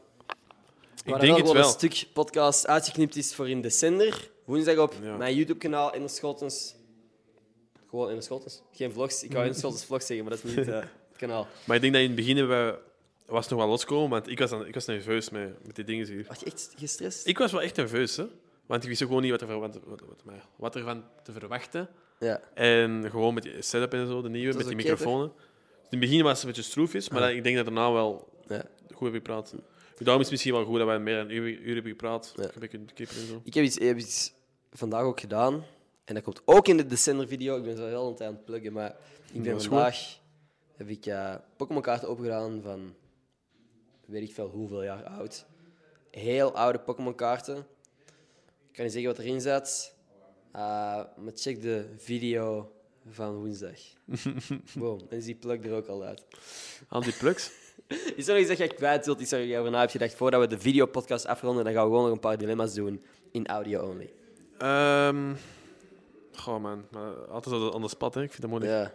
Speaker 4: Waar
Speaker 5: denk
Speaker 4: er
Speaker 5: het
Speaker 4: wel
Speaker 5: wel.
Speaker 4: een stuk podcast uitgeknipt is voor in december. Woensdag op
Speaker 5: Ja.
Speaker 4: mijn YouTube-kanaal in de Schotens. Gewoon in de Schotens. Geen vlogs. Ik wou in de Schotens vlogs zeggen, maar dat is niet eh, het kanaal.
Speaker 5: Maar ik denk dat in het begin hebben we- was het nog wel loskomen, want ik was, dan, ik was nerveus met, met die dingen hier.
Speaker 4: Was je echt gestrest?
Speaker 5: Ik was wel echt nerveus, hè. Want ik wist ook gewoon niet wat, er, van- wat, wat, wat, maar wat ervan te verwachten.
Speaker 4: Ja.
Speaker 5: En gewoon met die setup en zo, de nieuwe,
Speaker 4: Het
Speaker 5: met
Speaker 4: was
Speaker 5: die
Speaker 4: oké,
Speaker 5: microfoons. Dus in het begin was het een beetje stroefjes, maar ik denk dat daarna wel eh,
Speaker 4: ja.
Speaker 5: goed hebben gepraat. Dus Daarom is het misschien wel goed dat wij meer dan een uur, uur hebben gepraat.
Speaker 4: Ja.
Speaker 5: Een beetje kippen en zo.
Speaker 4: Ik heb iets, ik heb iets vandaag ook gedaan. En dat komt ook in de december-video. Ik ben zo heel een tijd aan het pluggen, maar ik ben
Speaker 5: is goed.
Speaker 4: vandaag... Heb ik eh Pokémon-kaarten opgedaan van... Weet ik veel hoeveel jaar oud. Heel oude Pokémon-kaarten. Ik kan niet zeggen wat erin zat. Eh, maar check de video van
Speaker 5: <laughs>
Speaker 4: woensdag. Boom, dan is die plug er ook al uit.
Speaker 5: Al die plugs.
Speaker 4: Is er nog iets dat jij kwijt wilt? Is er iets over na hebt gedacht? Voordat we de videopodcast afronden, dan gaan we gewoon nog een paar dilemma's doen. In audio only.
Speaker 5: Ehm goh man, maar altijd zo aan de spat, hè. Ik vind dat moeilijk.
Speaker 4: Ja.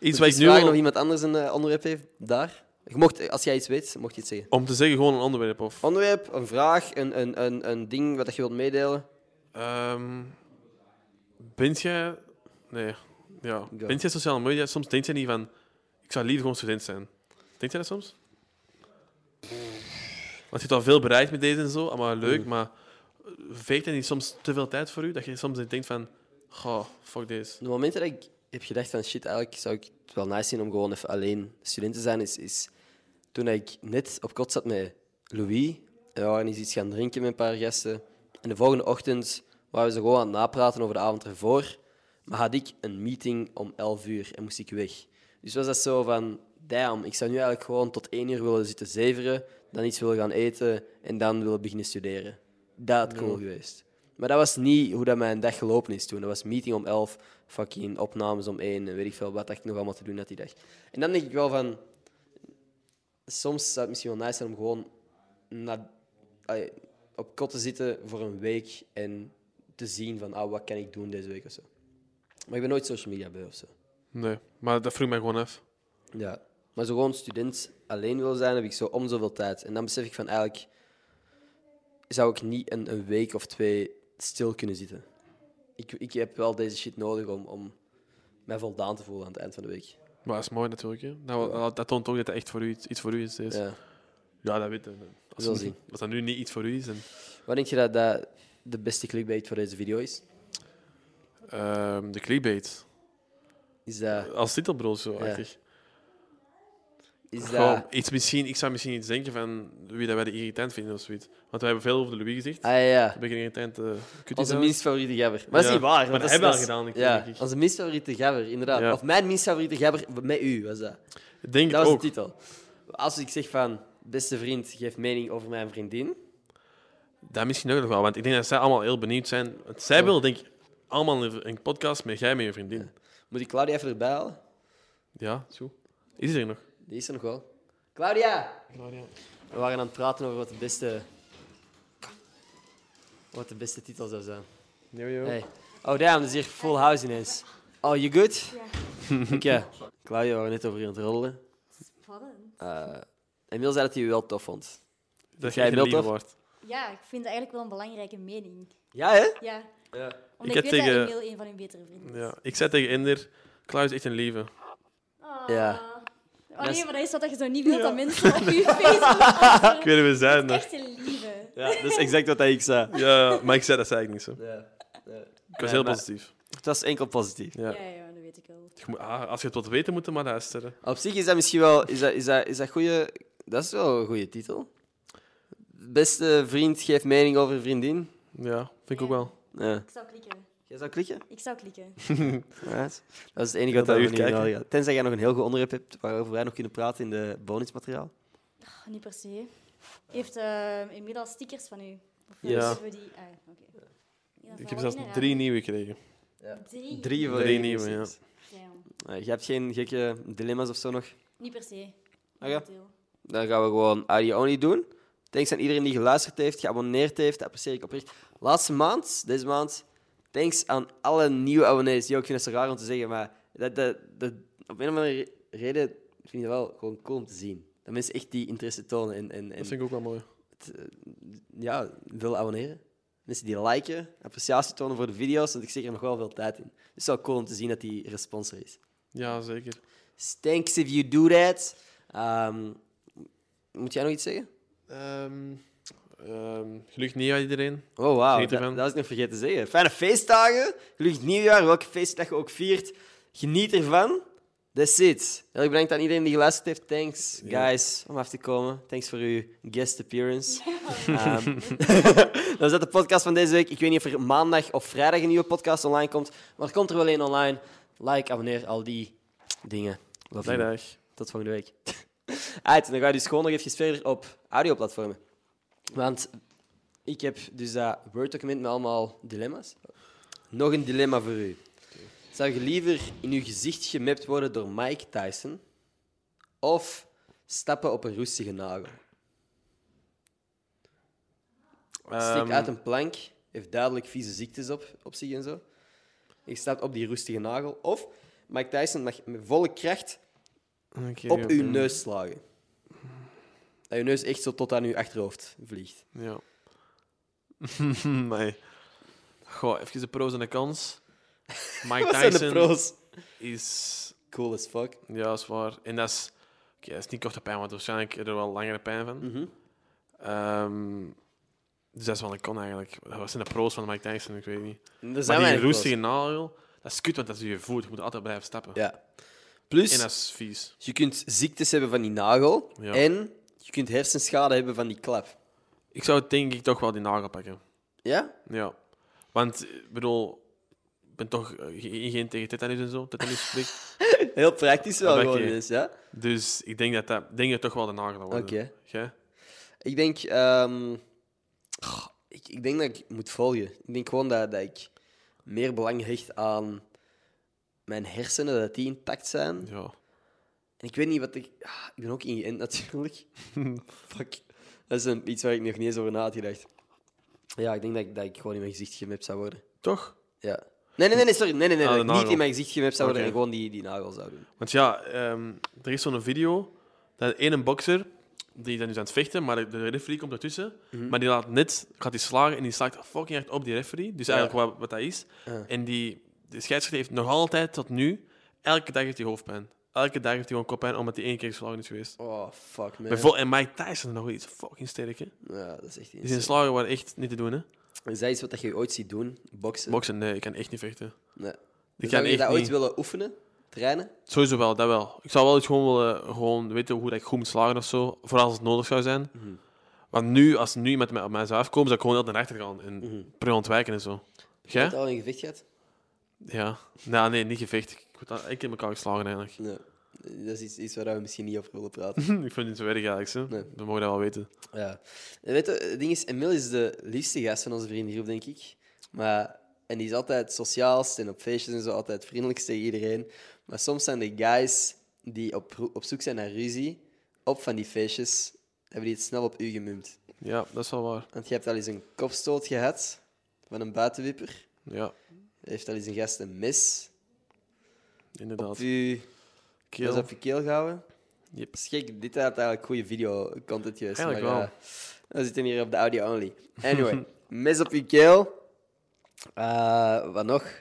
Speaker 5: Iets
Speaker 4: Moet
Speaker 5: wat
Speaker 4: ik
Speaker 5: ik nu
Speaker 4: vragen
Speaker 5: al-
Speaker 4: of iemand anders een eh, onderwerp heeft daar? Je mocht, als jij iets weet, mocht je iets zeggen.
Speaker 5: Om te zeggen, gewoon een onderwerp of...
Speaker 4: Onderwerp, een vraag, een, een, een, een ding wat je wilt meedelen.
Speaker 5: Ehm bent jij... Nee. Ja.
Speaker 4: Go.
Speaker 5: Bent jij sociale media? Soms denkt jij niet van... Ik zou liever gewoon student zijn. Denkt jij dat soms? Want je hebt al veel bereikt met deze en zo. Allemaal leuk, maar... eh, Veegt dat niet soms te veel tijd voor u? Dat je soms denkt van... Goh, fuck deze.
Speaker 4: De momenten dat ik heb gedacht van shit, eigenlijk zou ik het wel nice zien om gewoon even alleen student te zijn, is, is toen ik net op kot zat met Louis. En we waren eens iets gaan drinken met een paar gasten. En de volgende ochtend waren we ze gewoon aan het napraten over de avond ervoor. Maar had ik een meeting om 11 uur en moest ik weg. Dus was dat zo van, damn, ik zou nu eigenlijk gewoon tot 1 uur willen zitten zeveren, dan iets willen gaan eten en dan willen beginnen studeren. Dat had cool geweest. Maar dat was niet hoe dat mijn dag gelopen is toen. Dat was meeting om 11, fucking opnames om 1 en weet ik veel wat dat ik nog allemaal te doen had die dag. En dan denk ik wel van, soms zou het misschien wel nice zijn om gewoon na, allee, op kot te zitten voor een week en te zien van ah, wat kan ik doen deze week of zo. Maar ik ben nooit social media bij of zo.
Speaker 5: Nee. Maar dat vroeg mij gewoon af.
Speaker 4: Ja. Maar zo gewoon student alleen wil zijn, heb ik zo om zoveel tijd. En dan besef ik van eigenlijk zou ik niet een, een week of twee stil kunnen zitten. Ik, ik heb wel deze shit nodig om, om mij voldaan te voelen aan het eind van de week.
Speaker 5: Maar dat is mooi natuurlijk. Hè? Nou, dat, dat toont ook dat dat echt voor u iets, iets voor u is. Deze. Ja.
Speaker 4: Ja.
Speaker 5: dat weet ik. Als,
Speaker 4: Zal zien.
Speaker 5: als dat nu niet iets voor u is, dan...
Speaker 4: Wat denk je dat, dat de beste clickbait voor deze video is?
Speaker 5: Ehm, de clickbait.
Speaker 4: Is dat...
Speaker 5: Als titelbrood zo, eigenlijk.
Speaker 4: Is
Speaker 5: Gewoon
Speaker 4: dat
Speaker 5: iets misschien, ik zou misschien iets denken van wie dat wij de irritant vinden of zoiets. Want we hebben veel over de Louis gezegd.
Speaker 4: ah ja.
Speaker 5: Een beetje irritant. eh, kut is
Speaker 4: Onze
Speaker 5: dat.
Speaker 4: minst favoriete gabber. Maar dat is
Speaker 5: Ja,
Speaker 4: niet waar. want dat
Speaker 5: maar dat
Speaker 4: is-
Speaker 5: hebben we
Speaker 4: dat
Speaker 5: al
Speaker 4: is-
Speaker 5: gedaan,
Speaker 4: Ja,
Speaker 5: denk ik.
Speaker 4: onze minst favoriete gabber, inderdaad.
Speaker 5: Ja.
Speaker 4: Of mijn minst favoriete gabber met u was dat.
Speaker 5: Ik Denk
Speaker 4: Dat was
Speaker 5: ook.
Speaker 4: de titel. Als ik zeg van, beste vriend, geef mening over mijn vriendin.
Speaker 5: Dat misschien ook nog wel, want ik denk dat zij allemaal heel benieuwd zijn. Want zij willen denk ik allemaal een, een podcast met jij met je vriendin.
Speaker 4: Moet ik Claudia even erbij halen?
Speaker 5: Ja, zo. Is die er nog?
Speaker 4: Die is er nog wel. Claudia! We waren aan het praten over wat de beste... Wat de beste titel zou zijn. Hey. Oh damn, dat is hier full house ineens. Oh, you good? <laughs> Oké. Claudia, we waren net over hier aan het roddelen.
Speaker 1: Spannend.
Speaker 4: Eh Emil zei dat hij u wel tof vond.
Speaker 5: Dat
Speaker 4: jij
Speaker 5: jij
Speaker 4: wilt
Speaker 5: beeld
Speaker 4: toch?
Speaker 5: wordt.
Speaker 1: Ja, ik vind dat eigenlijk wel een belangrijke mening.
Speaker 4: Ja, hè?
Speaker 1: Ja,
Speaker 4: Ja.
Speaker 1: omdat
Speaker 5: heb
Speaker 1: ik, weet
Speaker 5: tegen-
Speaker 1: dat Emiel een van hun betere vrienden is.
Speaker 5: Ja. Ik zei tegen Ender, Klaus is echt een lieve.
Speaker 1: Ah.
Speaker 4: Ja.
Speaker 1: Oh
Speaker 4: Dat is-
Speaker 1: nee, maar dat is wat je zo niet wilt dat mensen op
Speaker 5: <laughs>
Speaker 1: je Facebook
Speaker 5: Ik
Speaker 1: antwoorden.
Speaker 5: weet niet we zijn. hè.
Speaker 1: Echt een lieve.
Speaker 4: dat is exact wat ik zei.
Speaker 5: Ja, maar ik zei dat eigenlijk niet zo.
Speaker 4: Ja.
Speaker 5: Ik was
Speaker 4: Ja,
Speaker 5: heel
Speaker 4: maar-
Speaker 5: positief.
Speaker 4: Het was enkel positief.
Speaker 5: Ja.
Speaker 1: Ja, ja, dat weet ik wel.
Speaker 5: Je moet- ah, als je het wilt weten, moet je maar luisteren.
Speaker 4: Op zich is dat misschien wel. Is dat, is dat, is dat, goeie, dat is wel een goede titel. Beste vriend geeft mening over vriendin.
Speaker 5: Ja, vind ik ook wel.
Speaker 4: Ja.
Speaker 1: Ik zou klikken.
Speaker 4: Jij zou klikken?
Speaker 1: Ik zou klikken.
Speaker 4: Alright. Dat is het enige
Speaker 5: Ja,
Speaker 4: wat
Speaker 5: dat
Speaker 4: we
Speaker 5: uur
Speaker 4: nu
Speaker 5: kijken.
Speaker 4: nodig hadden. Tenzij jij nog een heel goed onderwerp hebt waarover wij nog kunnen praten in de bonusmateriaal.
Speaker 1: Oh, niet per se. Heeft eh, inmiddels stickers van u? Of
Speaker 5: Ja.
Speaker 1: is voor die... Ah, oké. Ja, dat is
Speaker 5: Ik
Speaker 1: wel
Speaker 5: heb zelfs
Speaker 1: inderdaad.
Speaker 5: drie nieuwe gekregen.
Speaker 1: Drie?
Speaker 4: Drie voor
Speaker 5: Drie
Speaker 4: één
Speaker 5: nieuwe,
Speaker 4: precies.
Speaker 1: Damn.
Speaker 4: Eh, je hebt geen gekke dilemma's of zo nog.
Speaker 1: Niet per se.
Speaker 4: Ah, ja.
Speaker 1: Momenteel.
Speaker 4: Dan gaan we gewoon Are You Only doen. Thanks aan iedereen die geluisterd heeft, geabonneerd heeft. Dat apprecieer ik oprecht. Laatste maand, deze maand, thanks aan alle nieuwe abonnees. Yo, ik vind het zo raar om te zeggen, maar dat, dat, dat, op een of andere re- reden vind ik dat wel gewoon cool om te zien. Dat mensen echt die interesse tonen en, en, en
Speaker 5: Dat vind ik ook wel mooi.
Speaker 4: ja, willen abonneren. Mensen die liken, appreciatie tonen voor de video's, want ik steek er nog wel veel tijd in. Het is wel cool om te zien dat die respons er is.
Speaker 5: Ja, zeker.
Speaker 4: Thanks if you do that. Ehm, moet jij nog iets zeggen?
Speaker 5: Ehm ehm, gelukkig nieuwjaar iedereen.
Speaker 4: Oh, wauw.
Speaker 5: Geniet
Speaker 4: Dat,
Speaker 5: ervan.
Speaker 4: dat is nog vergeten te zeggen. Fijne feestdagen. Gelukkig nieuwjaar, welke feestdag je ook viert. Geniet ervan. That's it. Heel erg bedankt aan iedereen die geluisterd heeft. Thanks, guys, om af te komen. Thanks voor uw guest appearance. Ehm, <laughs> dat was dat de podcast van deze week. Ik weet niet of er maandag of vrijdag een nieuwe podcast online komt. Maar er komt er wel één online. Like, abonneer, al die dingen. Love
Speaker 5: Dag,
Speaker 4: you.
Speaker 5: dag.
Speaker 4: Tot volgende week. <laughs> Uit, dan ga je dus gewoon nog even verder op audioplatformen. Want ik heb dus dat Word-document met allemaal dilemma's. Nog een dilemma voor u. Zou je liever in uw gezicht gemapt worden door Mike Tyson of stappen op een roestige nagel? Steekt
Speaker 5: Ehm,
Speaker 4: uit een plank, heeft duidelijk vieze ziektes op, op zich en zo. Je stapt op die roestige nagel. Of Mike Tyson mag met volle kracht
Speaker 5: oké,
Speaker 4: op uw
Speaker 5: ja.
Speaker 4: neus slagen. Dat uw neus echt zo tot aan uw achterhoofd vliegt.
Speaker 5: Ja. <laughs> nee. Goh, even de pro's en de
Speaker 4: <laughs>
Speaker 5: cons. Mike
Speaker 4: Wat zijn de
Speaker 5: Tyson
Speaker 4: pro's?
Speaker 5: is...
Speaker 4: Cool as fuck.
Speaker 5: Ja, is waar. En dat is... Oké, dat is niet korte pijn, want waarschijnlijk heb je er wel langere pijn van.
Speaker 4: Mhm.
Speaker 5: Ehm, dus dat is wel een con eigenlijk. Wat zijn de pro's van Mike Tyson? Ik weet het niet.
Speaker 4: Er zijn
Speaker 5: Maar die
Speaker 4: weinig pro's.
Speaker 5: roestige nagel, dat is kut, want dat is je voet. Je moet altijd blijven stappen.
Speaker 4: Ja. Plus,
Speaker 5: En dat is vies.
Speaker 4: je kunt ziektes hebben van die nagel.
Speaker 5: Ja.
Speaker 4: En je kunt hersenschade hebben van die klap.
Speaker 5: Ik zou denk ik toch wel die nagel pakken.
Speaker 4: Ja?
Speaker 5: Ja. Want, eh, ik bedoel, ik ben toch eh, ge- geen tegen tetanus en zo. Tetanus spreekt.
Speaker 4: Heel praktisch wel
Speaker 5: Ah,
Speaker 4: gewoon
Speaker 5: oké.
Speaker 4: dus, ja?
Speaker 5: <laughs> Dus ik denk dat dat, ik denk dat toch wel de nagel gaat worden.
Speaker 4: Oké.
Speaker 5: Jij?
Speaker 4: Ik denk... ehm, goh, ik, ik denk dat ik moet volgen. Ik denk gewoon dat, dat ik meer belang hecht aan mijn hersenen, dat die intact zijn.
Speaker 5: Ja.
Speaker 4: En ik weet niet wat ik. Ah, ik ben ook ingeënt natuurlijk. Fuck. Dat is een, iets waar ik nog niet eens over na had gedacht. Ja, ik denk dat ik, dat ik gewoon in mijn gezicht gemapt zou worden.
Speaker 5: Toch?
Speaker 4: Ja. Nee, nee, nee, nee, sorry. Nee, nee, nee.
Speaker 5: Ah,
Speaker 4: dat
Speaker 5: de
Speaker 4: ik niet
Speaker 5: nagel.
Speaker 4: in mijn gezicht gemapt zou worden
Speaker 5: Oké.
Speaker 4: en gewoon die, die nagel zou doen.
Speaker 5: Want ja, ehm, er is zo'n video dat één bokser, die dan dus aan het vechten, maar de- de referee komt ertussen, maar die laat net, gaat die slagen en die slaat fucking hard op die referee. Dus eigenlijk wat, wat dat is. En die, de scheidsrechter heeft nog altijd tot nu, elke dag heeft hij hoofdpijn. Elke dag heeft hij gewoon koppijn, omdat hij één keer geslagen is geweest.
Speaker 4: Oh, fuck, man.
Speaker 5: Bijvoorbeeld, en Mike Tyson nog iets fucking sterk, hè?
Speaker 4: Ja, dat is Eh. echt
Speaker 5: Die zijn
Speaker 4: iets.
Speaker 5: slagen waren echt niet te doen, hè?
Speaker 4: Is dat iets wat je ooit ziet doen? Boksen?
Speaker 5: Boksen, nee, ik kan echt niet vechten.
Speaker 4: Nee. Dus
Speaker 5: Ik kan
Speaker 4: zou je
Speaker 5: echt
Speaker 4: dat ooit
Speaker 5: niet.
Speaker 4: willen oefenen? Trainen?
Speaker 5: Sowieso wel, dat wel. Ik zou wel eens gewoon willen gewoon weten hoe dat ik goed moet slagen of zo. Vooral als het nodig zou zijn.
Speaker 4: Mhm.
Speaker 5: Want nu, als nu iemand mij- op mij zou afkomen, zou ik gewoon heel naar achter gaan en
Speaker 4: Mhm.
Speaker 5: per ontwijken en zo.
Speaker 4: Heb je
Speaker 5: Jij?
Speaker 4: al een gevecht gehad?
Speaker 5: Ja. Nou, nee, niet gevecht. Ik word al- één keer in elkaar
Speaker 4: <laughs>
Speaker 5: geslagen eigenlijk.
Speaker 4: Nee. Dat is iets, iets waar we misschien niet over willen praten.
Speaker 5: ik vind het niet zo erg eigenlijk. Hè.
Speaker 4: Nee.
Speaker 5: We mogen dat wel weten.
Speaker 4: Ja. En Weet je, het ding is, Emil is de liefste gast van onze vriendengroep, denk ik. Maar, en die is altijd sociaalst en op feestjes en zo, altijd vriendelijkst tegen iedereen. Maar soms zijn de guys die op, ro- op zoek zijn naar ruzie, op van die feestjes, hebben die het snel op u gemunt.
Speaker 5: Ja, dat is wel waar.
Speaker 4: Want je hebt al eens een kopstoot gehad van een buitenwipper.
Speaker 5: Ja,
Speaker 4: Er heeft al eens een gast een mes
Speaker 5: inderdaad.
Speaker 4: op u
Speaker 5: Keel.
Speaker 4: op je keel gehouden.
Speaker 5: Yep.
Speaker 4: Schik, dit had eigenlijk goede video-content geweest.
Speaker 5: Eigenlijk
Speaker 4: maar,
Speaker 5: wel.
Speaker 4: eh, we zitten hier op de audio only.
Speaker 5: <laughs>
Speaker 4: Anyway, mes op je keel. Eh, wat nog?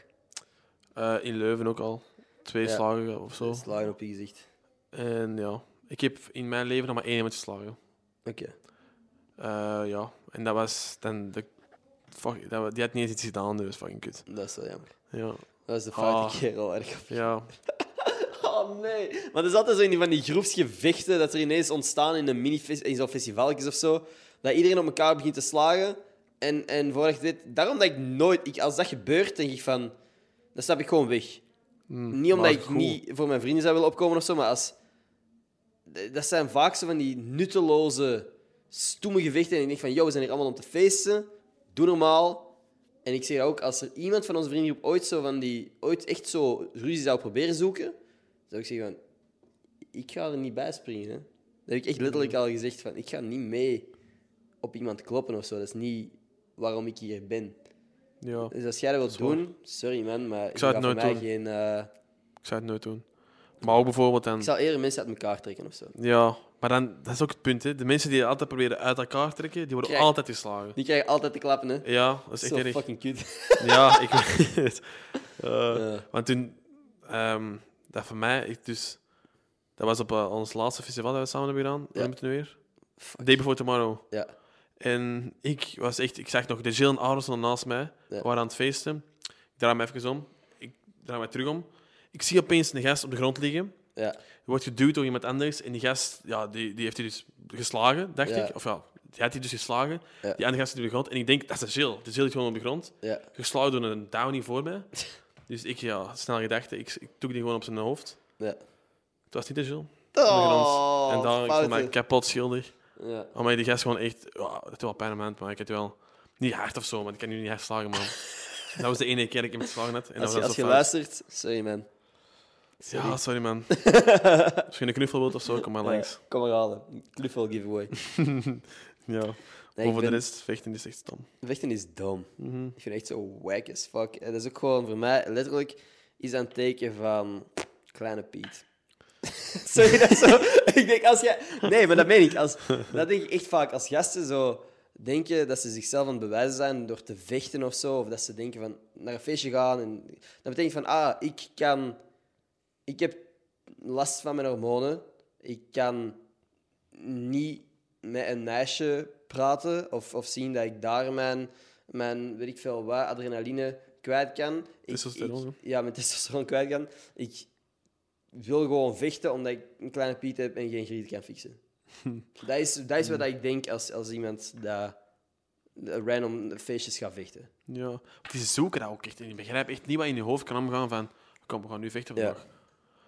Speaker 5: Eh, in Leuven ook al. Twee
Speaker 4: Ja.
Speaker 5: slagen of zo.
Speaker 4: Slagen op je gezicht.
Speaker 5: En ja, ik heb in mijn leven nog maar één iemand geslagen.
Speaker 4: Oké.
Speaker 5: Eh, ja, en dat was dan de. Fuck, dat, wa- die had niet eens iets gedaan, dus fucking kut.
Speaker 4: Dat is wel jammer.
Speaker 5: Ja,
Speaker 4: Dat is de foute
Speaker 5: Ah.
Speaker 4: kerel. Erg.
Speaker 5: ja,
Speaker 4: Oh nee. Maar er is altijd zo in die, van die groepsgevechten dat er ineens ontstaan in, een mini in zo'n festivaltjes of zo. Dat iedereen op elkaar begint te slagen. En, en voordat je dit... Daarom dat ik nooit... Ik, als dat gebeurt, denk ik van... Dan stap ik gewoon weg. niet omdat
Speaker 5: Hmm. maar
Speaker 4: ik
Speaker 5: goed.
Speaker 4: niet voor mijn vrienden zou willen opkomen of zo, maar als... D- Dat zijn vaak zo van die nutteloze stomme gevechten. En ik denk van, yo, we zijn hier allemaal om te feesten. Doe normaal. En ik zeg ook, als er iemand van onze vriendengroep ooit zo van die... Ooit echt zo ruzie zou proberen zoeken, zou ik zeggen van... Ik ga er niet bij springen, hè. Dat heb ik echt letterlijk al gezegd van, ik ga niet mee op iemand kloppen of zo. Dat is niet waarom ik hier ben.
Speaker 5: Ja,
Speaker 4: Dus als jij dat wilt
Speaker 5: Dat is waar.
Speaker 4: doen, sorry man, maar ik
Speaker 5: zou het
Speaker 4: voor
Speaker 5: nooit
Speaker 4: mij
Speaker 5: doen.
Speaker 4: geen... eh,
Speaker 5: ik zou het nooit doen. Maar ook bijvoorbeeld dan...
Speaker 4: ik zal eerder mensen uit elkaar trekken of zo.
Speaker 5: Ja, maar dan, dat is ook het punt. Hè. De mensen die je altijd proberen uit elkaar trekken, die worden
Speaker 4: Krijg-
Speaker 5: altijd geslagen.
Speaker 4: Die krijgen altijd te klappen, hè.
Speaker 5: Ja, dat is echt
Speaker 4: zo
Speaker 5: erg.
Speaker 4: fucking
Speaker 5: <laughs>
Speaker 4: cute.
Speaker 5: Ja, ik weet het. Eh,
Speaker 4: Ja.
Speaker 5: Want toen, ehm, dat voor mij, ik dus, dat was op eh, ons laatste festival dat we samen hebben gedaan.
Speaker 4: Ja.
Speaker 5: Hoe noemt het nu weer? Day Before Tomorrow.
Speaker 4: Ja.
Speaker 5: En ik was echt, ik zag nog de Jill en Aronson naast mij,
Speaker 4: Ja.
Speaker 5: waren aan het feesten. Ik draai me even om, ik draai me terug om. Ik zie opeens een gast op de grond liggen,
Speaker 4: Ja.
Speaker 5: wordt geduwd door iemand anders. En die gast, ja, die, die heeft hij dus geslagen, dacht
Speaker 4: Ja.
Speaker 5: ik. Of ja, die had hij dus geslagen.
Speaker 4: Ja.
Speaker 5: Die andere gast zit op de grond. En ik denk, dat is de Jill. De Jill ligt gewoon op de grond
Speaker 4: Ja.
Speaker 5: geslagen door een downy voor mij. Dus ik, ja, snel gedachte, ik, ik toek die gewoon op zijn hoofd.
Speaker 4: Ja.
Speaker 5: Het was niet de Jules.
Speaker 4: Oh,
Speaker 5: en daar, ik voelde mij
Speaker 4: fouten.
Speaker 5: kapot schuldig.
Speaker 4: Ja.
Speaker 5: Oh, maar die gast gewoon echt, ja, het doet wel pijn aan mijn hand, maar ik had wel niet hard of zo, maar ik kan nu niet hard slagen,
Speaker 4: <laughs>
Speaker 5: man. dat was de enige keer dat ik hem geslagen had. En
Speaker 4: Als
Speaker 5: dat
Speaker 4: je,
Speaker 5: was
Speaker 4: als je
Speaker 5: zo fout.
Speaker 4: luistert, sorry man.
Speaker 5: Ja, sorry
Speaker 4: <laughs>
Speaker 5: man. Misschien een knuffel wilt of zo, kom maar langs.
Speaker 4: Ja, kom maar halen. Knuffel giveaway.
Speaker 5: Ja.
Speaker 4: Nee, ik
Speaker 5: Over
Speaker 4: ben-
Speaker 5: de rest, vechten is echt stom.
Speaker 4: Vechten is dom. Ik vind het echt zo wack as fuck. En dat is ook gewoon voor mij letterlijk is aan het teken van kleine Piet. <laughs> Sorry, dat is zo. <laughs> Ik denk als jij. Nee, maar dat meen ik. Als, dat denk ik echt vaak. Als gasten zo denken dat ze zichzelf aan het bewijzen zijn door te vechten of zo. Of dat ze denken van naar een feestje gaan. En, dat betekent van, ah, ik kan. Ik heb last van mijn hormonen. Ik kan niet met een meisje praten of, of zien dat ik daar mijn, mijn weet ik veel wat, adrenaline kwijt kan. Ik-
Speaker 5: Testosteron,
Speaker 4: ik- Ja, mijn testosteron kwijt kan. Ik wil gewoon vechten omdat ik een kleine piet heb en geen griet kan
Speaker 5: <laughs>
Speaker 4: fixen. dat, is, dat is wat ik denk als, als iemand dat, dat random feestjes gaat vechten.
Speaker 5: Ja. Want die zoeken dat ook echt. En ik begrijp echt niet wat in je hoofd kan omgaan van... Kom, we gaan nu vechten
Speaker 4: Ja. Mm.
Speaker 5: vandaag.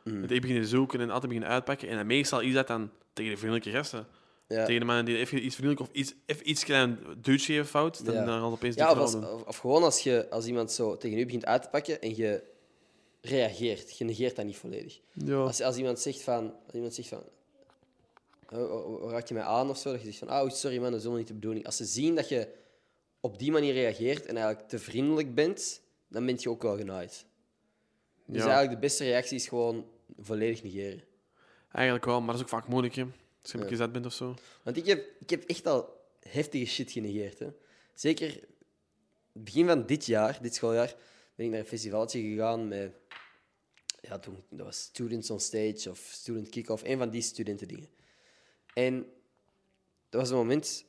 Speaker 5: Want die beginnen zoeken en altijd beginnen uitpakken. En dan meestal is dat dan tegen de vriendelijke gasten.
Speaker 4: Ja.
Speaker 5: Tegen de mannen die even iets vriendelijk of iets, even iets klein duwtje geven fout. Dan,
Speaker 4: Ja.
Speaker 5: dan gaan ze opeens
Speaker 4: Ja,
Speaker 5: die
Speaker 4: of, als,
Speaker 5: verhaal doen.
Speaker 4: of, of gewoon als, je, als iemand zo tegen u begint uit te pakken en je reageert. Je negeert dat niet volledig.
Speaker 5: Ja.
Speaker 4: Als, als iemand zegt van... Als iemand zegt van "Oh, oh, oh, raak je mij aan of zo? Dat je zegt van, oh, sorry man, dat is helemaal niet de bedoeling. Als ze zien dat je op die manier reageert en eigenlijk te vriendelijk bent, dan ben je ook wel genaaid. Dus
Speaker 5: Ja.
Speaker 4: eigenlijk de beste reactie is gewoon volledig negeren.
Speaker 5: Eigenlijk wel, maar dat is ook vaak moeilijk, hè. Als je een beetje zat bent of zo.
Speaker 4: Want ik heb, ik heb echt al heftige shit genegeerd. Hè. Zeker begin van dit jaar, dit schooljaar, ben ik naar een festivaltje gegaan met... Ja, toen, dat was Students on Stage of Student Kick-Off. Een van die studentendingen. En dat was een moment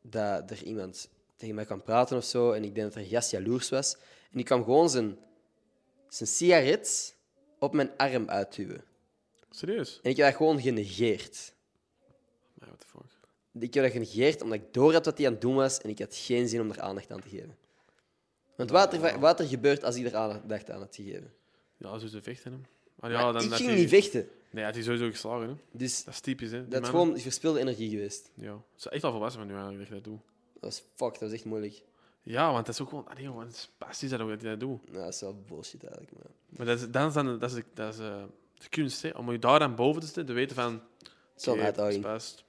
Speaker 4: dat er iemand tegen mij kwam praten of zo. En ik denk dat er een gast jaloers was. En die kwam gewoon zijn, zijn sigaret op mijn arm uitduwen.
Speaker 5: Serieus?
Speaker 4: En ik heb dat gewoon genegeerd.
Speaker 5: Nee, what the fuck.
Speaker 4: Ik heb dat genegeerd omdat ik door had wat hij aan het doen was en ik had geen zin om er aandacht aan te geven. Want wat er, wat er gebeurt als ik er aandacht aan had gegeven?
Speaker 5: Ja, zo ze vechten, hè. Maar
Speaker 4: Maar
Speaker 5: ja, dan
Speaker 4: ik
Speaker 5: had
Speaker 4: ging
Speaker 5: hij-
Speaker 4: niet vechten.
Speaker 5: Nee, had hij sowieso geslagen, hè.
Speaker 4: Dus
Speaker 5: Dat is typisch, hè. Die
Speaker 4: dat is
Speaker 5: mannen.
Speaker 4: gewoon verspilde energie geweest.
Speaker 5: Ja. Het is echt al volwassen van nu eigenlijk, dat ik dat doe.
Speaker 4: Dat was fuck, dat was echt moeilijk.
Speaker 5: Ja, want dat is ook gewoon... Allee, jongen, het is passie dat ook dat hij dat doet.
Speaker 4: Nou, dat is wel bullshit eigenlijk. Maar.
Speaker 5: Maar dat is, dan is, dan, dat is, dat is eh, de kunst, hè. Om je daar dan boven te zitten, te weten van...
Speaker 4: Zo'n
Speaker 5: oké, het is
Speaker 4: uitdaging.
Speaker 5: best.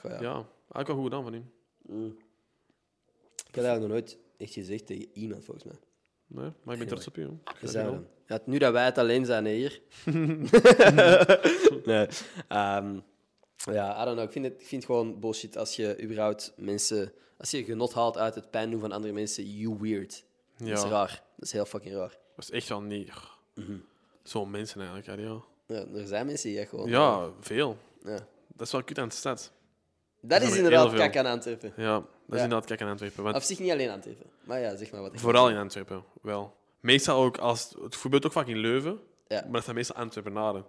Speaker 4: Goh, ja.
Speaker 5: Ja, eigenlijk wel goed gedaan van hem.
Speaker 4: Ik heb dat nog nooit echt gezegd tegen iemand volgens mij.
Speaker 5: Nee, maar ik ben trots op je. hoor.
Speaker 4: Dus
Speaker 5: Graag
Speaker 4: ja,
Speaker 5: gedaan.
Speaker 4: ja, nu dat wij het alleen zijn hier.
Speaker 5: <laughs>
Speaker 4: nee. ehm, ja, I don't know. Ik vind, het, ik vind het gewoon bullshit als je überhaupt mensen... Als je genot haalt uit het pijn doen van andere mensen, you weird. Dat
Speaker 5: Ja.
Speaker 4: is raar. Mhm. Dat is heel fucking raar.
Speaker 5: Dat is echt wel niet... Zo'n mensen eigenlijk, hè, ja.
Speaker 4: Ja, er zijn mensen die echt gewoon...
Speaker 5: Ja, veel.
Speaker 4: Ja.
Speaker 5: Dat is wel kut aan de stad.
Speaker 4: Dat
Speaker 5: er
Speaker 4: is
Speaker 5: heel
Speaker 4: inderdaad
Speaker 5: veel.
Speaker 4: kak aan Antwerpen.
Speaker 5: Ja, dat is
Speaker 4: Ja.
Speaker 5: inderdaad kijk aan Antwerpen. Want
Speaker 4: Of zich niet alleen Antwerpen. Maar ja, zeg maar wat. ik-
Speaker 5: vooral in Antwerpen, wel. Meestal ook als... Het gebeurt ook vaak in Leuven.
Speaker 4: Ja.
Speaker 5: Maar dat zijn meestal Antwerpenaren.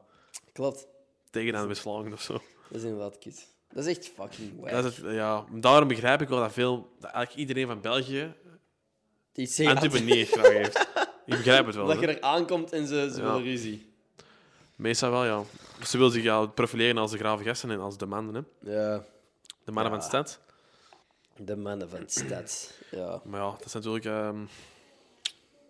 Speaker 4: Klopt.
Speaker 5: Tegen aan beslagen of zo.
Speaker 4: Dat is inderdaad kut. Dat is echt fucking wack.
Speaker 5: Dat is het, ja. Daarom begrijp ik wel dat veel... Dat eigenlijk iedereen van België
Speaker 4: Iets zeggen
Speaker 5: Antwerpen niet echt graag heeft. Ik begrijp het wel.
Speaker 4: Dat
Speaker 5: hè.
Speaker 4: je er aankomt en ze, ze
Speaker 5: Ja.
Speaker 4: willen ruzie.
Speaker 5: Dus Meestal wel, ja. Ze wil zich ja, profileren als de grave gasten en als de mannen, hè.
Speaker 4: Ja.
Speaker 5: de mannen
Speaker 4: Ja.
Speaker 5: van de stad.
Speaker 4: De mannen van de stad. Ja.
Speaker 5: Maar ja, dat is natuurlijk... ehm,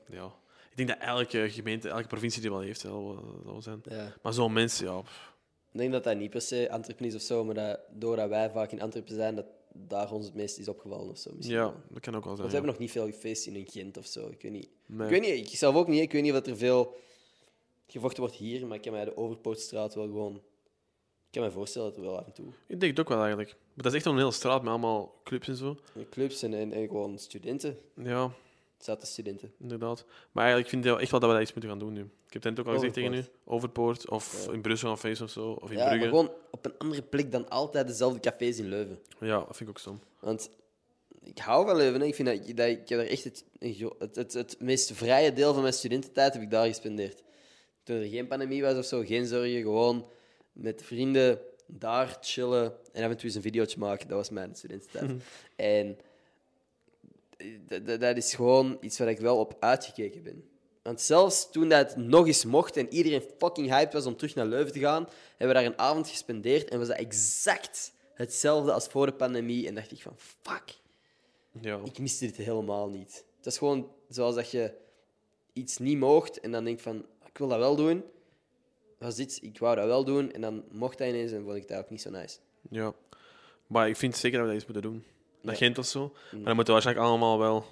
Speaker 5: ja. Ik denk dat elke gemeente, elke provincie die wel heeft, hè, dat wel- dat wel zijn.
Speaker 4: ja.
Speaker 5: Maar zo'n mensen, ja... pff.
Speaker 4: Ik denk dat dat niet per se Antwerpen is of zo, maar dat doordat wij vaak in Antwerpen zijn, dat daar ons het meest is opgevallen of zo. Misschien.
Speaker 5: Ja,
Speaker 4: Want
Speaker 5: dat kan ook wel
Speaker 4: we
Speaker 5: zijn.
Speaker 4: hebben nog niet veel feesten in Gent of zo. Ik weet niet.
Speaker 5: Nee.
Speaker 4: Ik weet niet, ik zelf ook niet. Ik weet niet wat er veel gevochten wordt hier, maar ik kan mij de Overpoortstraat wel gewoon. Ik kan me voorstellen dat er wel af en toe
Speaker 5: Ik denk het ook wel eigenlijk. Maar dat is echt wel een hele straat met allemaal clubs en zo.
Speaker 4: clubs en, en, en gewoon studenten.
Speaker 5: Ja,
Speaker 4: Zaten studenten.
Speaker 5: inderdaad. Maar eigenlijk vind ik wel echt wel dat we daar iets moeten gaan doen nu. Ik heb het net ook al gezegd tegen u.
Speaker 4: Overpoort.
Speaker 5: Overpoort, of
Speaker 4: Ja.
Speaker 5: in Brussel of Feest of zo, of in
Speaker 4: Ja, maar
Speaker 5: Brugge.
Speaker 4: gewoon op een andere plek dan altijd dezelfde cafés in Leuven.
Speaker 5: Ja, dat vind ik ook stom.
Speaker 4: Want ik hou van Leuven. hè. Ik vind dat, dat ik heb er echt het, een gro- het, het, het meest vrije deel van mijn studententijd heb ik daar gespendeerd. Toen er geen pandemie was of zo, geen zorgen, gewoon met vrienden daar chillen en af en toe eens een videootje maken. Dat was mijn studententijd. en d- d- dat is gewoon iets waar ik wel op uitgekeken ben. Want zelfs toen dat nog eens mocht en iedereen fucking hyped was om terug naar Leuven te gaan, hebben we daar een avond gespendeerd en was dat exact hetzelfde als voor de pandemie. En dacht ik van, fuck,
Speaker 5: Ja.
Speaker 4: ik miste dit helemaal niet. Het is gewoon zoals dat je iets niet mocht en dan denkt van, ik wil dat wel doen. Was dit, ik wou dat wel doen en dan mocht dat ineens en vond ik dat ook niet zo nice.
Speaker 5: ja. Maar ik vind zeker dat we dat iets moeten doen. Dat
Speaker 4: Ja. Mm.
Speaker 5: Gent of zo. Maar dan moeten we waarschijnlijk allemaal wel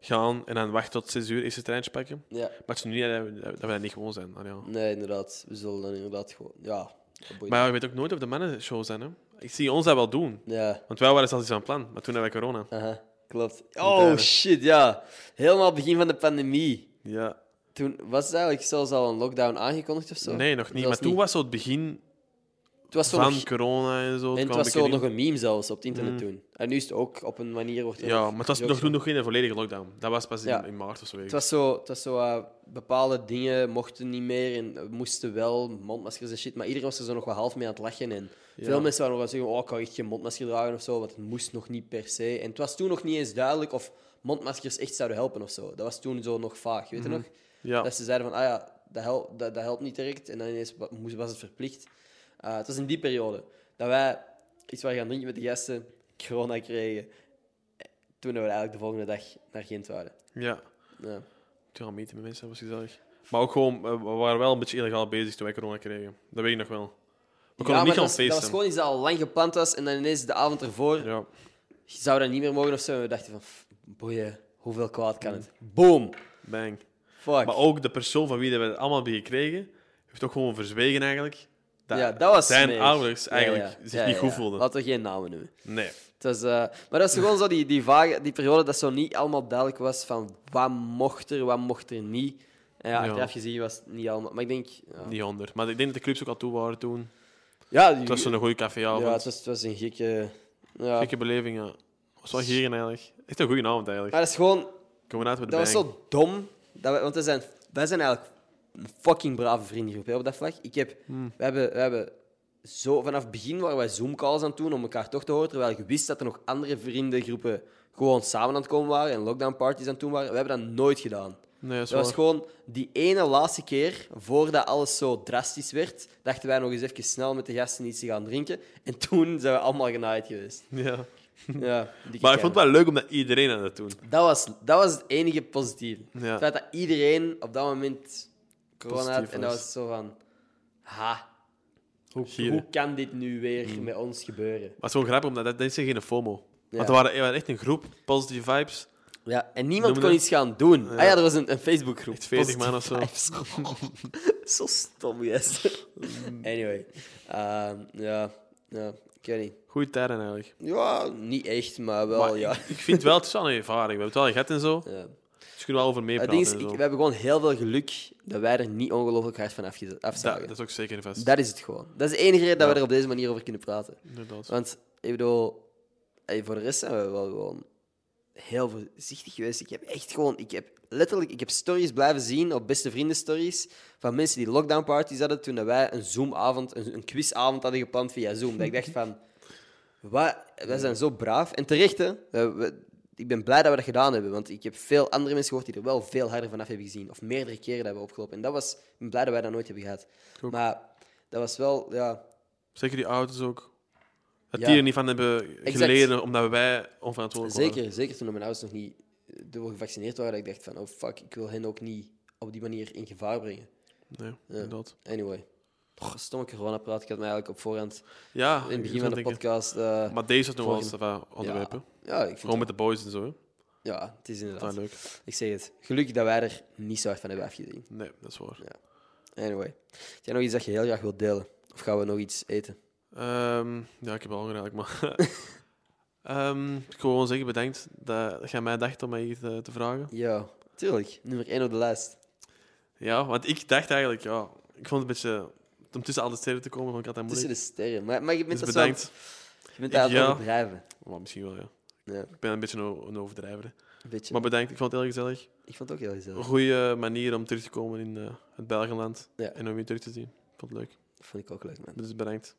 Speaker 5: gaan en dan wachten tot 6 uur eerst het treintje pakken.
Speaker 4: Ja,
Speaker 5: Maar het is nu niet dat we, dat we dat niet gewoon zijn. Ah, ja.
Speaker 4: nee, inderdaad. We zullen dan inderdaad gewoon, ja. dat boeit
Speaker 5: Maar je weet ook nooit of de mannen show zijn. Hè? Ik zie ons dat wel doen.
Speaker 4: niet. Ja.
Speaker 5: Want wij waren zelfs iets aan plan, maar toen hadden wij corona.
Speaker 4: Aha, klopt.
Speaker 5: tijden.
Speaker 4: Oh shit, ja. Helemaal begin van de pandemie.
Speaker 5: Ja.
Speaker 4: Toen was het eigenlijk zelfs al een lockdown aangekondigd of zo?
Speaker 5: Nee, nog niet.
Speaker 4: Zelfs
Speaker 5: Maar toen was zo het begin
Speaker 4: het was zo
Speaker 5: van
Speaker 4: nog-
Speaker 5: corona en zo.
Speaker 4: en het
Speaker 5: kwam
Speaker 4: was
Speaker 5: een
Speaker 4: zo
Speaker 5: keer
Speaker 4: nog
Speaker 5: in.
Speaker 4: een meme zelfs op het internet toen. En nu is het ook op een manier wordt er
Speaker 5: Ja,
Speaker 4: nog
Speaker 5: maar het was
Speaker 4: gejokt
Speaker 5: nog, toen
Speaker 4: van.
Speaker 5: nog geen volledige lockdown. Dat was pas in,
Speaker 4: Ja.
Speaker 5: in maart of zo. weet ik.
Speaker 4: Het was zo, het was zo eh, bepaalde dingen mochten niet meer en eh, moesten wel, mondmaskers en shit. Maar iedereen was er zo nog wel half mee aan het lachen. En veel mensen waren nog wel zeggen, oh, ik kan echt geen mondmasker dragen of zo, want het moest nog niet per se. En het was toen nog niet eens duidelijk of mondmaskers echt zouden helpen of zo. Dat was toen zo nog vaag, weet je nog?
Speaker 5: Mhm. Ja.
Speaker 4: Dat ze zeiden van, ah ja, dat, hel- dat, dat helpt niet direct. En dan ineens wa- moest- was het verplicht. Eh, het was in die periode dat wij iets waren gaan drinken met de gasten, <laughs> corona kregen. Eh, Toen we eigenlijk de volgende dag naar Gent waren.
Speaker 5: ja.
Speaker 4: Ja.
Speaker 5: Toen gaan meten met mensen, dat was gezellig. Maar ook gewoon, eh, we waren wel een beetje illegaal bezig toen wij corona kregen. Dat weet ik nog wel. We konden
Speaker 4: Ja,
Speaker 5: niet
Speaker 4: maar dat, was,
Speaker 5: gaan
Speaker 4: dat was
Speaker 5: feesten.
Speaker 4: gewoon iets dat al lang gepland was. En dan ineens de avond ervoor
Speaker 5: Ja.
Speaker 4: zou dat niet meer mogen of zo. En we dachten van, "Pff, boeien, hoeveel kwaad kan het? Boom!
Speaker 5: Bang.
Speaker 4: Fuck.
Speaker 5: Maar ook de persoon van wie dat we het allemaal hebben gekregen, heeft ook gewoon verzwegen eigenlijk.
Speaker 4: ja, dat was
Speaker 5: zijn
Speaker 4: smerig.
Speaker 5: ouders
Speaker 4: Ja,
Speaker 5: eigenlijk
Speaker 4: ja.
Speaker 5: zich
Speaker 4: Ja,
Speaker 5: niet
Speaker 4: ja,
Speaker 5: goed
Speaker 4: ja.
Speaker 5: voelden.
Speaker 4: Laten we geen namen noemen.
Speaker 5: Nee.
Speaker 4: Het was, eh, maar dat is gewoon zo die, die, vage, die periode dat zo niet allemaal duidelijk was van wat mocht er, wat mocht er niet. En ja,
Speaker 5: Ja.
Speaker 4: achteraf gezien was het niet allemaal... Maar ik denk... Ja,
Speaker 5: Niet onder. Maar ik denk dat de clubs ook al toe waren toen.
Speaker 4: ja, die-
Speaker 5: Het was zo'n goede caféavond.
Speaker 4: ja, het was, het was een gekke... Ja.
Speaker 5: Gekke beleving, ja. Het was wel geren eigenlijk. Echt een goede avond eigenlijk.
Speaker 4: Maar dat is gewoon...
Speaker 5: Komen uit met de
Speaker 4: Dat was
Speaker 5: bang.
Speaker 4: zo dom. Dat wij, want wij zijn, wij zijn eigenlijk een fucking brave vriendengroep hè, op dat vlak. Ik heb,
Speaker 5: Hmm.
Speaker 4: we, hebben, we hebben zo, vanaf het begin waren wij Zoom-calls aan het doen om elkaar toch te horen. Terwijl ik wist dat er nog andere vriendengroepen gewoon samen aan het komen waren en lockdown-parties aan het doen waren. We hebben dat nooit gedaan.
Speaker 5: Nee, dat is
Speaker 4: Dat was
Speaker 5: waar.
Speaker 4: gewoon die ene laatste keer, voordat alles zo drastisch werd, dachten wij nog eens even snel met de gasten iets te gaan drinken. En toen zijn we allemaal genaaid
Speaker 5: <laughs>
Speaker 4: geweest.
Speaker 5: Ja.
Speaker 4: Ja, dikke
Speaker 5: Maar ik
Speaker 4: kern.
Speaker 5: vond het wel leuk omdat iedereen aan het doen.
Speaker 4: Dat was, dat was het enige positieve.
Speaker 5: Ja.
Speaker 4: Het feit dat iedereen op dat moment corona had.
Speaker 5: Positief
Speaker 4: En dat
Speaker 5: was.
Speaker 4: was zo van... Ha,
Speaker 5: Hoe,
Speaker 4: hoe kan dit nu weer
Speaker 5: Mm.
Speaker 4: met ons gebeuren?
Speaker 5: Maar het is gewoon grappig, omdat dat, dat is geen FOMO.
Speaker 4: Ja.
Speaker 5: Want er waren, er waren echt een groep positive vibes.
Speaker 4: Ja, en niemand
Speaker 5: Noem
Speaker 4: kon
Speaker 5: dat-
Speaker 4: iets gaan doen. Ah ja, er was een, een Facebookgroep.
Speaker 5: Echt 40 man of
Speaker 4: Positief
Speaker 5: zo.
Speaker 4: vibes.
Speaker 5: <laughs>
Speaker 4: zo stom, yes. anyway. Ehm, ja, ja, ik weet niet.
Speaker 5: Goeie tijden eigenlijk.
Speaker 4: Ja, niet echt, maar wel,
Speaker 5: Maar
Speaker 4: Oh, ja.
Speaker 5: ik, ik vind wel, het is wel een ervaring. We hebben het wel gehad en zo.
Speaker 4: ja.
Speaker 5: Dus we kunnen wel over
Speaker 4: Het
Speaker 5: meepraten
Speaker 4: ding is,
Speaker 5: en
Speaker 4: ik-
Speaker 5: zo.
Speaker 4: we hebben gewoon heel veel geluk dat wij er niet ongelooflijk hard van afge-
Speaker 5: dat,
Speaker 4: afzagen.
Speaker 5: dat is ook zeker vast.
Speaker 4: Dat is het gewoon. Dat is de enige reden dat we er op deze manier over kunnen praten.
Speaker 5: Inderdaad.
Speaker 4: Want, ik bedoel, hey, voor de rest zijn we wel gewoon heel voorzichtig geweest. Ik heb echt gewoon, ik heb letterlijk, ik heb stories blijven zien op beste vrienden stories van mensen die lockdown parties hadden toen dat wij een Zoom-avond, een, een quizavond hadden gepland via Zoom. Dat ik dacht van, wat, wij zijn zo braaf. En terecht, hè. We- we- ik ben blij dat we dat gedaan hebben, want ik heb veel andere mensen gehoord die er wel veel harder vanaf hebben gezien. Of meerdere keren dat hebben opgelopen. En dat was, ik ben blij dat wij dat nooit hebben gehad.
Speaker 5: ook.
Speaker 4: Maar dat was wel, ja,
Speaker 5: Zeker die auto's ook. Dat
Speaker 4: Ja.
Speaker 5: die er niet van hebben
Speaker 4: Exact.
Speaker 5: geleden omdat wij onverantwoordelijk waren.
Speaker 4: Zeker, zeker toen mijn ouders nog niet door gevaccineerd waren, dat ik dacht van, oh fuck, ik wil hen ook niet op die manier in gevaar brengen.
Speaker 5: Nee, inderdaad.
Speaker 4: Anyway. Ah, Oh, stomme corona-praat. Ik had mij eigenlijk op voorhand,
Speaker 5: Ja,
Speaker 4: in het
Speaker 5: ik
Speaker 4: begin van
Speaker 5: zou
Speaker 4: de
Speaker 5: denken.
Speaker 4: podcast... eh,
Speaker 5: Maar deze is nog wel
Speaker 4: Volgende.
Speaker 5: eens van onderwerpen.
Speaker 4: ja, ik vind
Speaker 5: Gewoon met
Speaker 4: het,
Speaker 5: de boys en zo. hè.
Speaker 4: ja, het is
Speaker 5: Dat is
Speaker 4: inderdaad...
Speaker 5: leuk.
Speaker 4: Ik zeg het. Gelukkig dat wij er niet zo hard van hebben afgezien.
Speaker 5: Nee, dat is waar.
Speaker 4: Anyway. Heb jij nog iets dat je heel graag wilt delen? Of gaan we nog iets eten?
Speaker 5: Ehm, ja, ik heb al gedaan,
Speaker 4: <laughs>
Speaker 5: maar. Ehm, ik wil gewoon zeggen, bedankt dat jij mij dacht om mij hier te, te vragen.
Speaker 4: Ja, tuurlijk. Nummer 1 op de lijst.
Speaker 5: Ja, want ik dacht eigenlijk, ja, ik vond het een beetje. Om tussen al de sterren te komen, vond ik altijd
Speaker 4: Tussen
Speaker 5: moeilijk.
Speaker 4: de sterren. Maar, maar je bent
Speaker 5: Dus
Speaker 4: dat zo aan-
Speaker 5: bedankt.
Speaker 4: Je bent daar aan het
Speaker 5: Ja.
Speaker 4: overdrijven.
Speaker 5: Maar misschien wel, ja.
Speaker 4: Ja,
Speaker 5: Ik ben een beetje een, een overdrijver. hè.
Speaker 4: een beetje.
Speaker 5: Maar bedankt, ik vond het heel gezellig.
Speaker 4: ik vond het ook heel
Speaker 5: Een
Speaker 4: gezellig.
Speaker 5: goede manier om terug te komen in eh, het Belgenland.
Speaker 4: Ja.
Speaker 5: En om je terug te zien. Ik vond het leuk.
Speaker 4: Dat vond ik ook leuk, man.
Speaker 5: Dus bedankt.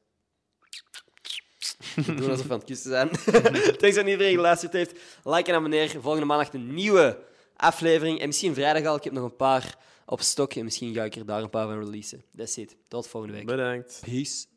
Speaker 4: We doen alsof we aan het kussen zijn. <laughs> Thanks aan iedereen die geluisterd heeft. Like en abonneer. Volgende maandag een nieuwe aflevering. En misschien vrijdag al. Ik heb nog een paar op stok. En misschien ga ik er daar een paar van releasen. That's it. Tot volgende week.
Speaker 5: Bedankt.
Speaker 4: Peace.